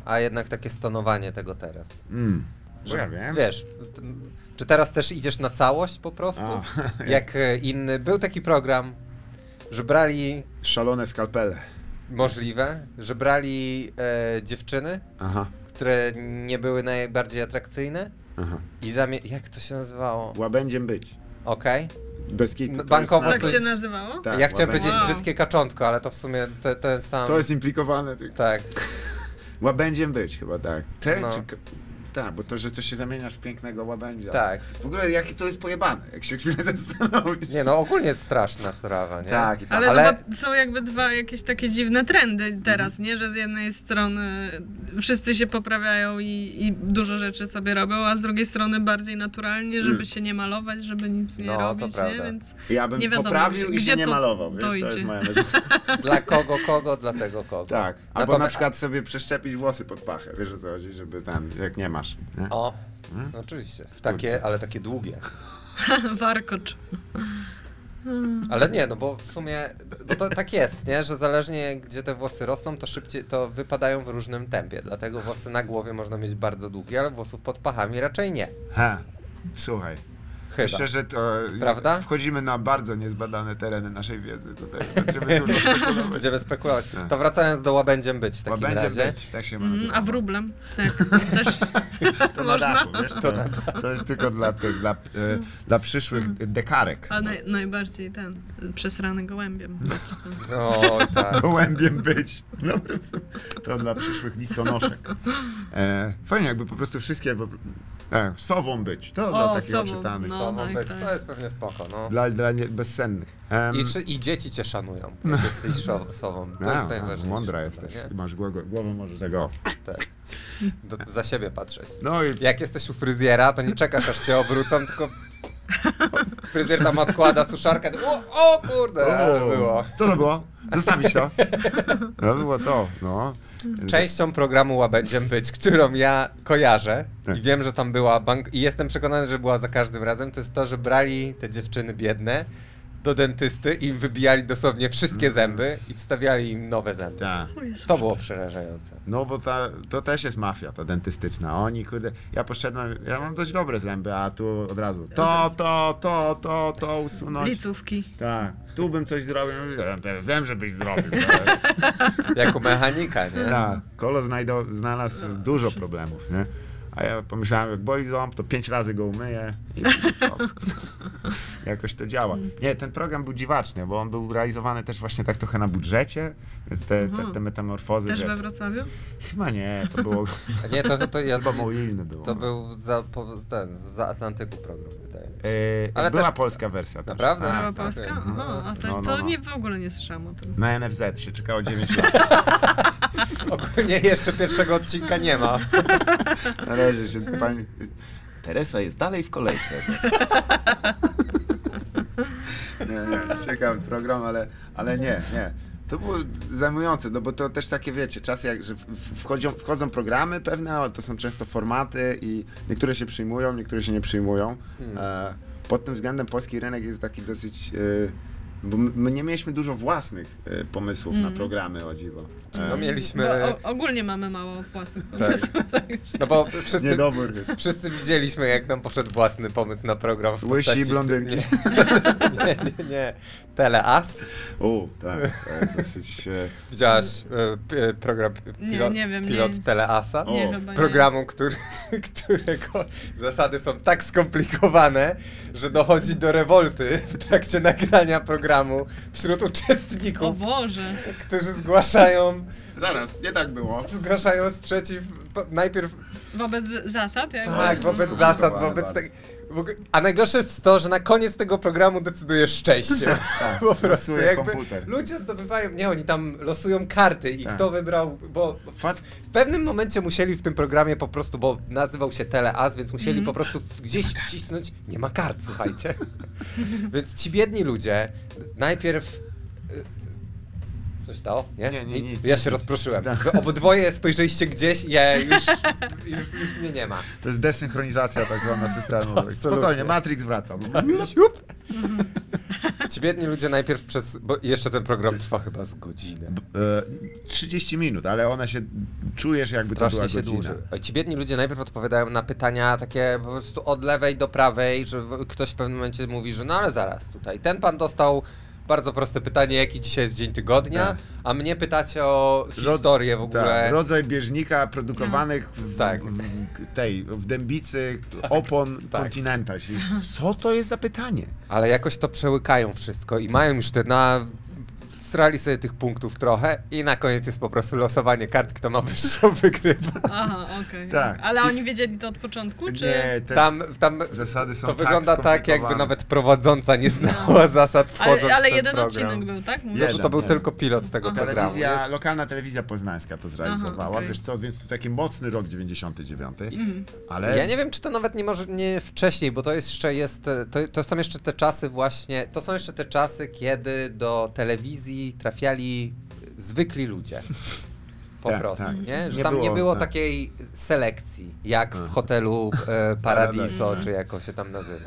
D: a jednak takie stonowanie tego teraz.
C: Mhm. mm, bo ja wiem.
D: Wiesz, t- m, czy teraz też idziesz na całość po prostu?
C: A. [LAUGHS]
D: Jak e, inny. Był taki program, że brali
C: Szalone skalpele.
D: możliwe, że brali e, dziewczyny,
C: Aha,
D: które nie były najbardziej atrakcyjne
C: aha.
D: i zamie- Jak to się nazywało?
C: Łabędziem być.
D: Okej.
C: Bez kitu.
D: No,
C: to jest
D: bankowo
C: na-
E: tak
D: to
E: się
D: jest-
E: nazywało?
C: Tak,
D: ja chciałem powiedzieć
E: Wow.
D: brzydkie kaczątko, ale to w sumie te- ten sam.
C: To jest implikowane. tylko.
D: Tak.
C: Łabędziem być chyba, tak. Te,
D: No.
C: czy... k- Tak, bo to, że coś się zamieniasz w pięknego łabędzia.
D: Tak.
C: W ogóle jakie to jest pojebane, jak się chwilę [LAUGHS] zastanowisz.
D: Nie no, ogólnie straszna sprawa, nie?
C: Tak, i tak.
E: Ale,
D: Ale-
E: chyba są jakby dwa jakieś takie dziwne trendy teraz,
C: Mhm.
E: nie? Że z jednej strony wszyscy się poprawiają i, i dużo rzeczy sobie robią, a z drugiej strony bardziej naturalnie,
C: Hmm.
E: żeby się nie malować, żeby nic nie
D: No, to
E: robić, nie?
D: prawda.
E: Więc
C: Ja bym
E: nie wiadomo,
C: poprawił
E: gdzie-
C: i
E: gdzie
C: się nie
E: to
C: malował, wiesz, to
E: dojdzie.
C: jest moja
E: [LAUGHS]
C: metoda.
D: Dla kogo kogo, dla tego kogo.
C: Tak. Albo
D: Natomiast-
C: na przykład sobie przeszczepić włosy pod pachę, wiesz o co chodzi, żeby tam, jak nie masz. Nie?
D: O,
E: Hmm?
D: no oczywiście. Takie, ale takie długie.
E: warkocz.
D: Ale nie, no bo w sumie, bo to tak jest, nie, że zależnie gdzie te włosy rosną, to szybciej, to wypadają w różnym tempie, dlatego włosy na głowie można mieć bardzo długie, ale włosów pod pachami raczej nie,
C: Ha. Słuchaj,
D: chyba.
C: myślę, że to e,
D: Prawda?
C: wchodzimy na bardzo niezbadane tereny naszej wiedzy tutaj.
D: [LAUGHS]
C: Będziemy dużo spekulować.
D: Będziemy spekulować.
E: Tak.
D: To wracając do łabędziem być w takim
C: Łabędziem
D: razie.
C: być, tak się ma
E: Mm,
C: nazywa.
E: a wróblem?
D: [LAUGHS]
E: Tak. Też
C: To na
E: można. Mhm.
C: dachu, wiesz, to, to jest tylko dla, tych, dla, e, dla przyszłych
E: [LAUGHS]
C: dekarek.
E: A naj, najbardziej ten, przesrany gołębiem.
D: O,
E: [LAUGHS] No,
D: tak.
C: Gołębiem być. Dobry, w sumie. to dla przyszłych listonoszek. E, fajnie, jakby po prostu wszystkie... po- E, sową być. To dla
E: O,
C: takich
E: sową,
C: oczytanych.
E: no.
D: Słabo
E: tak,
D: być.
E: tak.
D: To jest pewnie spoko, no.
C: Dla, dla nie, bezsennych. Em,
D: I, czy, I dzieci cię szanują, jak jesteś szo- sobą. To
C: No. a,
D: jest
C: a,
D: najważniejsze.
C: Mądra
D: chyba,
C: jesteś.
D: nie?
C: I masz głowę, głowę może tego.
D: Tak. Do, za siebie patrzeć.
C: No i
D: Jak jesteś u fryzjera, to nie czekasz aż cię obrócą, tylko fryzjer tam odkłada suszarkę. O, o kurde, ale było.
C: Eee, Co to było? Zostawić to. To było to, no.
D: Częścią programu Łabędziem Być, którą ja kojarzę
C: Tak.
D: i wiem, że tam była bank... i jestem przekonany, że była za każdym razem, to jest to, że brali te dziewczyny biedne do dentysty i im wybijali dosłownie wszystkie zęby i wstawiali im nowe zęby.
C: Mm. Tak.
D: To było przerażające.
C: No bo ta, to też jest mafia, ta dentystyczna. Oni, kurde, ja poszedłem, ja mam dość dobre zęby, a tu od razu to, to, to, to, to
D: No
C: usunąć.
E: Licówki.
C: Tak, tu bym coś zrobił, wiem, wiem żebyś zrobił. ale-
D: Jako mechanika, nie?
C: Tak, Kolo znajdą,
E: No,
C: znalazł dużo problemów, nie? A ja pomyślałem, jak boli ząb, to pięć razy go umyję i
E: [LAUGHS]
C: będzie spoko. Jakoś to działa.
E: Mm.
C: Nie, ten program był dziwaczny, bo on był realizowany też właśnie tak trochę na budżecie, więc te, te, te metamorfozy,
E: Mhm. Też
C: wiesz,
E: we Wrocławiu?
C: chyba nie, to
E: [LAUGHS]
C: było,
D: Nie, to, to ja...
C: chyba mój inny było.
D: To
C: no.
D: był za, po, ten, za Atlantyku program, wydaje mi się.
C: Yy,
D: Ale
C: była
D: też-
C: polska wersja. też.
D: Naprawdę?
C: A,
E: Mała
D: tak.
E: Polska? O, a to,
C: No, no,
E: to
C: no.
E: nie w ogóle nie słyszałam o tym.
C: Na NFZ się czekało
D: [LAUGHS]
C: 9 lat.
D: Tak. Ogólnie jeszcze pierwszego odcinka nie ma.
C: Należy się pani... Teresa jest dalej w kolejce. nie, nie, ciekawy program, ale, ale nie, nie. To było zajmujące, no bo to też takie, wiecie, czasy, jak, że w- w- wchodzą, wchodzą programy pewne, ale to są często formaty i niektóre się przyjmują, niektóre się nie przyjmują.
D: Hmm.
C: E, pod tym względem polski rynek jest taki dosyć... E, bo my my nie mieliśmy dużo własnych e, pomysłów na programy, o dziwo. E,
D: No
E: Bo
D: mieliśmy...
E: o, ogólnie mamy mało włosów. [LAUGHS] tak
D: No bo wszyscy,
C: Niedobór jest.
D: wszyscy widzieliśmy, jak nam poszedł własny pomysł na program w
C: Łysi
D: postaci...
C: blondynki.
D: Nie, [LAUGHS] nie, nie. nie. Teleas.
C: O, tak, to jest dosyć... E,
D: Widziałaś e, p- e, program pi-
E: Nie,
D: pilot,
E: nie wiem,
D: pilot
E: nie.
D: Teleasa?
E: Nie,
C: O,
E: chyba nie.
D: Programu, który, [LAUGHS] którego zasady są tak skomplikowane, że dochodzi do rewolty w trakcie nagrania programu wśród
E: O
D: uczestników,
E: Boże.
D: którzy zgłaszają
C: Zaraz, nie tak było.
D: zgłaszają sprzeciw. po- Najpierw
E: Wobec z- zasad, jak
D: Tak, wobec zasad,
C: skomplikowane
D: wobec
C: bardzo.
D: tego. w ogóle- A najgorsze jest to, że na koniec tego programu decyduje szczęście. [LAUGHS] po prostu
C: Tak, losuje
D: jakby
C: komputer. Tak.
D: ludzie zdobywają, nie, oni tam losują karty i kto wybrał, bo w, w pewnym momencie musieli w tym programie po prostu, bo nazywał się Teleas, więc musieli po prostu w- gdzieś wcisnąć, nie ma kart, słuchajcie. [LAUGHS] więc ci biedni ludzie najpierw y, Coś stało? Nie?
C: Nie, nie, nic,
D: ja się rozproszyłem.
C: Tak.
D: Wy Obydwoje spojrzeliście gdzieś, ja już, już, już mnie nie ma.
C: To jest desynchronizacja tak zwana [LAUGHS] systemu. Spokojnie,
D: Absolutnie.
C: Matrix [LAUGHS] wraca.
D: Ci biedni ludzie najpierw przez. Bo jeszcze ten program trwa chyba z godzinę.
C: E, 30 minut, ale ona się czujesz jakby to
D: Strasznie się
C: była godzina.
D: dłuży. Ci biedni ludzie najpierw odpowiadają na pytania takie po prostu od lewej do prawej, że w- ktoś w pewnym momencie mówi, że no ale zaraz tutaj. Ten pan dostał bardzo proste pytanie, jaki dzisiaj jest dzień tygodnia,
C: Tak.
D: a mnie pytacie o
C: Rod-
D: historię w ogóle.
C: Tak, rodzaj bieżnika produkowanych w,
D: Tak.
C: w tej, w dębicy opon [LAUGHS] Continental. Się- Tak. Co to jest za pytanie?
D: Ale jakoś to przełykają wszystko i mają już te na... Strali sobie tych punktów trochę i na koniec jest po prostu losowanie kart, kto ma wyższą [LAUGHS] wygrywa.
E: Aha, okej.
C: Tak.
E: Ale oni wiedzieli to od początku, czy...
C: Nie, te
D: Tam, tam
C: zasady są
D: to
C: tak
D: wygląda tak, jakby
C: skomplikowane.
D: nawet prowadząca nie znała [LAUGHS] zasad wchodząc
E: No. ale ale
D: w ten
E: jeden
D: program.
E: odcinek był, No. tak? Mówisz?
D: No to,
C: Jeden,
D: to był
C: jeden.
D: tylko pilot tego programu.
C: Telewizja,
D: Jest,
C: lokalna telewizja poznańska to zrealizowała,
E: Aha, okej.
C: wiesz co, więc to taki mocny rok 99, ale
D: ja nie wiem, czy to nawet nie może nie wcześniej, bo to jest jeszcze jest, to, to są jeszcze te czasy właśnie, to są jeszcze te czasy, kiedy do telewizji trafiali zwykli ludzie.
C: [LAUGHS]
D: Po
C: Tak,
D: prostu,
C: tak.
D: nie? Że
C: Nie
D: tam nie
C: było,
D: było
C: tak.
D: takiej selekcji, jak w
C: [LAUGHS]
D: hotelu e,
C: tak,
D: Paradiso,
C: Paradise,
D: czy jak on się tam nazywa.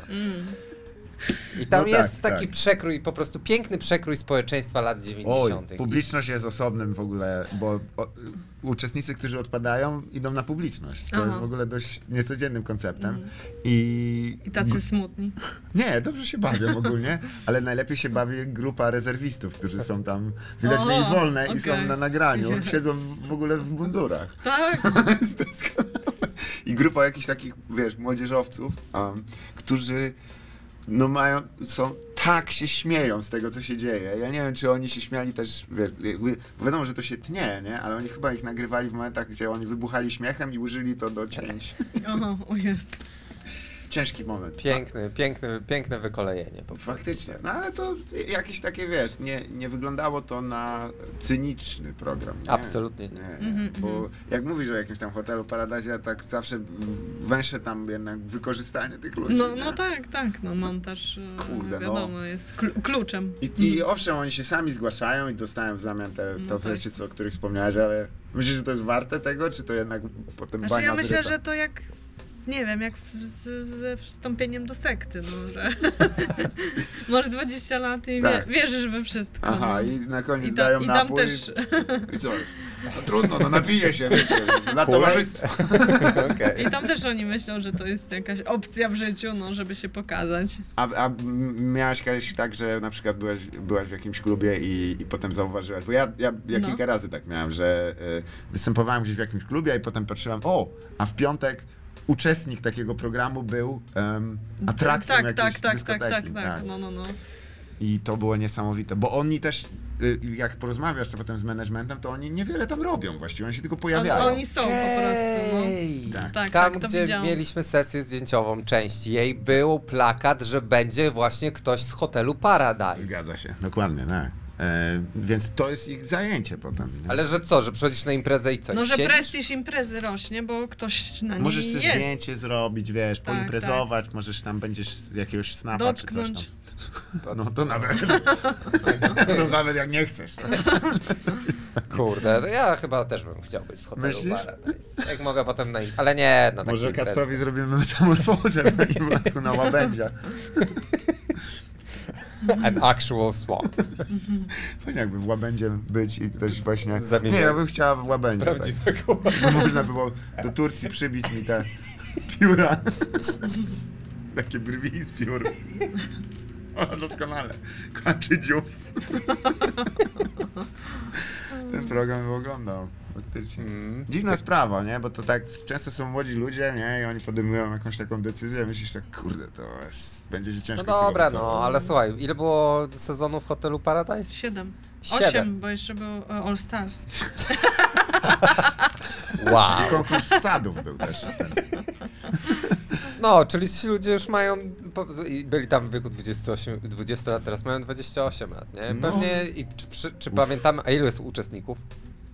D: I tam
C: No tak,
D: jest taki
C: tak.
D: przekrój, po prostu piękny przekrój społeczeństwa lat
C: Oj,
D: 90. I
C: publiczność jest osobnym w ogóle, bo o, uczestnicy, którzy odpadają, idą na publiczność, co
E: Aha. Mhm.
C: jest w ogóle dość niecodziennym konceptem. I,
E: I tacy smutni.
C: Nie, dobrze się bawią [LAUGHS] ogólnie, ale najlepiej się bawi grupa rezerwistów, którzy są tam, widać
E: O,
C: mieli wolne i są
E: okej.
C: na nagraniu, siedzą w ogóle w mundurach.
D: [LAUGHS]
E: Tak?
C: [LAUGHS] Jest doskonałe. I grupa jakichś takich, wiesz, młodzieżowców, um, którzy no mają, są, tak się śmieją z tego, co się dzieje. Ja nie wiem, czy oni się śmiali też, wiesz, jakby- bo wiadomo, że to się tnie, nie? Ale oni chyba ich nagrywali w momentach, gdzie oni wybuchali śmiechem i użyli to do cięć.
E: Aha, o jest.
C: Ciężki moment.
D: Piękny, piękny, piękne wykolejenie. Po prostu.
C: Faktycznie, no ale to jakieś takie, wiesz, nie, nie wyglądało to na cyniczny program. Nie? [LAUGHS]
D: Absolutnie nie. [LAUGHS]
C: Nie,
E: Mhm,
C: nie. Bo jak mówisz o jakimś tam hotelu Paradise, ja tak zawsze węszę tam jednak wykorzystanie tych ludzi.
E: No,
C: nie?
E: no tak, tak, no montaż, e,
C: Kurde, no.
E: wiadomo, jest klu- kluczem.
C: I, I owszem, oni się sami zgłaszają i dostają w zamian te, te
E: Mhm. No tak.
C: rzeczy, co, o których wspomniałeś, ale myślisz, że to jest warte tego, czy to jednak potem
E: Znaczy
C: bania
E: ja myślę,
C: zryta?
E: że to jak, nie wiem, jak w- z, ze wstąpieniem do sekty, no, że [LAUGHS] masz 20 lat i
C: Tak.
E: wie, wierzysz we wszystko.
C: Aha,
E: no.
C: i na koniec
E: I,
C: dają
E: tam i tam
C: napój
E: też,
C: i co? No, trudno, no napiję się, wiecie, dla towarzystwa.
D: Okej.
E: i tam też oni myślą, że to jest jakaś opcja w życiu, no, żeby się pokazać.
C: A, a m- miałaś kiedyś tak, że na przykład byłaś, byłaś w jakimś klubie i, i potem zauważyłaś, bo ja, ja, ja
E: No.
C: kilka razy tak miałem, że y, występowałem gdzieś w jakimś klubie i potem patrzyłam, o, a w piątek uczestnik takiego programu był em, atrakcją
E: tak,
C: jakiejś
E: tak, tak, tak,
C: dyskoteki.
E: tak, tak, no, no, no.
C: I to było niesamowite, bo oni też, y, jak porozmawiasz to potem z managementem, to oni niewiele tam robią właściwie, oni się tylko
E: A,
C: pojawiają.
E: oni są po prostu, no.
D: Ej.
C: Tak.
E: Tak,
D: Tam,
E: tak, to
D: gdzie
E: widziałam.
D: mieliśmy sesję zdjęciową, część jej, był plakat, że będzie właśnie ktoś z hotelu Paradise.
C: Zgadza się, dokładnie, tak. E, więc to jest ich zajęcie potem. nie?
D: Ale że co, że przychodzisz na imprezę i co?
E: No,
D: i
E: że
D: siedzisz?
E: prestiż imprezy rośnie, bo ktoś na niej
C: Tak, Możesz sobie
E: jest.
C: zdjęcie zrobić, wiesz,
E: Tak,
C: poimprezować, możesz tam będziesz z jakiegoś snapa czy coś
E: Dotknąć.
C: tam. No to nawet. to nawet jak nie chcesz.
D: [LAUGHS] Kurde, to ja chyba też bym chciał być w hotelu
C: Myślisz?
D: Paradise. Jak mogę potem na im- Ale nie, na takiej
C: Może
D: imprezie.
C: Kacprowi zrobimy metamorfozę na imlaku na łabędzia.
D: An actual
C: [LAUGHS]
D: swamp.
C: Tak. Fajnie jakby w łabędzie być i ktoś właśnie...
D: Zamieniamy.
C: Nie, ja bym chciała w łabędzie. Tak.
D: [LAUGHS] Prawdziwego
C: Bo Można było do Turcji przybić mi te pióra. Takie brwi z piór. O, doskonale. Kończy dziób. Ten program bym oglądał. Faktycznie.
D: Mm. No
C: Dziwna sprawa, nie? Bo to tak często są młodzi ludzie, nie? I oni podejmują jakąś taką decyzję, a myślisz tak, kurde, to jest, będzie się
D: No
C: ciężko. z tego
D: dobra,
C: wycofać.
D: no, ale słuchaj, ile było sezonów w hotelu Paradise?
E: Siedem.
D: Siedem.
E: Osiem, bo jeszcze był e, All Stars.
D: Wow.
C: Konkurs sadów był też.
D: No, czyli ci ludzie już mają, po- z- i byli tam w wieku 28, 20 lat, teraz mają 28 lat, nie? Pewnie, i czy, przy, czy pamiętamy, a ilu jest uczestników?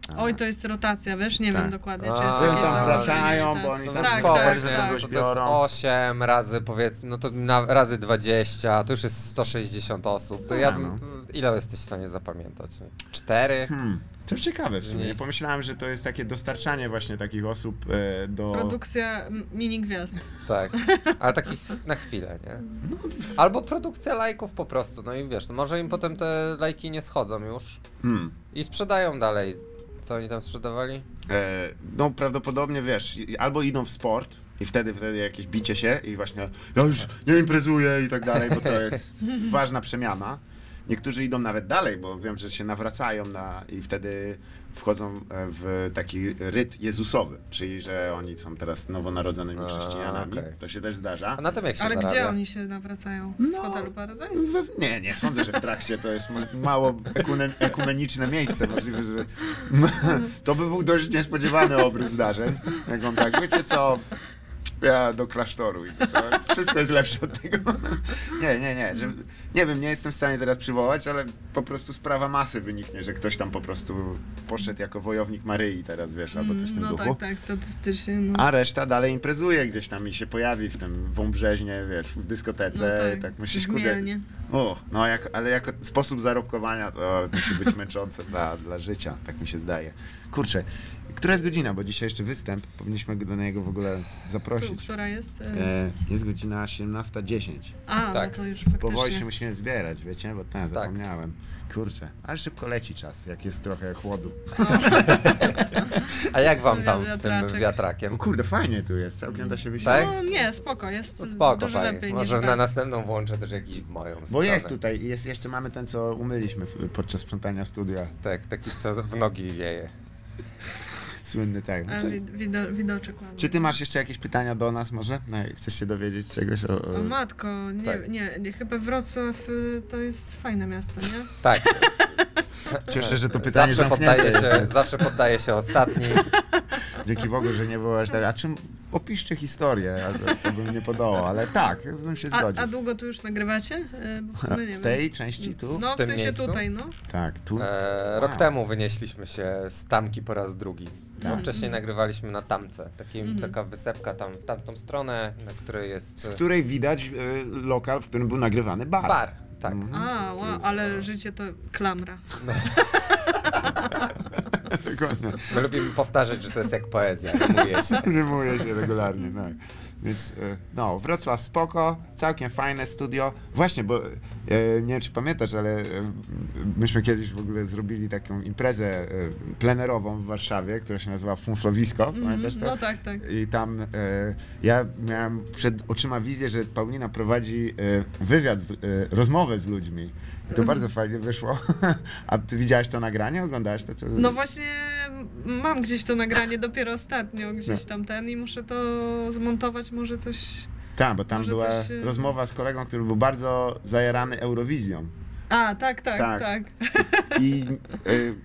D: Tak.
E: Oj, to jest rotacja, wiesz, nie
C: Tak.
E: wiem dokładnie, czy
D: A,
E: jest
D: oni
E: takie
D: tam
E: założenie,
C: wracają,
E: że tak.
C: bo oni tam
D: No
E: tak,
C: spoko,
E: tak,
C: że
E: tak.
C: kogoś
D: to to jest
C: biorą.
D: 8 razy, powiedzmy, no to na, razy 20, to już jest 160 osób,
E: No
D: to
E: tak.
D: ja bym, mm, ile jesteś w stanie zapamiętać? 4?
C: Hmm. To ciekawe w sumie. Nie pomyślałem, że to jest takie dostarczanie właśnie takich osób e, do...
E: Produkcja m- mini gwiazd.
D: Tak, ale takich na chwilę, nie? Albo produkcja lajków po prostu, no i wiesz, no może im potem te lajki nie schodzą już
C: Hmm.
D: i sprzedają dalej. Co oni tam sprzedawali?
C: E, no prawdopodobnie wiesz, i- albo idą w sport i wtedy, wtedy jakieś bicie się i właśnie ja już nie imprezuję i tak dalej, bo to jest ważna przemiana. Niektórzy idą nawet dalej, bo wiem, że się nawracają na, i wtedy wchodzą e, w taki ryt jezusowy, czyli że oni są teraz nowonarodzonymi
D: A,
C: chrześcijanami.
D: okej.
C: To się też zdarza.
D: A na tym jak się
E: Ale
D: zarabia?
E: gdzie oni się nawracają? W
C: No.
E: hotelu Paradise?
C: We- Nie, nie sądzę, że w trakcie to jest ma- mało ekune, ekumeniczne miejsce. Możliwe, że [LAUGHS] to by był dość niespodziewany obrys zdarzeń. Jak on tak, wiecie co, ja do klasztoru idę. To jest, wszystko jest lepsze od tego. [LAUGHS] Nie, nie, nie. Że, nie wiem, nie jestem w stanie teraz przywołać, ale po prostu sprawa masy wyniknie, że ktoś tam po prostu poszedł jako wojownik Maryi teraz, wiesz, albo coś w tym
E: No
C: duchu.
E: tak, tak, statystycznie. No.
C: A reszta dalej imprezuje gdzieś tam i się pojawi w tym wąbrzeźnie, wiesz, w dyskotece.
E: No
C: tak.
E: tak.
C: myślisz, kurde,
E: Chmielnie.
C: o, no jak, ale jako sposób zarobkowania to musi być męczące [LAUGHS] dla, dla życia, tak mi się zdaje. Kurczę, która jest godzina, bo dzisiaj jeszcze występ, powinniśmy go do niego w ogóle
E: Tu,
C: zaprosić.
E: która jest? E...
C: E, jest godzina 18.10.
E: A,
D: tak.
E: no to Tak. już
C: Powoli się
E: faktycznie.
C: musimy zbierać, wiecie, bo ten, zapomniałem. Kurczę, ale szybko leci czas, jak jest trochę chłodu.
D: A jak wam tam z tym
E: Wiatraczek.
C: No
D: wiatrakiem?
C: kurde, fajnie tu jest, całkiem da się wysiąść.
E: No nie, spoko, jest
D: Tak?
E: tak.
D: To Spoko,
E: dużo
D: fajnie.
E: lepiej
D: Może
E: niż
D: na
E: bez.
D: następną włączę też jakiś w moją
C: Bo
D: stronę.
C: jest tutaj, jest, jeszcze mamy ten, co umyliśmy w, podczas sprzątania studia.
D: Tak, taki co w nogi wieje.
C: Słynny tak.
E: A, wi- E, wido- widoczek ładny.
C: Czy ty masz jeszcze jakieś pytania do nas może? No, jak chcesz się dowiedzieć czegoś o...
E: O matko, nie,
D: Tak.
E: nie, nie, chyba Wrocław y, to jest fajne miasto, nie?
C: [LAUGHS]
D: Tak,
C: Cieszę, że to pytanie
D: zawsze poddaje,
C: zamknięte
D: się,
C: jest.
D: zawsze poddaje się
C: [LAUGHS]
D: ostatni.
C: Dzięki Bogu, że nie wywołałeś tak. A czym opiszcie historię? A To, to bym nie podołał, ale tak, ja bym się
E: A,
C: zgodził.
E: a długo tu już nagrywacie? Y, Bo w sumie nie
C: W
E: wiem.
C: tej części tu?
E: No,
D: w
E: w,
D: tym
E: sensie
D: miejscu?
E: tutaj, no.
C: Tak, tu.
D: E,
C: Wow. Tak.
D: Rok temu wynieśliśmy się z tamki po raz drugi. Bo wcześniej
E: Mhm.
D: nagrywaliśmy na tamce. Taki, Taka wysepka tam w tamtą stronę, na której jest.
C: Z
D: e,
C: której widać e, lokal, w którym był nagrywany bar.
D: Bar, tak.
C: Mhm.
E: A, wow, ale życie to klamra.
C: [LAUGHS] Dokładnie.
D: My lubimy powtarzać, że to jest jak poezja. Mówię się.
C: [LAUGHS] Rymuje się regularnie, tak. Więc e, no, Wrocław spoko, całkiem fajne studio. Właśnie, bo e, nie wiem czy pamiętasz, ale e, myśmy kiedyś w ogóle zrobili taką imprezę e, plenerową w Warszawie, która się nazywała Funflowisko, pamiętasz to?
E: No tak, tak.
C: I tam e, ja miałem przed oczyma wizję, że Paulina prowadzi e, wywiad, z, e, rozmowę z ludźmi. I
E: Mhm.
C: to bardzo fajnie wyszło. [LAUGHS] A ty widziałaś to nagranie? Oglądałaś to? to...
E: No właśnie mam gdzieś to nagranie dopiero ostatnio, gdzieś tam ten i muszę to zmontować, może coś...
C: Tak, bo tam
E: Może
C: była
E: coś, y-
C: rozmowa z kolegą, który był bardzo zajarany Eurowizją
E: A, tak, tak,
C: Tak.
E: tak.
C: i y,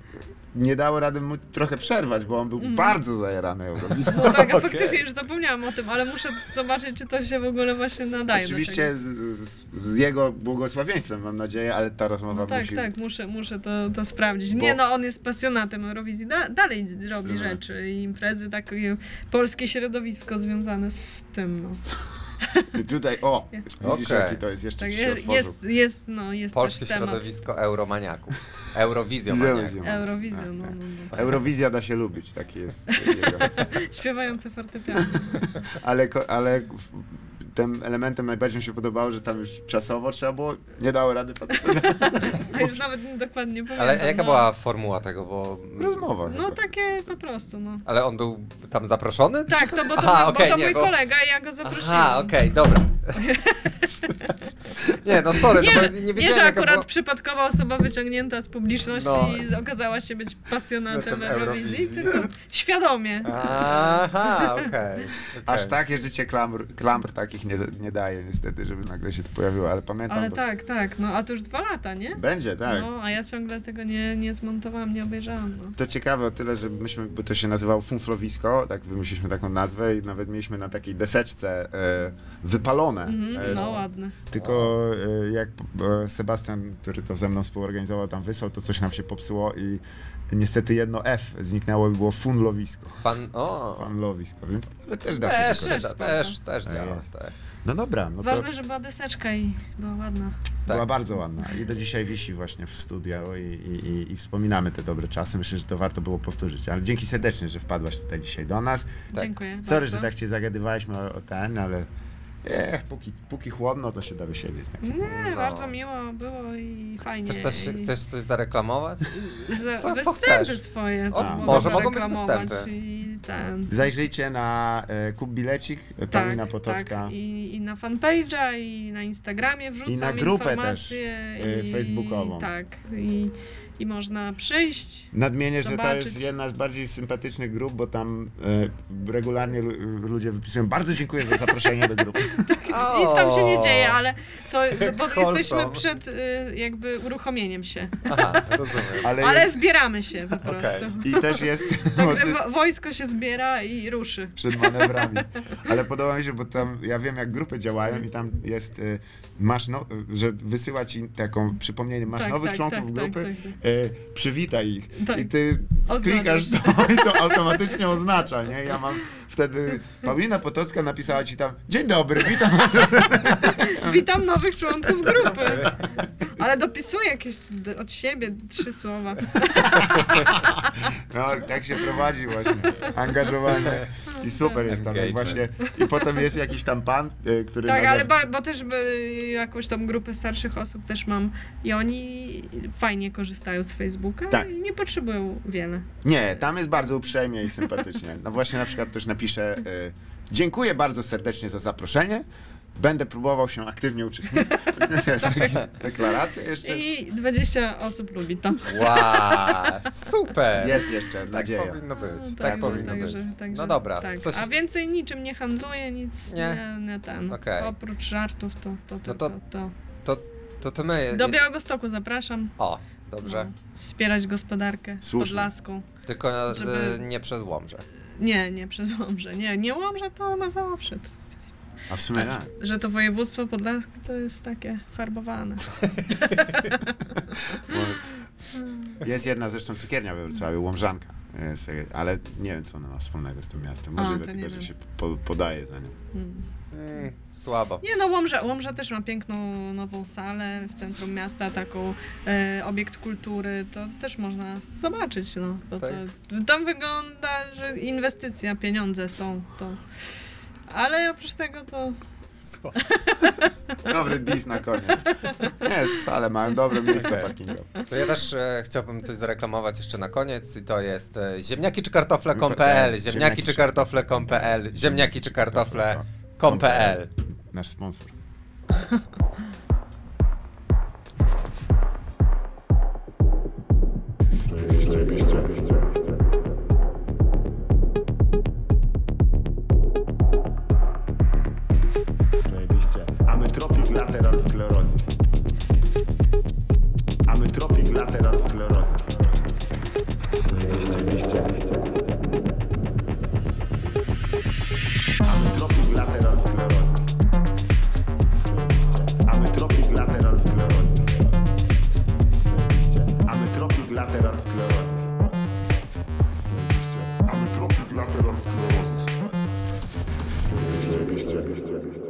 C: nie dało rady mu trochę przerwać, bo on był bardzo zajarany Eurowizją.
E: No Mhm. [LAUGHS] tak, a faktycznie już zapomniałam o tym, ale muszę zobaczyć, czy to się w ogóle właśnie nadaje
C: Oczywiście
E: do
C: z, z, z jego błogosławieństwem, mam nadzieję, ale ta rozmowa
E: tego. No tak,
C: musi...
E: tak, muszę, muszę to, to sprawdzić. Nie
C: Bo-
E: no, on jest pasjonatem Eurowizji, da, dalej robi
C: Rozumiem.
E: rzeczy i imprezy, takie polskie środowisko związane z tym, no.
C: I tutaj, o, widzisz
D: Okej.
C: jaki to jest, jeszcze
E: Tak,
C: ci się otworzył.
E: jest, jest, no, jest
D: Polskie
E: też temat.
D: środowisko euromaniaków. Eurowizją
C: Eurowizją.
E: Eurowizja,
C: Tak,
E: no,
C: tak.
E: no, no.
C: Eurowizja da się lubić, taki jest jego...
E: [LAUGHS] Śpiewające fortepiany.
D: [LAUGHS]
C: Ale, ko- ale w- tym elementem najbardziej mi się podobało, że tam już czasowo trzeba było, nie dało rady facetowi.
E: A już nawet dokładnie pamiętam.
D: Ale jaka
E: no.
D: była formuła tego, bo...
C: Rozmowa.
E: No takie po prostu, no.
D: Ale on był tam zaproszony?
E: Tak, to bo to,
D: [LAUGHS] Aha,
E: bo
D: okej,
E: to
D: nie,
E: mój
D: bo-
E: kolega i ja go zaprosiłam. [LAUGHS]
D: Aha, okej, dobra. Nie, no sorry,
E: Nie,
D: no bo
E: że-
D: nie
E: nie,
D: wiedziałem
E: że
D: jaka
E: akurat
D: była...
E: przypadkowa osoba wyciągnięta z publiczności
D: No.
E: i z- okazała się być pasjonatem
D: Jestem
E: Eurowizji,
D: Eurowizji.
E: tylko świadomie.
D: Aha, okej.
C: Aż tak.
D: okej.
C: takie życie klamr, klamr takich nie, nie daje niestety, żeby nagle się to pojawiło, ale pamiętam.
E: Ale
C: bo-
E: tak, tak, no a to już dwa lata, nie?
C: Będzie, tak.
E: No, a ja ciągle tego nie, nie zmontowałam, nie obejrzałam. No.
C: To ciekawe o tyle, że myśmy, bo to się nazywało Funflowisko, tak wymyśliliśmy taką nazwę i nawet mieliśmy na takiej deseczce e, wypalone. e,
E: Mhm, no ładne.
C: Tylko e, jak e, Sebastian, który to ze mną współorganizował, tam wysłał, to coś nam się popsuło i niestety jedno F zniknęło i było funlowisko.
D: Fan... O,
C: Funlowisko, więc nawet też da się
D: też,
C: wykorzystać.
D: też,
E: Też
D: też, też
C: Tak
D: działa,
C: jest.
D: tak.
C: No dobra, no to
E: Ważne, że była deseczka i była ładna.
C: była
D: tak.
C: bardzo ładna i do dzisiaj wisi właśnie w studio i, i, i, i wspominamy te dobre czasy. Myślę, że to warto było powtórzyć, ale dzięki serdecznie, że wpadłaś tutaj dzisiaj do nas.
D: Tak.
E: Dziękuję
C: Sorry,
E: bardzo.
C: że tak cię zagadywaliśmy o, o ten, ale eh, póki, póki chłodno, to się da wysiedzieć. Tak.
E: Nie,
D: No.
E: bardzo miło było i fajnie.
D: Chcesz coś,
E: i-
D: chcesz coś zareklamować?
E: Za,
D: co- co
E: występy
D: chcesz?
E: swoje.
D: O,
E: tam
D: może mogą być
E: zareklamować
D: występy.
E: I ten.
C: Zajrzyjcie na e, Kup Bilecik, e, Paulina Potocka.
E: Tak. I, I na fanpage'a, i na Instagramie wrzucam
C: I na grupę też,
E: informacje.
C: y, facebookową.
E: Tak. I, I można przyjść.
C: Nadmienię, że to
E: Zobaczyć.
C: jest jedna z bardziej sympatycznych grup, bo tam e, regularnie lu- ludzie wypisują bardzo dziękuję za zaproszenie do
E: [LAUGHS]
C: grupy.
E: [LAUGHS]
C: No.
E: Nic tam się nie dzieje, ale to, to
C: [LAUGHS]
E: bo
D: Wholesome.
E: jesteśmy przed y, jakby uruchomieniem się.
D: Aha, rozumiem.
C: Ale,
E: Ale
C: jest,
E: zbieramy się po
C: [LAUGHS]
E: prostu.
C: i też jest
E: [LAUGHS]
C: [LAUGHS]
E: Także wo- wojsko się zbiera i ruszy.
C: przed manewrami. Ale podoba mi się, bo tam ja wiem jak grupy działają i tam jest e, masz no, że wysyła ci taką przypomnienie, masz
E: Tak,
C: nowych
E: tak,
C: członków
E: tak,
C: grupy,
E: tak, tak,
C: e, przywitaj ich.
E: Tak.
C: I ty
E: Oznaczasz.
C: klikasz to i to automatycznie oznacza, nie? Ja mam wtedy Paulina Potocka napisała ci tam dzień dobry, witam
E: Witam nowych
C: [LAUGHS]
E: członków grupy. Ale dopisuję jakieś d- od siebie trzy słowa.
C: No, tak się prowadzi właśnie. Angażowanie. I super jest tam. Jak właśnie.
D: Engagement.
C: I potem jest jakiś tam pan, y, który.
E: Tak,
C: nagle-
E: ale ba- bo też y, jakąś tam grupę starszych osób też mam i oni fajnie korzystają z Facebooka
C: Tak.
E: i nie potrzebują wiele.
C: Nie, tam jest bardzo uprzejmie i sympatycznie. No właśnie na przykład ktoś napisze. Y, Dziękuję bardzo serdecznie za zaproszenie. Będę próbował się aktywnie uczestniczyć. [LAUGHS] Wiesz, takie deklaracje jeszcze.
E: I 20 osób lubi to.
D: Wow, super.
C: Jest jeszcze
D: tak
C: nadzieja.
D: powinno być, tak,
E: No, Także-
D: powinno
E: także-
D: być.
E: także
D: no dobra,
E: Tak.
D: coś,
E: A więcej niczym nie handluję, nic nie,
D: Nie.
E: nie, ten.
D: Okej. No
E: Oprócz żartów to, to,
D: to-
E: to, to, to.
D: to, to, to my...
E: Do Białego Stoku zapraszam. No,
D: O, dobrze.
E: Wspierać gospodarkę
C: Słusznie.
E: podlaską.
D: Tylko
E: Żeby-
D: y, nie przez Łomże.
E: Nie, nie przez Łomże. Nie, nie Łomże to ma zawsze. To,
C: A w sumie tak.
E: że to województwo podlaskie to jest takie farbowane.
C: Jest jedna zresztą cukiernia we Wrocławiu, Łomżanka. Jest, y, Ale nie wiem, co ona ma wspólnego z tym miastem.
E: A,
C: Może
E: to
C: dlatego,
E: nie
C: że
E: wiem.
C: się po, podaje za nią.
E: Mm.
D: Mm, słabo.
E: Nie no, Łomża, Łomża też ma piękną nową salę w centrum miasta, taką e, obiekt kultury, to też można zobaczyć, no. Bo
D: Tak.
E: to, tam wygląda, że inwestycja, pieniądze są, to... Ale oprócz tego to...
C: Dobry dis na koniec. Jest, ale mają dobre miejsce
D: Okej.
C: parkingowe.
D: To ja też e, chciałbym coś zareklamować jeszcze na koniec i to jest e, ziemniaki czy kartofle.com.pl,
C: Ziemniaki
D: ziemniaki czy
C: czy-
D: kartofle.com.pl, ziemniaki czy kartofle.com.pl.
C: Nasz sponsor.
H: Zajebiście. Amytropik lateral sklerozis. Amytropik lateral sklerozis. Zajebiście. Amytropik lateral sklerozis. Zajebiście. Amytropik lateral sklerozis. Zajebiście. Amytropik lateral sklerozis. Zajebiście. Amytropik lateral sklerozis. Zajebiście. Zajebiście.